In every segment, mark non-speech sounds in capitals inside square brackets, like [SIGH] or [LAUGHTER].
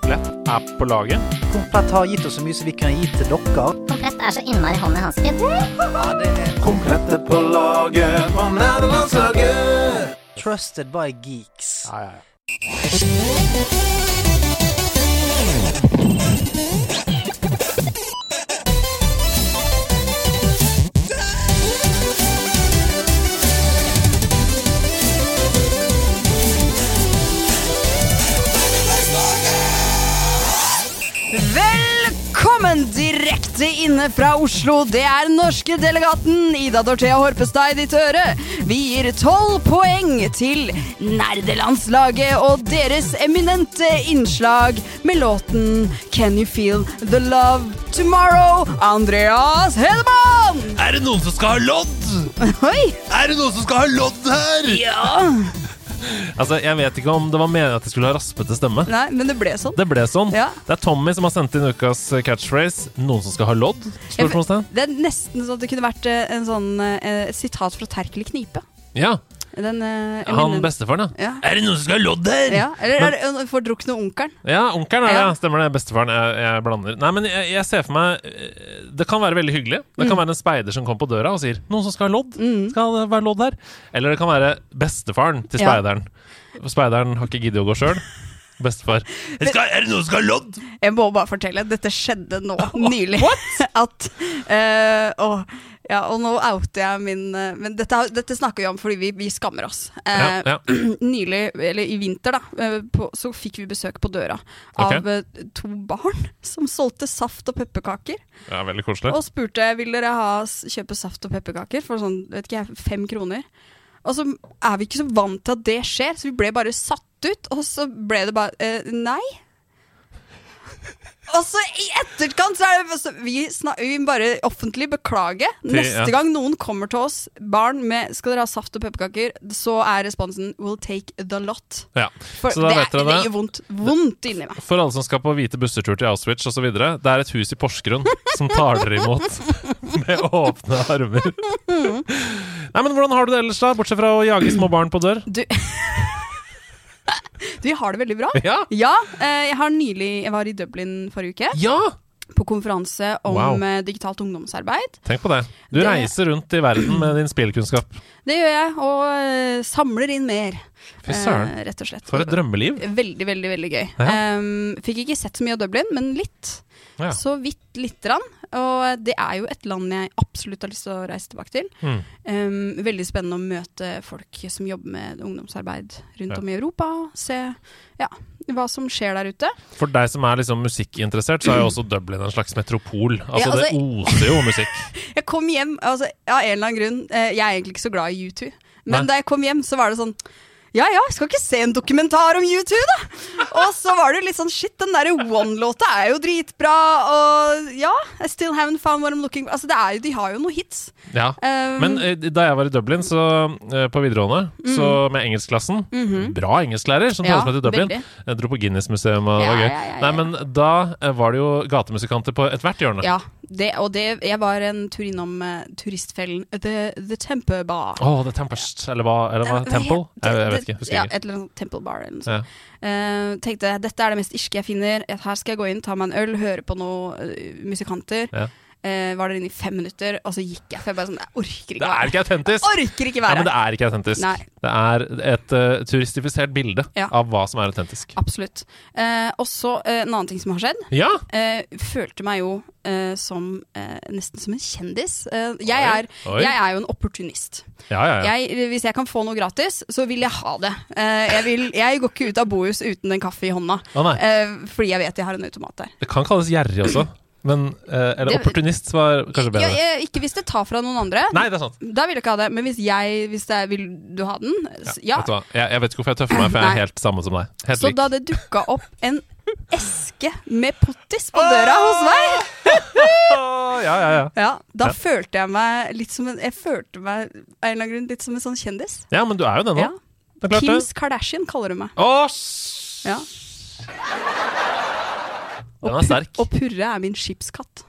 Komplett er på laget. Komplett har gitt oss så mye som vi kan gi til dere. Komplett er så innmari hånd i hansken. Komplette på laget fra nederlandslaget. Trusted by geeks. Ja, ja, ja. Velkommen direkte inne fra Oslo. Det er den norske delegaten Ida Dorthea Horpestad i ditt øre. Vi gir tolv poeng til nerdelandslaget og deres eminente innslag med låten Can You Feel The Love Tomorrow? Andreas Hedemann! Er det noen som skal ha lodd? [LAUGHS] Oi! Er det noen som skal ha lodd her? Ja. [LAUGHS] Altså, jeg vet ikke om det var meningen at jeg skulle ha raspete stemme. Nei, men det ble sånn. Det ble sånn. Ja. Det er Tommy som har sendt inn ukas catchphrase. Noen som skal ha lodd? Spørsmålstegn. Det er nesten sånn at det kunne vært eh, en sånn eh, sitat fra Terkel i knipe. Ja. Den, eh, Han eminente- bestefaren, ja. Ja. Er det noen som skal ha lodd [LAUGHS] her? Ja, eller er det den fordrukne onkelen? Ja, onkelen er det. Ja. ja. Stemmer det. Bestefaren. Jeg, jeg blander. Nei, men jeg, jeg ser for meg eh, Det kan være veldig hyggelig. Det Mm. kan være en speider som kommer på døra og sier 'Noen som skal ha lodd?' Mm. Skal det være lodd her? Eller det kan være bestefaren til Ja. speideren. For Speideren har ikke giddet å gå sjøl. Bestefar. Er, [LAUGHS] skal, er det noen som skal ha lodd? Jeg må bare fortelle, dette skjedde [LAUGHS] nå nylig. [LAUGHS] At eh, åh, ja, Og nå outer jeg min eh, Men dette, dette snakker vi om fordi vi, vi skammer oss. Eh, Ja, ja. [CLEARS THROAT] Nylig, eller i vinter, da, eh, på, så fikk vi besøk på døra av Ok. eh, to barn som solgte saft og pepperkaker. ja, veldig koselig. Og spurte vil dere ha, s- kjøpe saft og pepperkaker for sånn, vet ikke jeg, fem kroner. Og så er vi ikke så vant til at det skjer, så vi ble bare satt ut. Og så ble det bare eh, nei. Og så i etterkant så er det så Vi, snak, vi bare offentlig beklage. Neste ja. gang noen kommer til oss, barn med 'skal dere ha saft og pepperkaker', så er responsen 'we'll take the lot'. Ja. For Så da det, vet er- dere det det. gjør vondt, vondt inni meg. For alle som skal på hvite bussetur til Auschwitz osv. Det er et hus i Porsgrunn som tar dere imot [LAUGHS] med åpne armer. Nei, men Hvordan har du det ellers, da? Bortsett fra å jage små barn på dør? Du, du vi har det veldig bra. Ja! Ja, eh, jeg har nylig Jeg var i Dublin forrige uke Ja! på konferanse om Wow. eh, digitalt ungdomsarbeid. Tenk på det. Du Det- reiser rundt i verden med din spillkunnskap. Det gjør jeg, og eh, samler inn mer. Fy søren. eh, rett og slett. For et drømmeliv. Veldig, veldig veldig gøy. Ja. Em, fikk ikke sett så mye av Dublin, men litt. Ja. Så vidt lite grann. Og eh, det er jo et land jeg absolutt har lyst til å reise tilbake til. eh, Mm. Em, veldig spennende å møte folk som jobber med ungdomsarbeid rundt Ja. om i Europa. Se ja, hva som skjer der ute. For deg som er liksom musikkinteressert, så er jo også Dublin en slags metropol. Altså, Ja, altså- det oser jo [LAUGHS] musikk. Jeg kom hjem altså, Av en eller annen grunn eh, Jeg er egentlig ikke så glad i U2 Men Nei. da jeg kom hjem så var det sånn Ja, ja, jeg skal ikke se en dokumentar om U2 da Og så var det litt sånn Shit, den der One-låta er jo dritbra Og ja, I still haven't found what I'm looking for Altså, det er jo, de har jo noen hits Ja. Um, Men eh, da jeg var i Dublin så, eh, på videregående, så med engelskklassen Bra engelsklærer som Mm. Mhm. Ja, tok oss med til Dublin. veldig. Jeg dro på Guinness-museet, og det Ja, var gøy. ja, ja, ja. Nei, men da eh, var det jo gatemusikanter på ethvert hjørne. Ja, det, og det, jeg var en tur innom eh, turistfellen The, the Temple Bar Åh, det er Tempest, eller hva? Eller hva? Hva Temple? het det? Jeg, jeg vet ikke. Husker ja, ikke. Et eller annet Temple Bar eller noe sånt. Ja. Eh, tenkte dette er det mest irske jeg finner. Her skal jeg gå inn, ta meg en øl, høre på noen eh, musikanter. Ja. Eh, var der inne i fem minutter, og så gikk jeg. For jeg bare sånn, jeg orker Det ikke er være ikke autentisk! her. Orker ikke Nei, være men det her. er ikke autentisk. Nei. Det er et eh, turistifisert bilde Ja. av hva som er autentisk. Absolutt. Eh, og så eh, en annen ting som har skjedd. Ja! Eh, følte meg jo eh, som eh, nesten som en kjendis. Eh, jeg, Oi, er, oi. jeg er jo en opportunist. Ja, ja, ja. Jeg, hvis jeg kan få noe gratis, så vil jeg ha det. Eh, jeg, vil, jeg går ikke ut av Bohus uten en kaffe i hånda, Å, nei. eh, fordi jeg vet jeg har en automat der. Det kan kalles gjerrig også. Men, eh, eller Det- opportunist var kanskje bedre. Ja, eh, ikke hvis det tar fra noen andre. Nei, det er sant. Da vil jeg ikke ha det. Men hvis jeg hvis det er, Vil du ha den? S- Ja. Vet du hva? Jeg, jeg vet ikke hvorfor jeg tøffer meg, for jeg Nei. er helt samme som deg. Helt Så lik. da det dukka opp en eske med pottis på døra Ah! hos meg, Åh, ja, ja, ja. ja, da Ja. følte jeg meg litt som en Jeg følte meg av en eller annen grunn litt som en sånn kjendis. ja, men du er jo det nå. Ja. Det er klart det. Kims Kardashian kaller hun meg. Åh, s- Ja. Og Den er Pur- sterk. Og Purre er min skipskatt.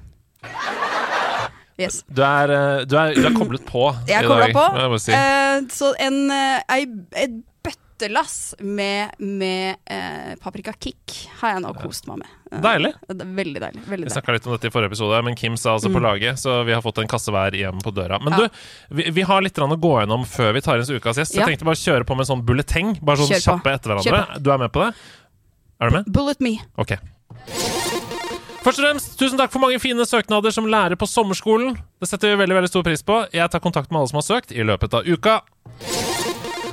Yes. Du er, eh, du, er, du er koblet på Jeg i kobla dag. på. må Jeg bare si. Eh, så en eh, ei, et bøtte byttelass med, med eh, paprika kick har jeg nå kost meg med. Eh, Deilig. det er Veldig deilig. Veldig Vi deilig. snakka litt om dette i forrige episode, men Kim sa altså på laget, så vi har fått en kasse hver hjem på døra. Men Ja. du, vi, vi har litt grann å gå gjennom før vi tar inn ukas gjest. så Ja. Jeg tenkte bare å kjøre på med en sånn bulleteng. Bare sånn Kjør på. kjappe etter hverandre. Du er med på det? Er du med? Bullet me. Ok. Først og fremst, tusen takk for mange fine søknader som lærer på sommerskolen. Det setter vi veldig, veldig stor pris på. Jeg tar kontakt med alle som har søkt i løpet av uka.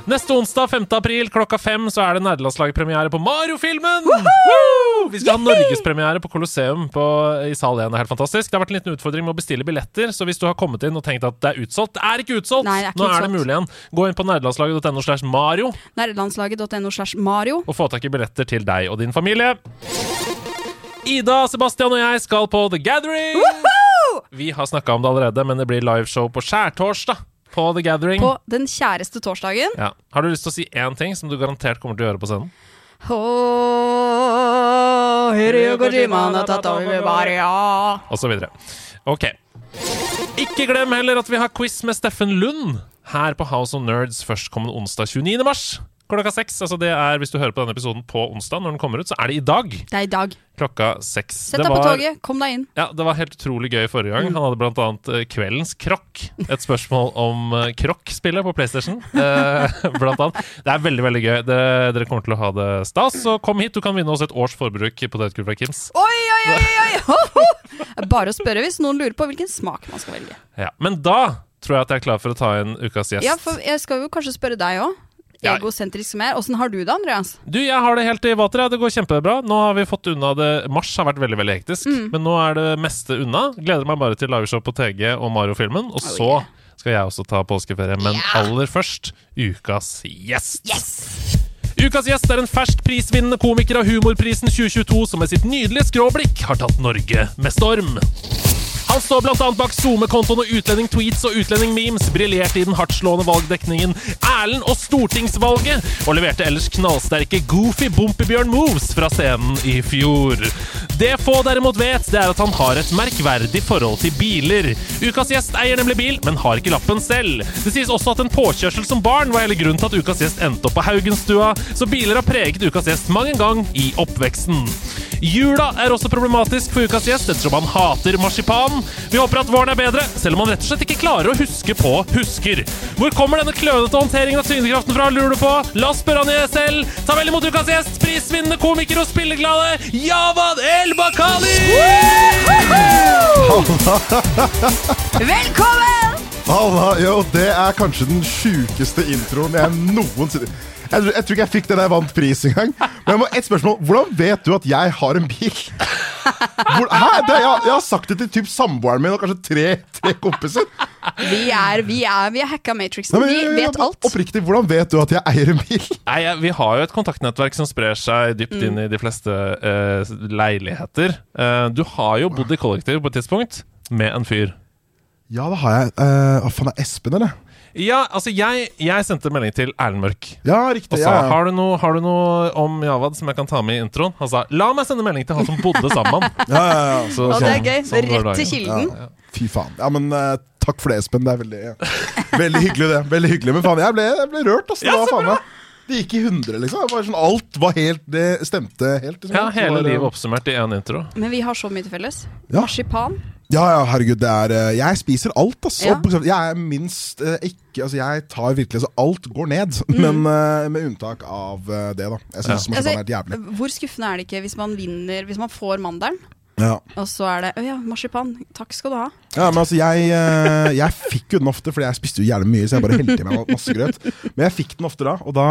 Neste onsdag, 5. april, klokka fem, så er det nerdelandslagpremiere på Mario-filmen! Woohoo! Vi skal ha norgespremiere på Colosseum på, i sal 1. Det er helt fantastisk. Det har vært en liten utfordring med å bestille billetter, så hvis du har kommet inn og tenkt at det er utsolgt Det er ikke utsolgt! Nei, det er ikke Nå er det utsolgt. mulig igjen. Gå inn på nerdelandslaget.no slash Mario Nerdelandslaget.no slash Mario. og få tak i billetter til deg og din familie. Ida, Sebastian og jeg skal på The Gathering. Vi har snakka om det allerede, men det blir liveshow på skjærtorsdag på The Gathering. På den kjæreste torsdagen. Mm. ja. Har du lyst til å si én ting som du garantert kommer til å gjøre på scenen? Åh, Hiroyo Kojima, han har tatt over bare, ja. Og så videre. Ok. Ikke glem heller at vi har quiz med Steffen Lund her på House of Nerds førstkommende onsdag 29. mars. Klokka seks. Altså det er, hvis du hører på denne episoden på onsdag, når den kommer ut, så er det i dag Det er i dag. klokka seks. Sett deg på toget, kom deg inn. Ja, Det var helt utrolig gøy forrige Mm. gang. Han hadde blant annet eh, Kveldens krokk. Et spørsmål om eh, krokk-spillet på PlayStation. [LAUGHS] eh, Blant annet. Det er veldig veldig gøy. Dere, dere kommer til å ha det stas. Så kom hit, du kan vinne også et års forbruk potetgull fra Kims. Oi, oi, oi! [LAUGHS] oi, oi. Bare å spørre hvis noen lurer på hvilken smak man skal velge. Ja. Men da tror jeg at jeg er klar for å ta inn ukas gjest. Ja, for jeg skal jo kanskje spørre deg òg. Ja. Egosentrisk som jeg er. Åssen har du det, Andreas? Du, jeg har det helt i vater. jeg. Det går kjempebra. Nå har vi fått unna det. Mars har vært veldig veldig hektisk, Mm. men nå er det meste unna. Gleder meg bare til liveshow på TG og Mario-filmen. Og så yeah. skal jeg også ta påskeferie, men aller først ukas gjest. Yes! Ukas gjest er en fersk prisvinnende komiker av Humorprisen 2022 som med sitt nydelige skråblikk har tatt Norge med storm. Han står bl.a. bak SoMe-kontoen og utlending-tweets og utlending-memes, briljerte i den hardtslående valgdekningen Erlend og stortingsvalget, og leverte ellers knallsterke goofy Bompebjørn-moves fra scenen i fjor. Det få derimot vet, det er at han har et merkverdig forhold til biler. Ukas gjest eier nemlig bil, men har ikke lappen selv. Det sies også at en påkjørsel som barn var hele grunnen til at ukas gjest endte opp på Haugenstua, så biler har preget ukas gjest mang en gang i oppveksten. Jula er også problematisk for ukas gjest ettersom han hater marsipan. Vi håper at våren er bedre, selv om han rett og slett ikke klarer å huske på husker. Hvor kommer denne klønete håndteringen av tyngdekraften fra, lurer du på? La oss spørre han i det selv. Ta vel imot ukas gjest, prisvinnende komiker og spilleglade Javad El-Bakali! Velkommen! Halla, yo, det er kanskje den sjukeste introen jeg noensinne jeg, tror- jeg tror ikke jeg fikk det da jeg vant pris engang. Men jeg må, et spørsmål. Hvordan vet du at jeg har en bil? Hvor, hæ? Det, jeg, jeg har sagt det til typ samboeren min og kanskje tre, tre kompiser. Vi er, vi er, vi er hacka Matrixen. Nei, men- [LAUGHS] Vi vet alt. Oppriktig, hvordan vet du at jeg eier en bil? Nei, jeg- Vi har jo et kontaktnettverk som sprer seg dypt inn Mm. i de fleste eh, leiligheter. Eh, du har jo bodd i kollektiv på et tidspunkt med en fyr. Ja, det har jeg. Eh, Hva faen, er Espen, eller? Ja, altså, jeg, jeg sendte melding til Erlend Mørk. Ja, riktig. Og sa ja, ja. har, du noe, har du noe om Javad som jeg kan ta med i introen? Han sa la meg sende melding til han som bodde [LAUGHS] sammen med han. Ja, ja, ja. Så Og det er gøy. sånn går Rett til dagen. kilden. Ja. Fy faen. Ja, men eh, takk for det, Espen. Det er veldig, [LAUGHS] veldig hyggelig, det. Veldig hyggelig, Men faen, jeg ble, jeg ble rørt. Altså. Det, var, faen, meg- det gikk i hundre, liksom. Det var sånn, alt var helt Det stemte helt. Liksom. Ja, hele Det var- livet oppsummert i én intro. Men vi har så mye til felles. Ja. Marsipan. Ja, ja, herregud. Det er eh, Jeg spiser alt, altså. Ja. Bokstavelig- Jeg er minst eh, ikke Altså, jeg tar virkelig altså, Alt går ned. [LAUGHS] Men eh, med unntak av eh, det, da. Jeg syns ja. er helt jævlig. hvor skuffende er det ikke hvis man vinner Hvis man får mandelen, Ja. og så er det Å ja, marsipan. Takk skal du ha. Ja, men altså, jeg, eh, jeg fikk jo den ofte, fordi jeg spiste jo jævlig mye, så jeg bare helte i meg masse grøt. Men jeg fikk den ofte da, og da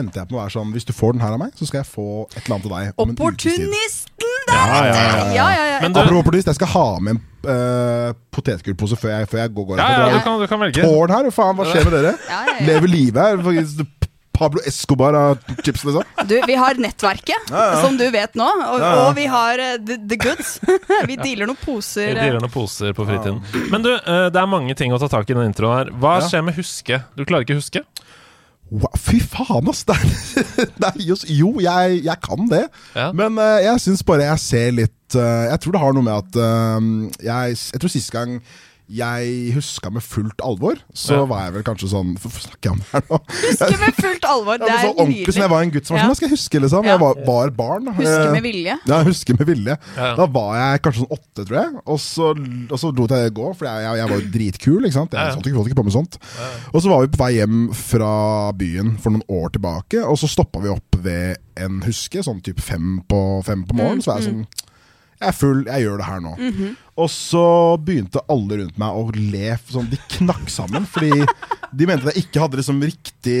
endte jeg på å være sånn Hvis du får den her av meg, så skal jeg få et eller annet til deg om en ukes tid. Opportunisten der! ja, ja, vet du! Ja, ja, ja. Men du, Apropos opportunist, jeg skal ha med en uh, potetgullpose før jeg, før jeg går. går ja, ja, du, kan, du kan velge. Tårn her, faen, hva skjer med dere? Ja, ja, ja. Lever livet her? Faktisk, Pablo Escobar av chips, liksom. Du, vi har nettverket, som du vet nå, og, og vi har eh, the, the goods. [LAUGHS] vi dealer noen poser. eh. Dyrene poser på fritiden. Men du, eh, det er mange ting å ta tak i i den introen her. Hva Ja. skjer med huske? Du klarer ikke å huske? Wow, fy faen, ass! [LAUGHS] Det er, det er, just, jo, jeg, jeg kan det. Ja. Men eh, jeg syns bare jeg ser litt eh, Jeg tror det har noe med at eh, jeg, jeg tror sist gang jeg huska med fullt alvor, så var jeg vel kanskje sånn Hvorfor snakker jeg om det her nå? [LAUGHS] Husker med fullt alvor. Det Jeg var er så ordentlig som jeg nydelig. var en gutt som var Ja. sånn, «Nå skal jeg huske, liksom. Ja. Jeg var, var barn. da. Huske med Eh, vilje. [LAUGHS] Ja, jeg husker med vilje. Ja. Da var jeg kanskje sånn åtte, tror jeg. Og så, og så lot jeg det gå, for jeg, jeg, jeg var jo dritkul. ikke sant? Jeg sånt, ikke, holdt ikke på med sånt. Og så var vi på vei hjem fra byen for noen år tilbake, og så stoppa vi opp ved en huske, sånn typ fem på, fem på morgenen. Så var jeg sånn jeg er full, jeg gjør det her nå. Og så begynte alle rundt meg å le. Sånn, de knakk sammen, fordi de mente jeg ikke hadde liksom riktig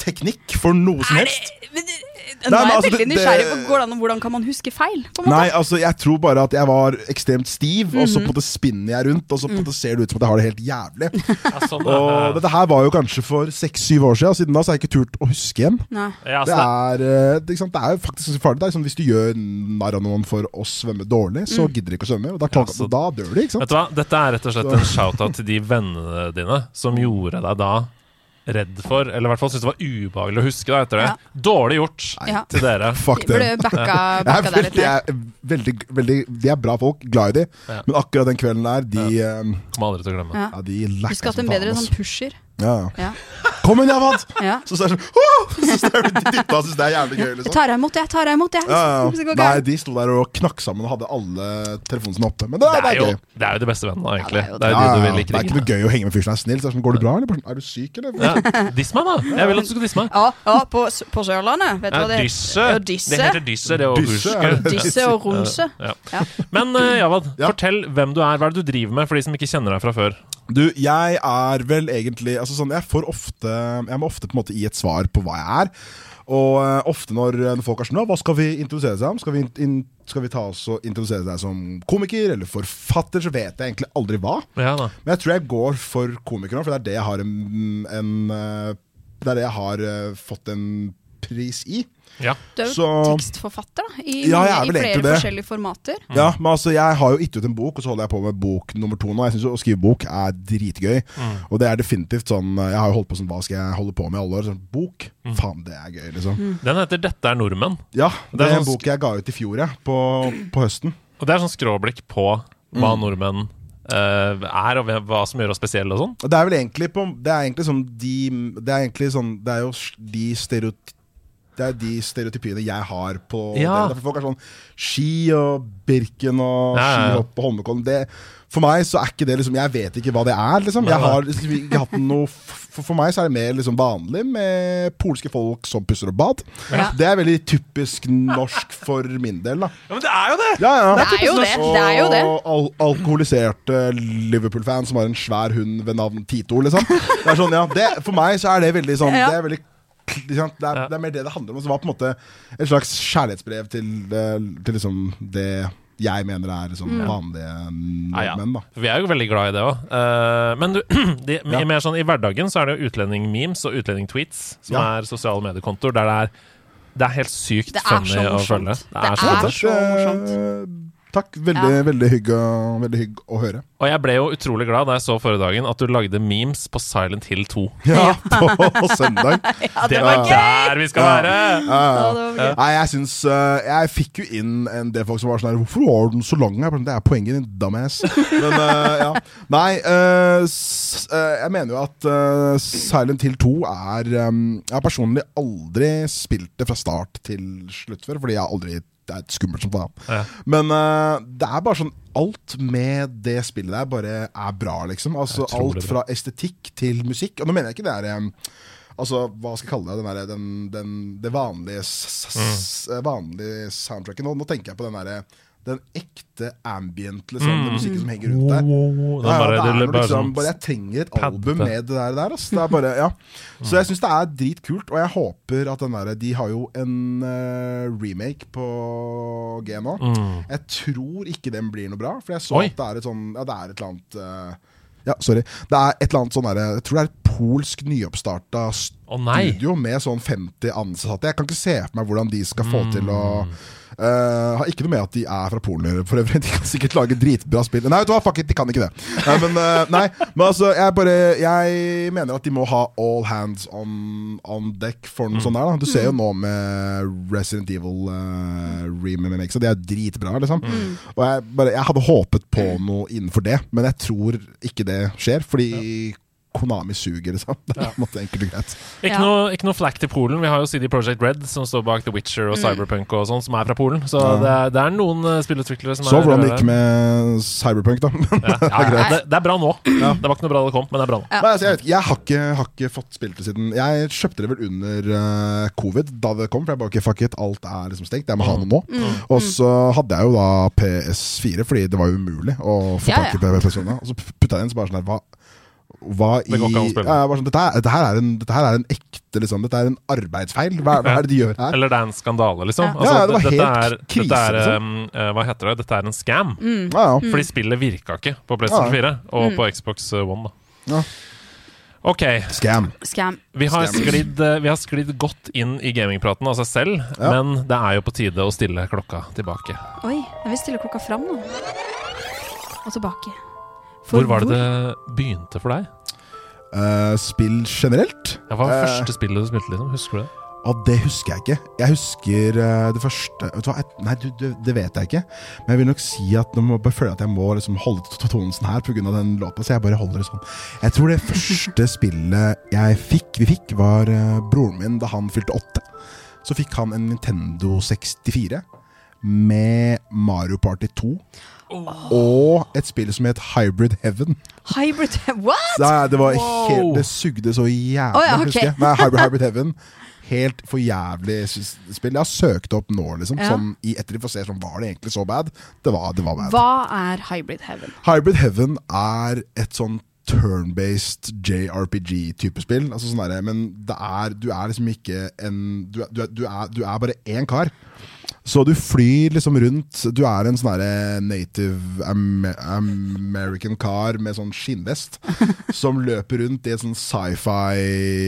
teknikk for noe som helst. Men, eh, nå er Nei, men jeg altså, veldig det- nysgjerrig på det- hvordan, hvordan kan man huske feil. På en måte. Nei, altså jeg tror bare at jeg var ekstremt stiv, og så på det spinner jeg rundt, og så på det ser det ut som at jeg har det helt jævlig. Ja, sånn, Og dette her var jo kanskje for seks-syv år siden, og siden da så har jeg ikke turt å huske igjen. Nei. ja, så Det Altså, det, er, eh, det, ikke sant? det er jo faktisk så farlig. Det er sånn, hvis du gjør narr av noen for å svømme dårlig, så gidder de ikke å svømme, og da, klager, Ja, så- da dør de, ikke sant? vet du hva? Dette er rett og slett en shout-out til de vennene dine som gjorde deg da redd for, eller i hvert fall syntes det var ubehagelig å huske da etter det. Ja. Dårlig gjort Ja. til dere. Fuck Ble det. backa, [LAUGHS] Jeg er backa der litt. veldig, jeg er veldig, veldig, de er bra folk, glad i de, Ja. men akkurat den kvelden der, de, eh, Kommer aldri til å glemme. Ja. ja, de Du lacka skulle hatt en som bedre faen. altså. sånn ass. [LAUGHS] pusher. Ja, ja. Ja. Kom igjen, Javad! Ja. Så så er det sånn «Åh!» Så står de og dytter og syns det er jævlig gøy. Jeg liksom tar deg imot, jeg tar deg imot. Jeg. ja, Hvis det ja. går Nei, galt. de sto der og knakk sammen og hadde alle telefonene sine oppe. Men det, Det er, jo, gøy. det er jo de beste vennene, egentlig. Ja, det det er Ja, jo de du ja, vil i ja. Det er ikke krigen. noe gøy å henge med fyren som er snill. Så er det sånn, går det bra, eller? Bare sånn, Er du syk, eller? Ja. Diss meg, da! Jeg vil at du skal disse meg. Ja, ja på, S- på Sørlandet. Vet du Ja, hva det dysse. Ja, Det dysse. heter dysse, det å Dysse, huske. er det? Dysse og rose. Ja. Ja. Men eh, Javad, Ja. fortell hvem du er. Hva er det du driver med, for de som ikke kjenner deg fra før? Du, jeg er vel egentlig altså sånn, Jeg får ofte Jeg må ofte på en måte gi et svar på hva jeg er. Og eh, ofte når, eh, når folk er sånn «Å, Hva skal vi introdusere seg om? Skal vi, in- in, skal vi ta oss og introdusere deg som komiker eller forfatter? Så vet jeg egentlig aldri hva. Ja da. Men jeg tror jeg går for komiker nå, for det er det jeg har en, en eh, Det er det jeg har eh, fått en pris i. Ja. Du er jo Så- tekstforfatter, da. I, Ja, jeg er mange- vel i flere egentlig det. forskjellige formater. Mm. Ja, men altså Jeg har jo gitt ut en bok, og så holder jeg på med bok nummer to nå. Jeg synes jo Å skrive bok er dritgøy. Mm. Og det er definitivt sånn Jeg har jo holdt på sånn Hva skal jeg holde på med i alle år? Sånn, bok? Faen, det er gøy, liksom. Den heter 'Dette er nordmenn'. Ja, Mm. Det Det, er er sånn en bok jeg ga ut i fjor, jeg. På, på høsten. Og det er sånn skråblikk på hva Mm. nordmenn eh, er, og hva som gjør oss spesielle og sånn. Og det er vel egentlig på Det er egentlig sånn de Det er egentlig sånn Det er jo s- de stereotyp... Det er de stereotypiene jeg har på Ja. det. Derfor folk er sånn ski og Birken Ja, ja, og ja. skihopp og Holmenkollen. Det- For meg så er ikke det liksom Jeg vet ikke hva det er, liksom. Jeg har liksom ikke hatt noe f- for, for meg så er det mer liksom vanlig med polske folk som pusser opp bad. Ja. Det er veldig typisk norsk for min del, da. Ja, men det er jo det! Ja, ja. Det er jo det, det er jo det. Og al alkoholiserte Liverpool-fan som har en svær hund ved navn Tito, liksom. Det er sånn, ja, det, for meg så er det veldig sånn Ja. Det er veldig kl- ikke sant? det er, Ja. det er mer det det handler om. Så det var på en måte et slags kjærlighetsbrev til, eh, til liksom det jeg mener er liksom Mm. vanlige Ja, Ah, ja. nordmenn. da Vi er jo veldig glad i det òg. men du, [CLEARS THROAT] de, Ja. mer sånn, i hverdagen så er det jo utlending-memes og utlending-tweets som Ja. er sosiale mediekontoer der det er det er helt sykt Det er funny så å morsomt. følge. Det er så er morsomt. Takk, så eh, Takk. Veldig, Ja. veldig, hygg å, veldig hygg å høre. Og jeg ble jo utrolig glad da jeg så forrige dagen at du lagde memes på Silent Hill 2. [LAUGHS] Ja, [LAUGHS] på, søndag. Ja, Det det var var gøy! der vi skal Ja. være! Ja, ja. Ja, det var gøy. Nei, jeg syns eh, Jeg fikk jo inn en del folk som var sånn her Hvorfor har du den så lang? Jeg bare, Det er poenget ditt, dumbass. Men, eh, ja. Nei, eh, s eh, jeg mener jo at eh, Silent Hill 2 er eh, Jeg har personlig aldri spilt det fra start til slutt før, fordi jeg aldri det er skummelt som faen. Ja. Men eh, det er bare sånn Alt med det spillet der bare er bra, liksom. Altså Utrolig alt bra. fra estetikk til musikk. Og nå mener jeg ikke det er eh, Altså, hva skal jeg kalle det? Den der, den, den, det vanlige, s s s- eh, vanlige soundtracket. Nå, nå tenker jeg på den derre den ekte ambient, liksom. Den musikken som henger rundt der. Wow, Oh, den bare- ja, det det er noe, bare liksom, sånn- bare Jeg trenger et Padde. album med det der. der ass. Det er bare, ja. Så jeg syns det er dritkult, og jeg håper at den der De har jo en eh, remake på G nå. Jeg tror ikke den blir noe bra, for jeg så Mm. Oi. at det er et sånn Ja, det er et eller annet eh, ja, sorry. Det er et eller annet sånn der, Jeg tror det er et polsk nyoppstarta Å, nei. studio med sånn 50 ansatte. Jeg kan ikke se for meg hvordan de skal få til å Eh, har ikke noe med at de er fra Polen å gjøre, for øvrig. De kan sikkert lage dritbra spill. Nei, vet du hva, fuck it, de kan ikke det. Nei, men, eh, nei, men altså, jeg bare Jeg mener at de må ha all hands on, on deck for noe sånt der. Da. Du ser jo nå med Resident Evil uh, remake, så det er dritbra, liksom. Mm, Og jeg, bare, jeg hadde håpet på noe innenfor det, men jeg tror ikke det skjer, fordi Konami suger, liksom. Det er på en måte enkelt og greit. Ikke, Ja. noe, ikke noe flack til Polen. Vi har jo CD Projekt Red, som står bak The Witcher Mm. og Cyberpunk og sånn, som er fra Polen. Så det, er, det er noen eh, spillutviklere som Så er hvordan det gikk med Cyberpunk, da. [LAUGHS] ja, ja, ja. Det, det er bra nå. Det var ikke noe bra det kom, men det er bra nå. Nei, altså, jeg, vet ikke, jeg har, ikke, har ikke fått spilt det siden Jeg kjøpte det vel under eh, covid, da det kom. For jeg bare ikke fuck it, alt er liksom stengt. Jeg Mm. må ha noe nå. mm, Og så hadde jeg jo da PS4, fordi det var jo umulig å få Ja, tak i PS4. Og så putta jeg inn, så bare sånn der, hva hva i Det går ikke an å Ja, spille. jeg var sånn, dette, er, dette, her er en, dette her er en ekte liksom, Dette er en arbeidsfeil. Hva, hva er det de gjør her? Eller det er en skandale, liksom. Ja. Ja, ja, det var dette helt er, krise, liksom. dette er, eh, eh, Hva heter det? Dette er en scam. Ja, Mm. ja. Fordi spillet virka ikke på PlayStation Ja. 4 og på Xbox eh, One. da Ja. Ok, Scam. mm. Scam. vi har, Stemmer. sklidd, eh, vi har sklidd godt inn i gamingpraten av seg selv, Ja. men det er jo på tide å stille klokka tilbake. Oi, jeg vil stille klokka fram nå. Og tilbake. For Hvor var det det begynte for deg? Eh, spill generelt? Ja, hva var det Eh. første spillet du spilte, liksom? Husker du det? Og det husker jeg ikke. Jeg husker eh, det første vet du hva, jeg, Nei, du, du, det vet jeg ikke. Men jeg vil nok si at nå må jeg bare føle at jeg må liksom holde t- t- tonen her pga. den låta. Så jeg bare holder det sånn. Jeg tror det første spillet jeg fikk, vi fikk, var eh, broren min da han fylte åtte. Så fikk han en Nintendo 64 med Mario Party 2. Og et spill som het Hybrid Heaven. Hybrid [LAUGHS] What?! Nei, det var Wow. helt Det sugde så jævlig, Å ja, ok. husker jeg. Nei, [LAUGHS] Hybrid, Hybrid Heaven. Helt for jævlig s- spill. Jeg har søkt opp nå, liksom. Ja. Sånn, I ettertid for å se sånn, var det egentlig så bad. Det var, det var bad. Hva er Hybrid Heaven? Hybrid Heaven er et sånn turn-based JRPG-type spill. Altså sånn derre, men det er, du er liksom ikke en Du, er- du, er- du, er, du er bare én kar. Så du flyr liksom rundt. Du er en sånn derre native am American kar med sånn skinnvest som løper rundt i et sånn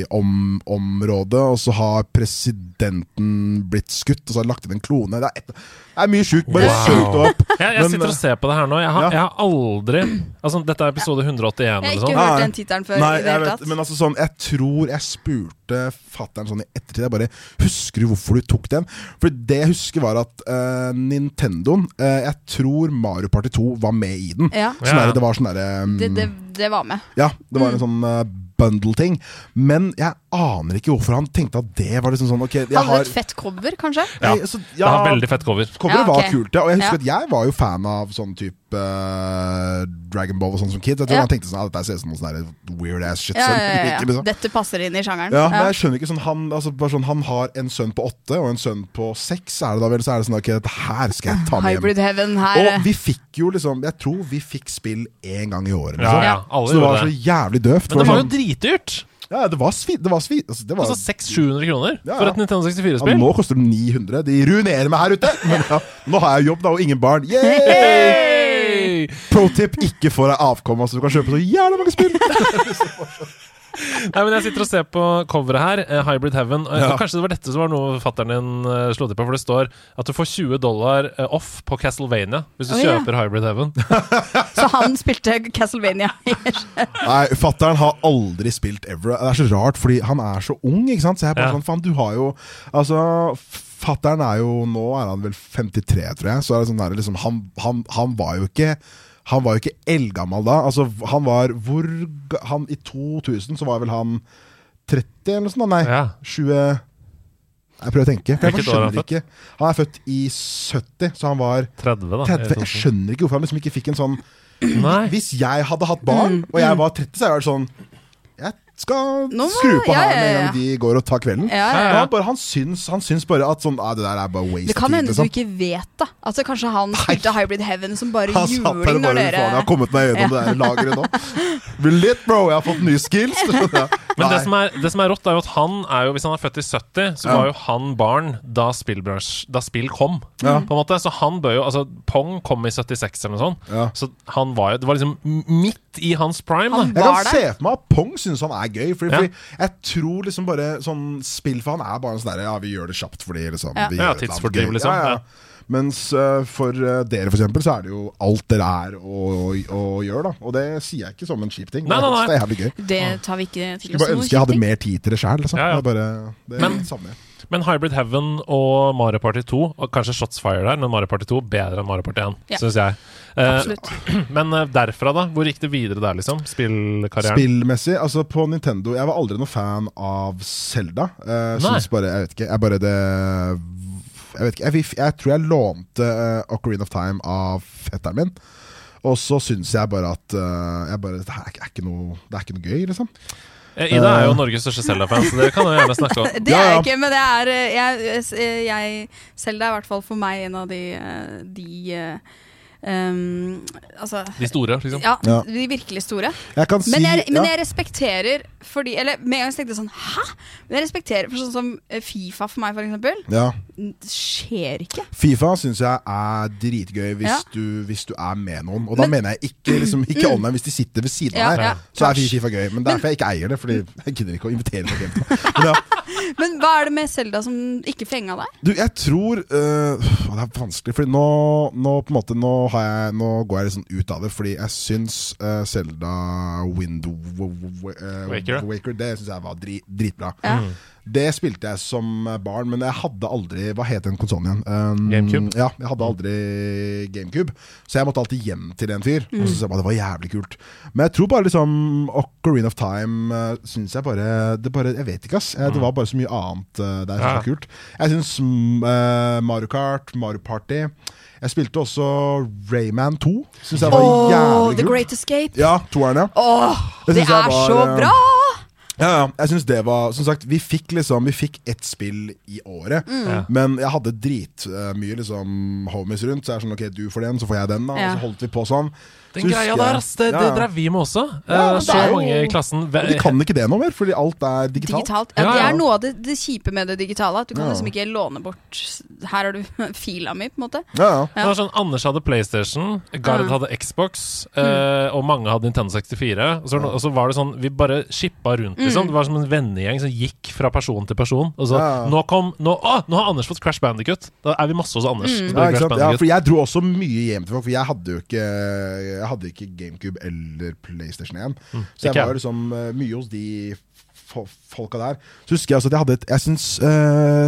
sci-fi-område, og så har presidenten blitt skutt, og så har han lagt inn en klone. Det er, et, det er mye sjukt. Bare Wow. søk det opp. [LAUGHS] Jeg, jeg Men, eh, sitter og ser på det her nå. Jeg har, ja. jeg har aldri Altså, dette er episode 181 Jeg har eller ikke sånn. hørt Nei. den tittelen før. Nei, i det jeg hele vet, tatt. men altså sånn, jeg tror jeg spurte fatteren sånn i ettertid. Jeg bare Husker du hvorfor du tok den? For det jeg husker, var at eh, Nintendoen eh, Jeg tror Mario Party 2 var med i den. Ja. Sånn Ja. der, det var sånn derre um, det, Mm. det, det var med. Ja, det var en sånn eh, bundle-ting. Men jeg aner ikke hvorfor han tenkte at det var liksom sånn Ok, jeg Hadde har et fett cover, kanje? Ja, så, Det har ja, veldig fett cover. Coveret Ja, ok. var kult, ja. Og jeg Ja. husker at jeg var jo fan av sånn type eh, Dragon Ball og sånn som kid. Jeg tror Ja. han tenkte sånn, ah, dette ser ut som noe sånn der weird ass shit. Ja, som ja, ja, ikke ja. blir sånn. Dette passer inn i sjangeren. Ja, men Ja. jeg skjønner ikke sånn han, altså, bare sånn, han har en sønn på åtte og en sønn på seks. Er det da vel, så er det sånn Ok, dette her skal jeg ta med Hybrid hjem. Heaven her. eh. Og vi fikk jo liksom Jeg tror vi fikk spill én gang i året. Ja, Liksom. ja, alle Så det var gjorde så det. jævlig døvt. Men det var jo sånn, dritdyrt! ja, det var svi... Det var svi altså, det var, Altså 600-700 kroner Ja, ja. for et Nintendo ja, 64-spill. nå koster det 900. De ruinerer meg her ute! Men ja, nå har jeg jobb da, og ingen barn. Yay! [LAUGHS] Hey! Pro tip ikke få deg avkom, altså. Du kan kjøpe så jævla mange spill! Nei, men Jeg sitter og ser på coveret her. eh, Hybrid Heaven. Eh, og Kanskje det var dette som var noe fatteren din eh, slo til på. For det står at du får 20 dollar eh, off på Castlevania hvis du Å, ja. kjøper Hybrid [LAUGHS] Heaven. [LAUGHS] Så han spilte Castlevania. Nei, fattern har aldri spilt ever. Det er så rart, fordi han er så ung, ikke sant? Så jeg er bare Ja. sånn, faen, du har jo Altså, fattern er jo Nå er han vel 53, tror jeg. Så er det sånn der, liksom, han, han, han var jo ikke han var jo ikke eldgammel da. Altså, han var hvor ga- han, I 2000 så var vel han 30 eller noe sånt? da? Nei, Ja. 20 Jeg prøver å tenke. For jeg Hvilket år er han skjønner ikke. Han er født i 70, så han var 30, da. 30. Jeg skjønner ikke hvorfor han liksom ikke fikk en sånn Nei. hvis jeg hadde hatt barn, og jeg var 30, så hadde jeg vært sånn Jeg skal Mm, Nå må- skru på ja, her ja, med en ja. gang de går og tar kvelden. Ja, ja. Men Han, bare, han, syns, han syns bare at sånn «Ah, Det der er bare waste Det kan of hende tid. du Liksom. ikke vet da Altså Kanskje han spilte Hybrid Heaven som bare Han satt der juling og når bare dere faen, Jeg har kommet meg gjennom det der lageret nå. Relate, bro! Jeg har fått nye [LAUGHS] skills. [LAUGHS] Men det Nei. som, er, det som er rått, er jo at han er jo, hvis han er født i 70, så var jo han barn da, spillbransj- da spill kom. På en måte, Så han bør jo altså, Pong kom i 76 eller noe sånt. Ja. Så han var jo Det var liksom m- midt i hans prime. Han da. Jeg var kan se der. for meg at Pong syns han er gøy. Fordi, Ja. fordi jeg tror liksom bare sånn spill for han er bare en sånn derre Ja, vi gjør det kjapt fordi liksom Ja. vi Ja, gjør et eller annet tidsfordriv, gøy. liksom. Ja. Mens eh, for eh, dere, for eksempel, så er det jo alt dere er og, og, og gjør, da. Og det sier jeg ikke som en kjip ting. Nei, nei, nei. Det er jævlig gøy. Det tar vi ikke til Skulle bare ønske jeg hadde mer tid til det sjæl. Liksom. Ja, ja. Det er bare det Men- savner jeg. Men Hybrid Heaven og Mario Party 2, og kanskje Shots Fire der, men Mario Party 2 bedre enn Mario Party 1, Ja. syns jeg. Eh, Absolutt. [CLEARS THROAT] men eh, derfra, da? Hvor gikk det videre der, liksom? Spillkarrieren? Spillmessig, altså på Nintendo Jeg var aldri noen fan av Zelda. Jeg Nei. syns bare Jeg vet ikke. Jeg bare det Jeg vet ikke. Jeg, fikk- jeg tror jeg lånte eh, Ocarina of Time av fetteren min. Og så syns jeg bare at eh, jeg bare, det, her er ikke, er ikke noe, det er ikke noe gøy, liksom. Eh, Ida er jo Norges største Zelda-fan, så dere kan jo gjerne snakke [LAUGHS] om Det Ja, er jeg ja. ikke, men det er eh, jeg, eh, jeg Selv det er i hvert fall for meg en av de, eh, de eh, um, Altså de store, liksom. ja, Ja. de virkelig store. Jeg kan si Men jeg, men ja. jeg respekterer fordi Eller med en gang så tenkte jeg sånn Hæ?! Men jeg respekterer for sånn som eh, Fifa for meg, for eksempel. ja. Det skjer ikke. Fifa syns jeg er dritgøy hvis, Ja. du, hvis du er med noen. Og da mener jeg ikke, liksom, ikke [CLEARS THROAT] online, hvis de sitter ved siden Ja, av her. ja. Så er Fifa gøy. Men derfor jeg ikke eier det, Fordi jeg gidder ikke å invitere noen hjem. Men ja, Men hva er det med Selda som ikke fenga deg? du, jeg tror øh, å, Det er vanskelig, Fordi nå, nå på en måte Nå, har jeg, nå går jeg litt sånn ut av det, fordi jeg syns uh, Selda Wind Waker, ja. Waker. eh, Waker Det syns jeg var dri, dritbra. Ja. Det spilte jeg som barn, men jeg hadde aldri Hva het den konsollen igjen? Um, GameCube? Ja, jeg hadde aldri GameCube, så jeg måtte alltid hjem til en fyr. Og så sa jeg bare, det var jævlig kult. Men jeg tror bare liksom Ocarina of Time uh, syns jeg bare, det bare Jeg vet ikke, ass. Eh, Det var bare så mye annet eh, der som Ja. var kult. Jeg syns mm, eh, Mario Kart, Mario Party Jeg spilte også Rayman 2. Syns jeg var Åh, jævlig The kult. Great Escape! Ja, toeren, ja. Åh, det Det synes jeg er var, så eh, bra! Ja, ja. Jeg synes det var Som sagt, vi fikk liksom Vi fikk ett spill i året. Ja. Men jeg hadde dritmye mye liksom homies rundt, så jeg er sånn OK, du får den, så får jeg den, da. Ja. Og så holdt vi på sånn. Så Den husker greia jeg- der, ass, det, det Ja, ja. drev vi med også. Eh, Ja, men det så er jo- mange i klassen Og de kan ikke det nå mer, fordi alt er digitalt. Digitalt. Ja, Ja, Det ja. er noe av det, det kjipe med det digitale. At du kan Ja. liksom ikke låne bort Her har du [LAUGHS] fila mi, på en måte. Ja, ja. Det var sånn, Anders hadde PlayStation, Gard Ja. hadde Xbox, eh, og mange hadde Nintendo 64. Og så, var det- og så var det sånn, vi bare shippa rundt, liksom. Det var som en vennegjeng som gikk fra person til person. Og så, Ja, ja. nå kom, nå, å, nå har Anders fått Crash Bandicut! Da er vi masse hos Anders. Så Ja, blir ikke Crash sant? ja, Bandicoot. for jeg dro også mye hjem til folk, for jeg hadde jo ikke, jeg hadde ikke GameCube eller PlayStation 1. så Mm. ikke jeg var jeg. liksom eh, mye hos de fo- folka der. Så husker jeg også at jeg hadde et Jeg syns eh,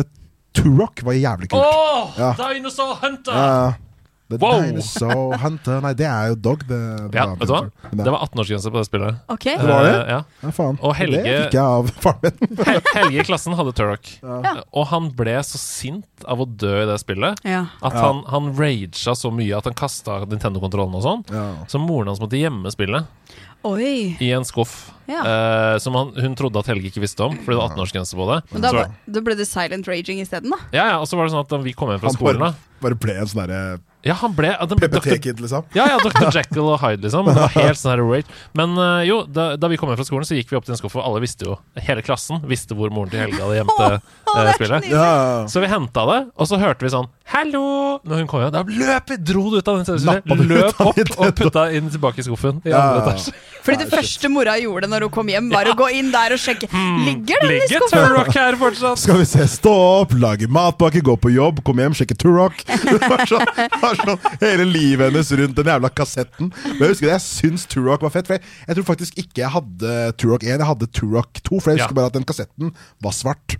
Turok var jævlig kult. Åh, Ja. Dinosaur Hunter! Ja, ja. The Wow. Dinosaur Hunter Nei, det er jo Dog. Det, det Ja, var- vet du hva? Men Det var 18-årsgrense på det spillet. Ok? Eh, var det? ja. ja, faen. Og Helge- Det fikk jeg av faren min. Hel Helge i klassen hadde Turok, og han ble så sint av å dø i det spillet. Ja. At han, han raga så mye at han kasta Nintendo-kontrollen og sånn. Ja. Så moren hans måtte gjemme spillet Oi. i en skuff. eh, som han, hun trodde at Helge ikke visste om, fordi det var 18-årsgrense på det. Men da, Så- var- da ble det silent raging isteden, da? ja, ja, og så var det sånn at da vi kom hjem fra Han skolen da bare, bare ble en sånn derre Ja, han ble at den- Dr. PPT-kid, liksom. ja, ja, Dr. Jekyll og Hyde, liksom. Det var helt sånn her rage. Men eh, jo, da, da vi kom hjem fra skolen, så gikk vi opp til en skuff, og alle visste jo Hele klassen visste hvor moren til Helge hadde gjemt [LAUGHS] eh, eh, spillet. Ja, ja, ja. Så vi henta det, og så hørte vi sånn 'hallo' når hun kom igjen. Da løp vi, dro det ut av den CD-en, Nappa det ut løp av opp den. og putta inn tilbake i skuffen. I Ja. andre etasje. Fordi det første mora gjorde når hun kom hjem, var å gå inn der og sjekke. Hmm. Ligger den i Ligger skuffen? Turok her fortsatt? Skal vi se, stå opp, lage matpakke, gå på jobb, komme hjem, sjekke Turok. Det var sånn, det var sånn, hele livet hennes rundt den jævla kassetten. Men jeg husker det, jeg syns Turok var fett. For jeg, jeg tror faktisk ikke jeg hadde Turok 1, jeg hadde Turok 2. For jeg Ja. husker bare at den kassetten var svart.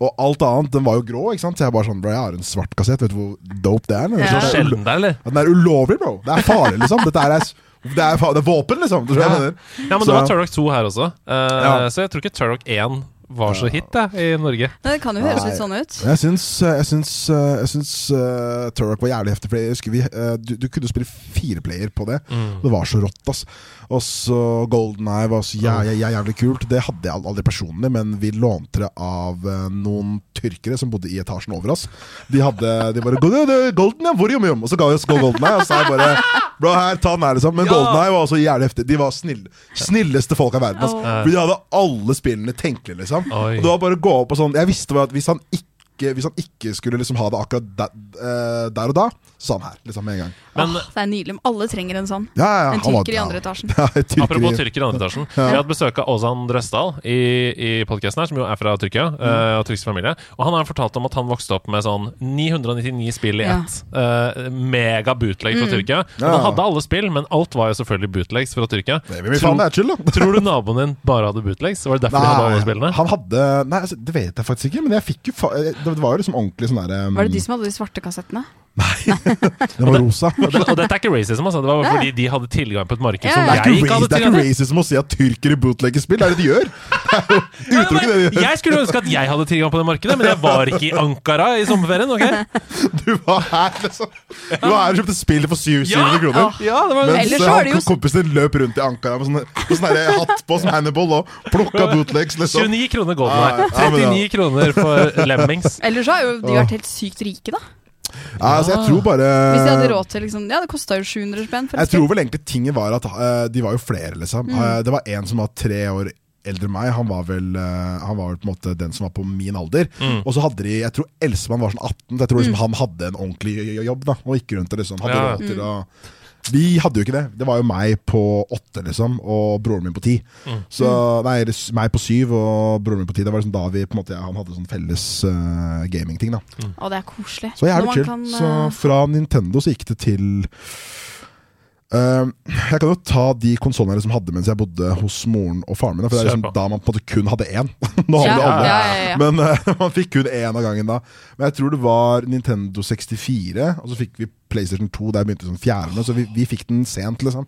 Og alt annet, den var jo grå, ikke sant. Så jeg bare sånn, bro, jeg har en svart kassett, vet du hvor dope det er? eller? Ja. Så det er ulo- Sjelden der, eller? Den er ulovlig, bro. Det er farlig, liksom. Dette er, det er, fa- det er våpen, liksom. Det tror jeg jeg mener. Ja, men Så- det var Turok 2 her også, Eh, Ja. så jeg tror ikke Turok 1 var så hit da, i Norge. Nei, Det kan jo høres Nei. litt sånn ut. Jeg syns, eh, jeg syns, jeg syns eh, Turok var jævlig heftig. Fordi jeg husker vi, eh, du, du kunne spille fireplayer på det. Det var så rått, ass. Og så Golden Eye var så jæ jæ jæ jævlig kult. Det hadde jeg al- aldri personlig, men vi lånte det av eh, noen tyrkere som bodde i etasjen over oss. De hadde De bare "Go- go- Golden, ja, hvor jom, jom? Og så ga vi oss Go Golden Eye, og så er jeg bare Bro, her, ta den her, liksom. Men Golden Eye var også jævlig heftig. De var snille, snilleste folk av verden. Ass. Åh. For de hadde alle spillene tenkelig, liksom. Oi. Og det var bare å gå opp og sånn Jeg visste bare at hvis han ikke ikke, hvis han ikke skulle liksom ha det akkurat der, eh, der og da, så sa han her. Liksom med en gang. Men Åh, det er nydelig. men Alle trenger en sånn. Ja, ja, ja, En han var- tyrker i ja. andre etasjen. [LAUGHS] Ja, en tyrker Apropos i- tyrker i andre etasjen. Vi hadde besøk av Ozan Drøsdal i, i podkasten her, som jo er fra Tyrkia. Mm. eh, og tyrkisk familie Og han har fortalt om at han vokste opp med sånn 999 spill i Ja. Mm. ett. eh, mega bootleg fra Tyrkia. Men Ja. han hadde alle spill, men alt var jo selvfølgelig bootlegs fra Tyrkia. Det vil vi faen meg chill, da. Tror du naboen din bare hadde bootlegs? Var det derfor de hadde alle spillene? han hadde Nei, altså, det vet jeg faktisk ikke, men jeg fikk jo fa Det var jo liksom ordentlig sånn derre Var det de som hadde de svarte kassettene? Det var rosa. Og, det, og dette er ikke racism, altså. Det var bare fordi de hadde tilgang på et marked Ja, som ja. Det er jeg ikke, ikke ra- hadde det er tilgang ikke til. racism å si at tyrkere bootlegger spill. Det er det de gjør. [LAUGHS] Det er jo utelukkende det de gjør. Jeg skulle ønske at jeg hadde tilgang på det markedet, men jeg var ikke i Ankara i sommerferien. ok? Du var her liksom Du var her og kjøpte spill for 700 kroner. Ja, ah, det var Mens Ellers eh, så er det han, jo kom- kompisen din løp rundt i Ankara med sånne, med sånne der hatt på som Hannibal og plukka bootlegs. Liksom. 29 kroner Golden Eye. Ja, ja, men ja. 39 kroner for [LAUGHS] Lemmings. Ellers så har jo de vært helt sykt rike, da. Ja, altså, jeg tror bare Hvis de hadde råd til liksom Ja, det kosta jo 700 spenn. for et Eh, Jeg spill. tror vel egentlig tingen var at eh, de var jo flere, liksom. Eh, det var en som var tre år eldre enn meg. Han var vel eh, Han var vel på en måte den som var på min alder. Mm. Og så hadde de Jeg tror Elsemann var sånn 18. Så jeg tror liksom han hadde en ordentlig jo- jo- jobb da og gikk rundt og liksom hadde Ja. råd til å vi hadde jo ikke det. Det var jo meg på åtte liksom og broren min på ti. Så Nei, s- meg på syv og broren min på ti. Det var liksom da vi på en måte Han hadde sånn felles eh, gamingting. da Å, det er koselig. så Når jævlig man chill. kan, så eh, fra Nintendo så gikk det til Ehm, Jeg kan jo ta de konsollene som hadde mens jeg bodde hos moren og faren min. da, For det er Kjør liksom på. da man på en måte kun hadde én. [LAUGHS] Nå ja, hadde du alle. ja, ja, ja. Men eh, [LAUGHS] man fikk kun én av gangen da. Men jeg tror det var Nintendo 64, og så fikk vi PlayStation 2 der begynte som fjerde. Så vi, vi fikk den sent, liksom.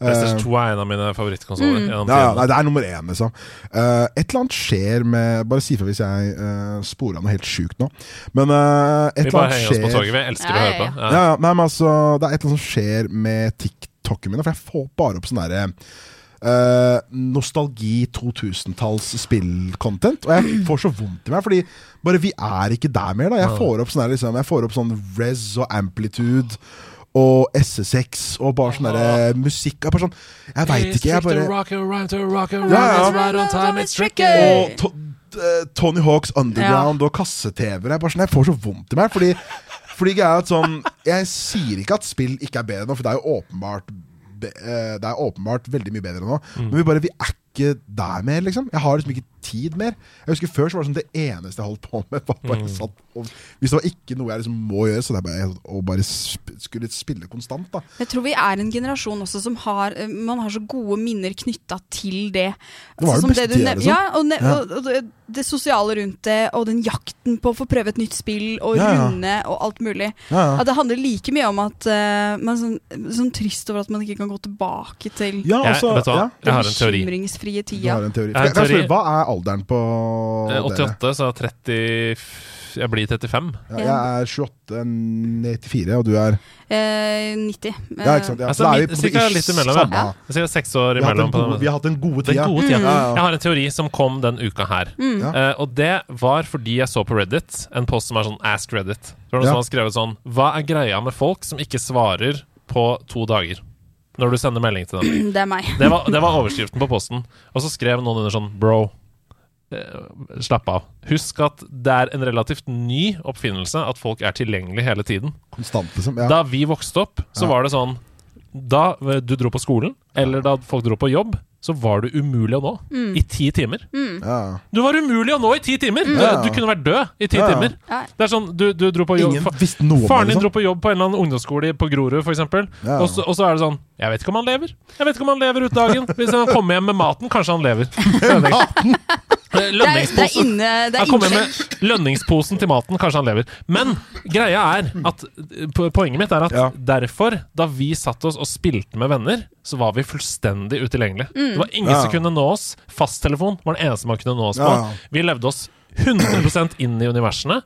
PlayStation 2 er en av mine favorittkonsoller. Mm. gjennom Ja, ja, tiden. nei, det er nummer én, liksom. Eh, et eller annet skjer med Bare si ifra hvis jeg eh, sporer av noe helt sjukt nå. Men eh, et Vi eller bare annet henger oss på skjer toget. Vi elsker Ja, å ja, høre på. ja, ja, nei, men altså, det er et eller annet som skjer med TikTokene mine, for jeg får bare opp sånn derre eh, nostalgi 2000-talls spill-content. Og jeg får så vondt i meg, fordi bare vi er ikke der mer. da Jeg får opp sånn der, liksom, jeg får opp sånn Rez og Amplitude og SS6 og bare sånn derre musikk Jeg, bare sånn, jeg veit ikke. Jeg bare Ja, ja. og to eh, Tony Hawks Underground og kasse-TV-er. Jeg, bare sånn, jeg får så vondt i meg. Fordi, fordi greia er at sånn, Jeg sier ikke at spill ikke er bedre nå, for det er jo åpenbart be- eh, Det er åpenbart veldig mye bedre nå. Mm. Men vi bare, vi er ikke der mer, liksom. Jeg har liksom ikke tid mer. Jeg husker Før så var det sånn det eneste jeg holdt på med. Var bare Mm. satt, og, hvis det var ikke noe jeg liksom må gjøre, så det er bare å bare sp skulle spille konstant. da Jeg tror vi er en generasjon også som har eh, Man har så gode minner knytta til det. Det Sånn var det som beste du tida, nev- liksom. Ja, og, ne Ja. og, og det- det sosiale rundt det, og den jakten på å få prøve et nytt spill, og Ja, ja. runde og alt mulig. Ja, ja. At det handler like mye om at eh, man er sånn, sånn trist over at man ikke kan gå tilbake til Ja, Jeg, altså, vet du hva? ja. jeg har en teori. bekymringsfrie Du har tida. en teori. Jeg har en Kan jeg teori. spørre, Hva er alderen på Eh, dere? 88, så er 30 Jeg blir 35. Ja, jeg er 28, 94, og du er Eh, 90. eh, Ja, ikke sant? Ja. Altså, da er vi midt- på en måte cirka ish litt imellom, samme. ja. Jeg sier seks år Vi har hatt imellom. den På gode, vi den. har hatt den gode Den tida. gode tida. Ja, ja. Jeg har en teori som kom den uka her. mm. Ja. Eh, og det var fordi jeg så på Reddit en post som er sånn Ask Reddit. Det var noen som Ja. hadde skrevet sånn Hva er greia med folk som ikke svarer på to dager? Når du sender melding til dem. [CLEARS THROAT] Det er meg. Det var, det var overskriften på posten. Og så skrev noen under sånn Bro, eh, slapp av. Husk at det er en relativt ny oppfinnelse at folk er tilgjengelige hele tiden. Konstant, liksom. Ja. Da vi vokste opp, så Ja. var det sånn Da eh, du dro på skolen, eller da folk dro på jobb, så var du umulig å nå Mm. i ti timer. Ja. Du var umulig å nå i ti timer! Du, Ja. du kunne vært død i ti Ja. timer. Ja. Det er sånn, du, du dro på jobb Ingen visste noe om Faren din det, liksom. dro på jobb på en eller annen ungdomsskole i- på Grorud, f.eks. Ja. Og, så- og så er det sånn Jeg vet ikke om han lever. Jeg vet ikke om han lever ut dagen. Hvis han kommer hjem med maten, kanskje han lever. [LAUGHS] Eh, Det er, det er Lønningsposen. inne Det Han er kommer innsjekk. med lønningsposen til maten, kanskje han lever. Men greia er at eh, po- poenget mitt er at Ja. derfor, da vi satt oss og spilte med venner, så var vi fullstendig utilgjengelige. Mm. Det var ingen Ja. som kunne nå oss. Fasttelefon var den eneste man kunne nå oss på. Ja. Vi levde oss 100 inn i universene.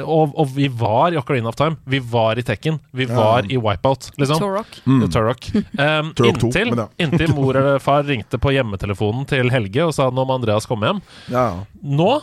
Og, og vi var i Ocarina of Time, vi var i Tekken, vi var i Wipeout. Liksom. Torrock. Mm. Turok. Um, Turok to, inntil, men ja. [LAUGHS] inntil mor eller far ringte på hjemmetelefonen til Helge og sa nå [CLEARS THROAT] må Andreas komme hjem. Ja. Nå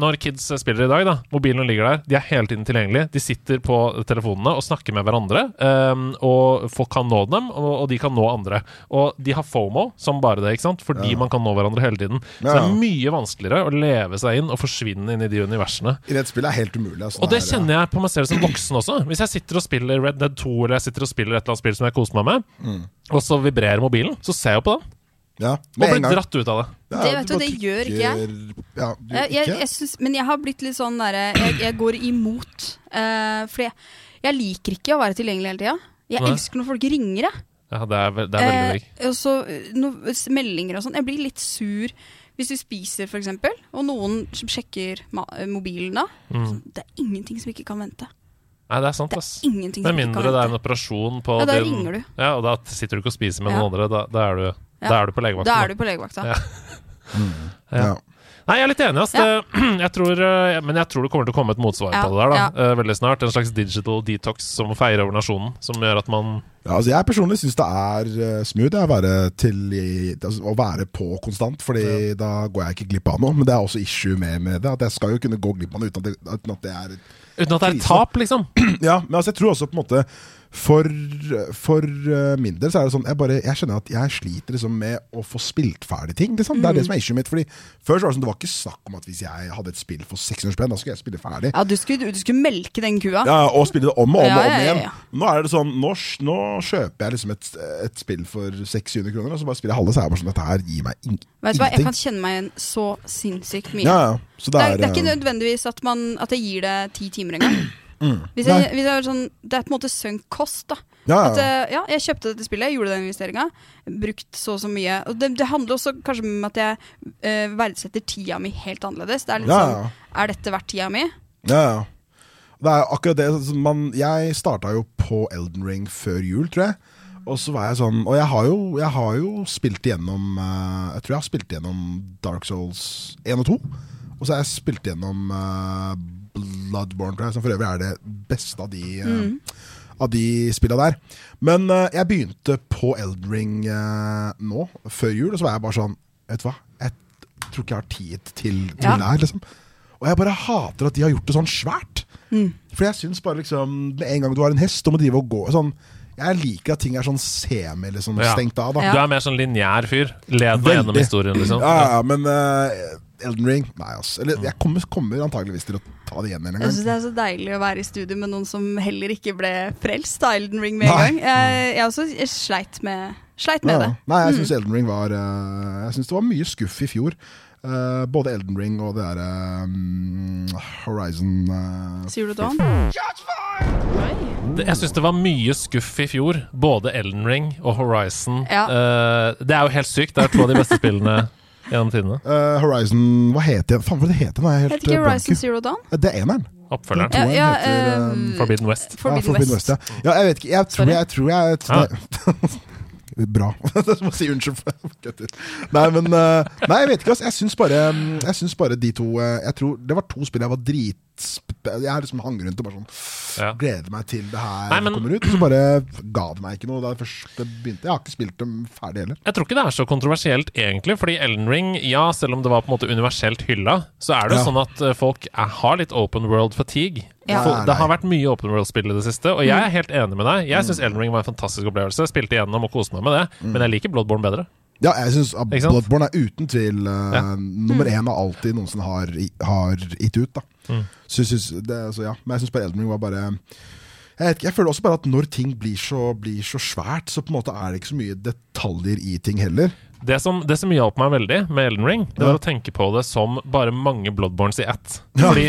når kids spiller i dag, da, mobilene ligger der, de er hele tiden tilgjengelige. De sitter på telefonene og snakker med hverandre. ehm, og folk kan nå dem, og, og de kan nå andre. Og de har FOMO som bare det, ikke sant? fordi man kan nå hverandre hele tiden. Så det Ja. er mye vanskeligere å leve seg inn og forsvinne inn i de universene. I dette spillet er helt umulig. Altså, Og det kjenner jeg på meg selv som voksen også. Hvis jeg sitter og spiller Red Dead 2 eller jeg sitter og spiller et eller annet spill som jeg koser meg med, Mm. og så vibrerer mobilen, så ser jeg jo på den. ja, Og med en blir gang. dratt ut av det. Ja, Det vet du, bare det gjør ikke jeg. trykker- Ja, du, Eh, Jeg, jeg, ikke? jeg synes, men jeg har blitt litt sånn derre jeg, jeg går imot. Uh, fordi jeg, jeg liker ikke å være tilgjengelig hele tida. Jeg Nei. elsker når folk ringer, jeg. Ja, det er, ve- det er veldig digg. Eh, og så eh, no- s- meldinger og sånn. Jeg blir litt sur hvis vi spiser, for eksempel og noen som sjekker ma eh, mobilen da. Mm. Så Det er ingenting som ikke kan vente. Nei, det er sant, Det ass. er ingenting Med som ikke mindre kan det er en vente. operasjon på Ja, da din- ringer du. Ja, og da sitter du ikke og spiser med Ja. noen andre. Da, da, er, du, da Ja. er du på legevakten. Da er du på legevakta. Ja. ja. Nei, jeg er litt enig, ass. Det, [CLEARS THROAT] jeg tror, eh, men jeg tror det kommer til å komme et motsvar Ja, på det der, da. ja. eh, Veldig snart. En slags digital detox som feirer over nasjonen. Som gjør at man Ja, altså jeg personlig syns det er eh, smooth jeg, å, være til, i- altså, å være på konstant, Fordi da går jeg ikke glipp av noe. Men det er også issue med, med det. At jeg skal jo kunne gå glipp av noe uten at det, uten at det er Uten at det er et Krise. tap, liksom. Ja, men altså jeg tror også på en måte For, for eh, min del så er det sånn jeg, bare, jeg skjønner at jeg sliter liksom med å få spilt ferdig ting. Liksom. Det er det som er issue mitt. Fordi Før så var det sånn, det var ikke snakk om at hvis jeg hadde et spill for 600 spenn, da skulle jeg spille ferdig. Ja, du skulle, du skulle melke den kua. Ja, og spille det om og om Ja, og om ja, ja, igjen. ja. Nå er det sånn, nå, sj- nå kjøper jeg liksom et, et spill for 600 kroner, og så bare spiller jeg halve, så er jeg bare sånn Dette her gir meg ing Vet du hva, jeg ingenting. kan kjenne meg igjen så sinnssykt mye. Ja, ja. det, Så det er, det er ikke eh, nødvendigvis at, man, at jeg gir det ti timer engang. [CLEARS THROAT] Mm. Hvis jeg, hvis jeg er sånn, det er på en måte sunk kost. da ja, at, ja. eh, ja, Jeg kjøpte dette spillet, jeg gjorde den investeringa. Brukt så og så mye. Og det, det handler også kanskje om at jeg eh, verdsetter tida mi helt annerledes. Det Er litt Ja, ja. sånn, er dette verdt tida mi? ja, ja. Det er akkurat det sånn som man, Jeg starta jo på Elden Ring før jul, tror jeg. Og så var jeg sånn Og jeg har jo, jeg har jo spilt igjennom eh, Jeg tror jeg har spilt igjennom Dark Souls 1 og 2. Og så har jeg spilt igjennom eh, Bloodborne, tror jeg, som for øvrig er det beste av de eh, Av de spilla der. Men eh, jeg begynte på Elden Ring eh, nå, før jul, og så var jeg bare sånn Vet du hva, jeg tror ikke jeg har tid til, til Ja. det her, liksom. Og jeg bare hater at de har gjort det sånn svært. For jeg syns bare liksom Med en gang du har en hest, du må drive og gå sånn Jeg liker at ting er sånn semi liksom, Ja. stengt av. da Ja. Du er mer sånn lineær fyr. Led meg gjennom Veldig. historien, liksom. Ja, ja, men eh, Elden Ring Nei, ass. Eller jeg kommer, kommer antageligvis til å ta det igjen en Jeg gang. synes Det er så deilig å være i studio med noen som heller ikke ble frelst av Elden Ring med en Nei. gang. Jeg, jeg også jeg sleit med, sleit Ja, med ja. det. Nei, jeg syns Elden Ring var eh, Jeg synes det var mye skuff i fjor. Eh, både Elden Ring og det derre mm, Horizon eh, Sier du Dawn? Det- Jeg syns det var mye skuff i fjor. Både Elden Ring og Horizon. Ja. Eh, det er jo helt sykt. Det er to av de beste spillene gjennom tidene. eh, Horizon Hva heter den? Faen, hva heter den? Jeg er Heter helt ikke eh, blank i- Horizon Zero Dawn? Det er eneren. Oppfølgeren. Toeren Ja, ja, heter eh, eh, Forbidden West. Forbidden, ja, Forbidden West. West. ja. ja, jeg vet ikke. Jeg tror Sorry. jeg, tror jeg, Ja. Nei. Bra. Jeg [LAUGHS] må si unnskyld for det. [LAUGHS] Kødder. Nei, men eh, Nei, jeg vet ikke. ass. Jeg syns bare, mm, jeg syns bare de to eh, Jeg tror Det var to spill jeg var drit Jeg liksom hang rundt og bare sånn Ja. Gleder meg til det her Nei, men- kommer ut. Så bare ga det meg ikke noe da jeg først begynte. Jeg har ikke spilt dem ferdig heller. Jeg tror ikke det er så kontroversielt, egentlig. Fordi Elden Ring, ja, selv om det var på en måte universelt hylla, så er det jo Ja. sånn at eh, folk er, har litt open world fatigue. Ja. For, Nei, det nei. Mm. har vært mye open world-spill i det siste, og jeg er helt enig med deg. Jeg syns Elden Ring var en fantastisk opplevelse. Spilte igjennom og koste meg med det, men jeg liker Bloodborne bedre. Ja, jeg syns uh, Ikke sant? Bloodborne er uten tvil uh, Ja. nummer én av alt de noensinne har, i- har gitt ut. Da. Mm. Så, jeg synes det, så ja. Men jeg syns bare Elden Ring var bare jeg, vet ikke, jeg føler også bare at når ting blir så, blir så svært, så på en måte er det ikke så mye detaljer i ting heller. Det som, det som hjalp meg veldig med Elden Ring, det var å tenke på det som bare mange Bloodborns i ett. Fordi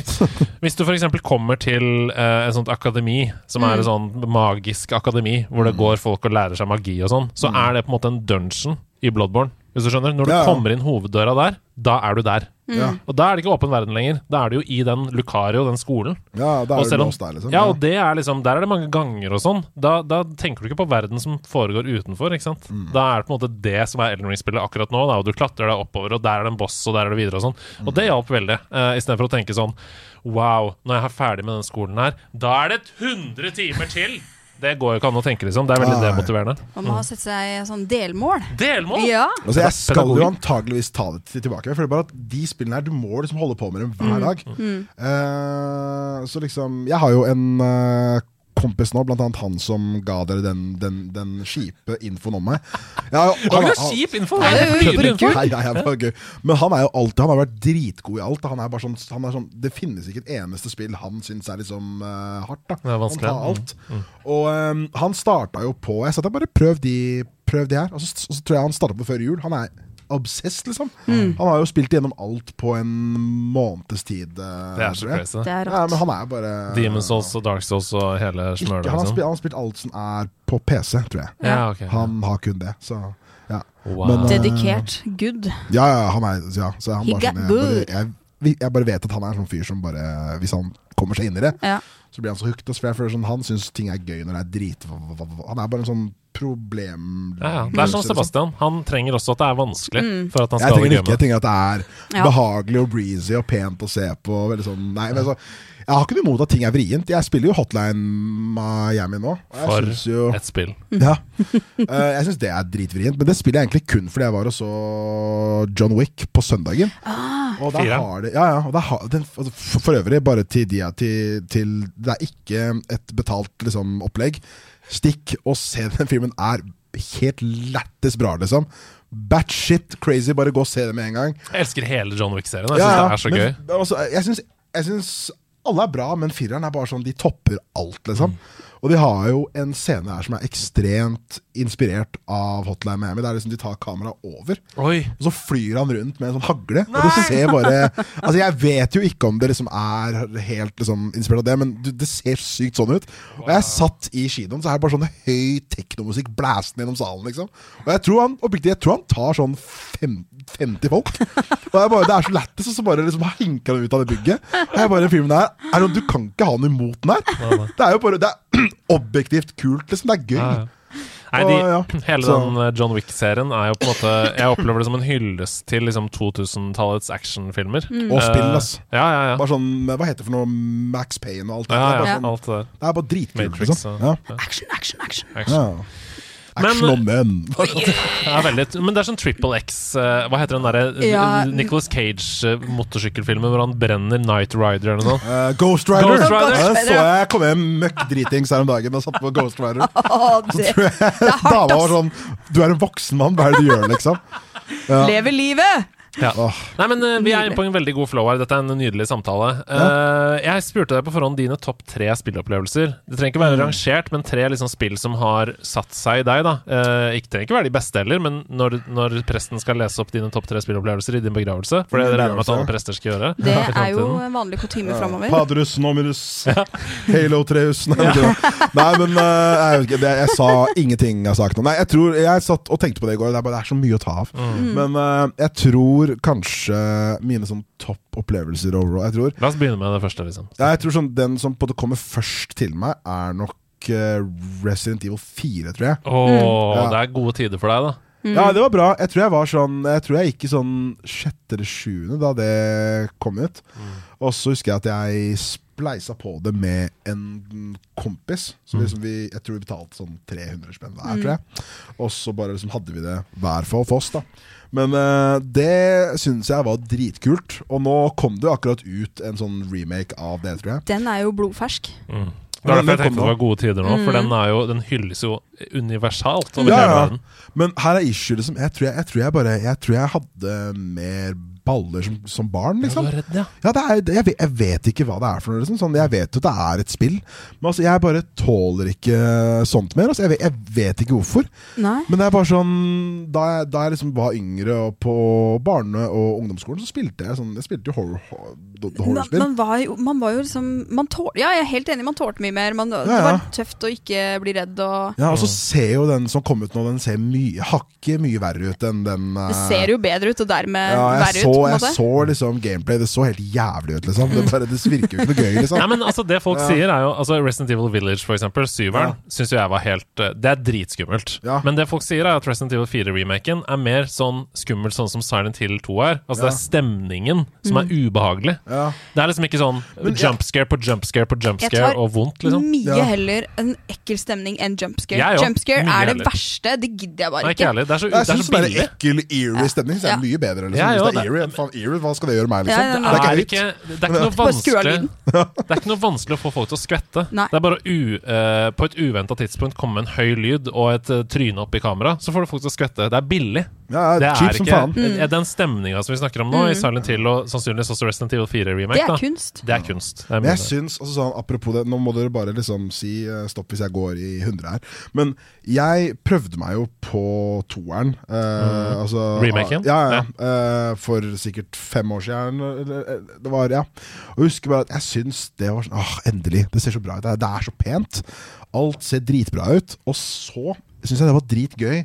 Hvis du f.eks. kommer til eh, et sånt akademi, som er et sånt magisk akademi, hvor det går folk og lærer seg magi og sånn, så er det på en måte en dungeon i Bloodborne. Hvis du skjønner? Når du Ja, ja. kommer inn hoveddøra der, da er du der. Ja, Og da er det ikke åpen verden lenger. Da er du jo i den Lucario, den skolen. ja da Og er det selv om- låst der, liksom. Ja, og det er liksom, Der er det mange ganger og sånn. Da, da tenker du ikke på verden som foregår utenfor. ikke sant? Mm. Da er det på en måte det som er Elden Ring-spillet akkurat nå. Da, og Du klatrer deg oppover, og der er det en boss, og der er det videre og sånn. Mm. Og det hjalp veldig. Uh, Istedenfor å tenke sånn Wow, når jeg er ferdig med den skolen her, da er det 100 timer til! Det går jo ikke an å tenke, liksom. Det er veldig Nei. demotiverende. Man må ha sett seg sånn delmål. Delmål! Ja. Altså, jeg skal jo Pedagogikk. antageligvis ta det til- tilbake. Jeg føler bare at de spillene her, du må liksom holde på med dem hver dag. Eh, så liksom Jeg har jo en eh, kompis nå, blant annet han som ga dere den, den, den kjipe infoen om meg. Jeg har jo- Det var jo kjip info! Det Nei, er det er jo dyre info. Nei, nei, jeg bare gøy. Men han er jo alltid Han har vært dritgod i alt. Han er bare sånn, han er sånn Det finnes ikke et eneste spill han syns er liksom eh, hardt. da er vanskelig, Han tar alt. Og eh, han starta jo på Jeg sa da bare prøv de, prøv de her. Og så, og så tror jeg han starta på før jul. Han er obsessed, liksom. Mm. Han har jo spilt gjennom alt på en måneds tid. eh, Det er så tror jeg. crazy. Det er Ja, rått. men han er bare Demon's Souls og Dark Souls og hele ikke, han, smøret. har spilt, Liksom. han har spilt alt som er på PC, tror jeg. Ja, ok. Han har kun det, så ja. Wow. Men, eh, Dedikert. Good. Ja, ja, han er ja, så han He bare got sånn, jeg, bare, good. jeg, vi- jeg bare vet at han er en sånn fyr som bare Hvis han kommer seg inn i det, Ja. så blir han så hooked. ass, For jeg føler sånn, Han syns ting er gøy når det er drit Han er bare en sånn problem... Ja, ja. Det er som liksom. Sebastian. Han trenger også at det er vanskelig for at han Jeg skal ha det trenger gøy det ikke. Jeg med. trenger at det er Ja. behagelig og breezy og pent å se på. og Veldig sånn, nei, men så, jeg har ikke noe imot at ting er vrient. Jeg spiller jo Hotline Miami nå. og Jeg For syns jo, Et spill. ja. [LAUGHS] Eh, jeg syns det er dritvrient, men det spiller jeg egentlig kun fordi jeg var og så John Wick på søndagen. og der Fire. har det, ja, ja, og der har, den, altså, for, for øvrig, bare til de til, til Det er ikke et betalt liksom, opplegg. Stikk og se den filmen. er helt lættis bra, liksom. Batshit crazy. Bare gå og se det med en gang. Jeg elsker hele John Wick-serien. Jeg syns det er så men, gøy. Altså, jeg syns- jeg syns alle er bra, men fireren er bare sånn De topper alt, Mm. liksom. Og de har jo en scene her som er ekstremt inspirert av Hotline Miami. Det er liksom De tar kameraet over, Oi. og så flyr han rundt med en sånn hagle. Og du ser bare Altså Jeg vet jo ikke om det liksom er helt liksom inspirert av det, men du, det ser sykt sånn ut. Og jeg satt i kinoen, så er det bare sånn høy teknomusikk blæsende gjennom salen, liksom. Og jeg tror han oppriktig, jeg tror han tar sånn fem, 50 folk. Og jeg bare, Det er så lættis, og så bare liksom hinker han ut av det bygget. Og jeg bare, filmen her, er sånn, Du kan ikke ha noe imot den her. Det er jo bare, det er [CLEARS THROAT] objektivt kult, liksom. Det er gøy. Ja, ja. Nei, de, Og, ja, [CLEARS THROAT] Hele så- den eh, John Wick-serien er jo på en måte Jeg opplever det som en hyllest til liksom 2000-tallets actionfilmer. Og spill, ass. Eh, Ja, ja, ja. Bare sånn, Hva heter det for noe? Max Payne og alt det ja, der. ja, Bare sånn, Alt det der. Det er bare dritkult, Matrix, liksom. ja. Ja. Action, action, [LAUGHS] action. Ja. Men- Action og menn. [LAUGHS] Det er veldig, men det er sånn Triple X eh, Hva heter den derre Ja. Nicholas Cage-motorsykkelfilmen hvor han brenner Night Rider eller noe? Eh, Ghost Rider. Ghost Rider. Ja, det Ghost så Rider, jeg kom hjem møkk dritings her om dagen og satt på Ghost Rider. Å, det er hardt, Dama var ass. sånn Du er en voksen mann, hva er det du gjør, liksom? [LAUGHS] Lever livet! Ja. Åh. Nei, men eh, Vi er inne på en veldig god flow her. Dette er en nydelig samtale. Eh, jeg spurte deg på forhånd dine topp tre spilleopplevelser. Det trenger ikke være rangert, men tre liksom spill som har satt seg i deg. da Eh, Ikke trenger ikke være de beste heller, men når, når presten skal lese opp dine topp tre spillopplevelser i din begravelse For det regner jeg Min med at begravelse, alle prester skal gjøre. [LAUGHS] i Det er jo fremtiden. en vanlig kutyme framover. Padrus nominus, Halo 3000 Nei, men eh, jeg, vet ikke, det, jeg sa ingenting av saken. Nei, jeg tror Jeg satt og tenkte på det i går. Det er, bare, det er så mye å ta av. Mm. mm. Mm. Men eh, jeg tror kanskje mine sånn topp opplevelser overall Jeg tror La oss begynne med det første. liksom Ja, jeg tror sånn, Den som på en måte kommer først til meg, er nok eh, Resident Evil 4, tror jeg. Åh, Mm. Ja. Det er gode tider for deg, da. Ja, det var bra. Jeg tror jeg var sånn Jeg tror jeg gikk i sånn sjette eller sjuende da det kom ut. Og så husker jeg at jeg spleisa på det med en kompis. Så liksom vi, jeg tror vi betalte sånn 300 spenn hver, tror jeg. Og så bare liksom hadde vi det hver for oss, da. Men eh, det syns jeg var dritkult. Og nå kom det jo akkurat ut en sånn remake av det, tror jeg. Den er jo blodfersk. Det var derfor Men jeg tenkte den kom Mm. det da. var gode tider nå, Mm. for den, er jo, den hylles jo universalt over Ja, hele ja. verden. Men her er issue, liksom. Jeg tror jeg, jeg, tror jeg bare Jeg tror jeg hadde mer baller som, som barn, Du liksom. er redd, ja. Ja, det er, jeg, vet, jeg vet ikke hva det er for noe. Liksom. Sånn, jeg vet jo det er et spill, men altså, jeg bare tåler ikke sånt mer. Altså, jeg, vet, jeg vet ikke hvorfor. Nei. Men det er bare sånn Da jeg, da jeg liksom var yngre og på barne- og ungdomsskolen, så spilte jeg sånn Jeg spilte jo horror, horror, Man, horrorspill. man, var jo, man var jo liksom man tål, Ja, jeg er helt enig, man tålte mye mer. Man, Det ja. var tøft å ikke bli redd og Ja, og så ser jo den som kom ut nå, den ser mye, hakket mye verre ut enn den Det eh, ser jo bedre ut, og dermed ja, jeg eh, verre så så, på en jeg måte. så liksom gameplay, det så helt jævlig ut, liksom. Det, bare, det virker jo ikke noe gøy, Nei, liksom. men altså Det folk sier, er jo altså Resident Evil Village, for eksempel, syveren, syns jo jeg var helt eh, Det er dritskummelt. Ja. Men det folk sier, er at Resident Evil 4-remaken er mer sånn skummelt sånn som Silent Hill 2 er. Altså Ja. Det er stemningen som Mm. er ubehagelig. Ja. Det er liksom ikke sånn jumpscare på jumpscare på Jeg jumpscare tar og vondt, liksom. mye Ja. heller en ekkel stemning enn jumpscare. Jeg òg. Jumpscare Mye er det heller. verste. Det gidder jeg bare Nei, ikke ikke. ærlig. Det er så, Jeg det er syns så bare billig. ekkel, eerie stemning så er det mye bedre. Liksom. Ja, ja, Hvis det det- er eerie, faen, eerie, hva skal det gjøre meg, liksom? Ja, ja, Det Det er, vits. ikke, det er ikke noe Bare skru av vanskelig [LAUGHS] Det er ikke noe vanskelig å få folk til å skvette. Nei. Det er bare å u, eh, på et uventa tidspunkt komme med en høy lyd og et eh, tryne opp i kamera, så får du folk til å skvette. Det er billig. Ja, Det cheap er som ikke faen. eh, Mm. Den stemninga som vi snakker om nå, i Silent Hill og sannsynligvis også Resident Evil 4 Det remake, er da, kunst. det er kunst. Det er Men mye jeg syns, altså sånn, Apropos det, nå må dere bare liksom si eh, stopp hvis jeg går i 100 her. Men jeg prøvde meg jo på toeren. eh, altså, Remaken? Ja, ja, ja. Eh, for sikkert fem år siden. Eller, eh, det var, ja. Og jeg husker bare at jeg syns det var sånn Åh, endelig! Det ser så bra ut. Det er, det er så pent. Alt ser dritbra ut. Og så syns jeg det var dritgøy.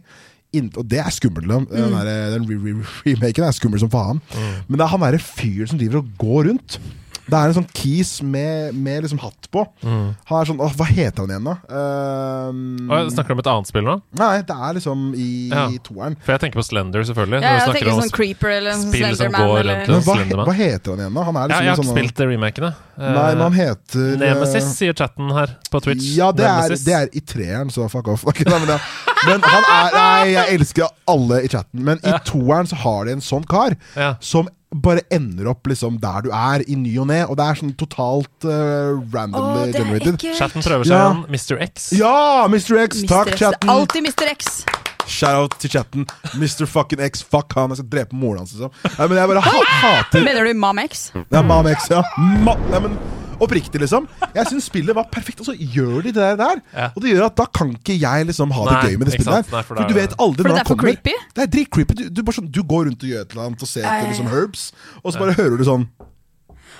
Inn- Og det er skummelt. Den, den, der, eh, den re re remaken er skummel som faen. Mm. Men det er han derre fyren som driver og går rundt. Det er en sånn kis med, med liksom hatt på. Han er sånn åh, Hva heter han igjen, da? Ehm, Mm. Og jeg snakker om et annet spill nå, nei, det er liksom i, Ja. i toeren. for jeg tenker på Slender, selvfølgelig. Ja, når vi jeg snakker tenker om sånn Creeper eller en spill som Slenderman går rundt, eller ja. Men hva, he- Slenderman. hva heter han igjen, da? Han er ja, liksom jeg har ikke sånn- spilt remakene. Eh, Nei, men han heter eh, Nemesis, sier chatten her på Twitch. Ja, det er, Nemesis. det er i treeren, så fuck off. [LAUGHS] Ok, nei, men, ja. men han er Nei, jeg elsker alle i chatten, men i toeren så har de en sånn kar Ja. som bare ender opp liksom der du er, i ny og ne, og det er sånn totalt eh, randomly generated. Chatten prøver seg Ja. igjen. Mr. X. Ja! Mr. X, takk, Mr. X. chatten. Alltid Mr. X. Shout-out til chatten. Mr. fucking X, fuck han. Jeg skal drepe moren hans, liksom. Nei, men jeg bare ha hater Mener du Mam X? Ja, Mam X, ja. Ma Nei, men oppriktig, liksom. Jeg syns spillet var perfekt, og så gjør de det der. Ja. Og det gjør at da kan ikke jeg liksom ha det Nei, gøy med det ikke sant? spillet der. Nei, for for, da- du vet aldri For når det han er for kommer. creepy? Det er dritcreepy. Du, du, bare sånn, du går rundt og gjør et eller annet og ser etter liksom herbs, og så bare hører du sånn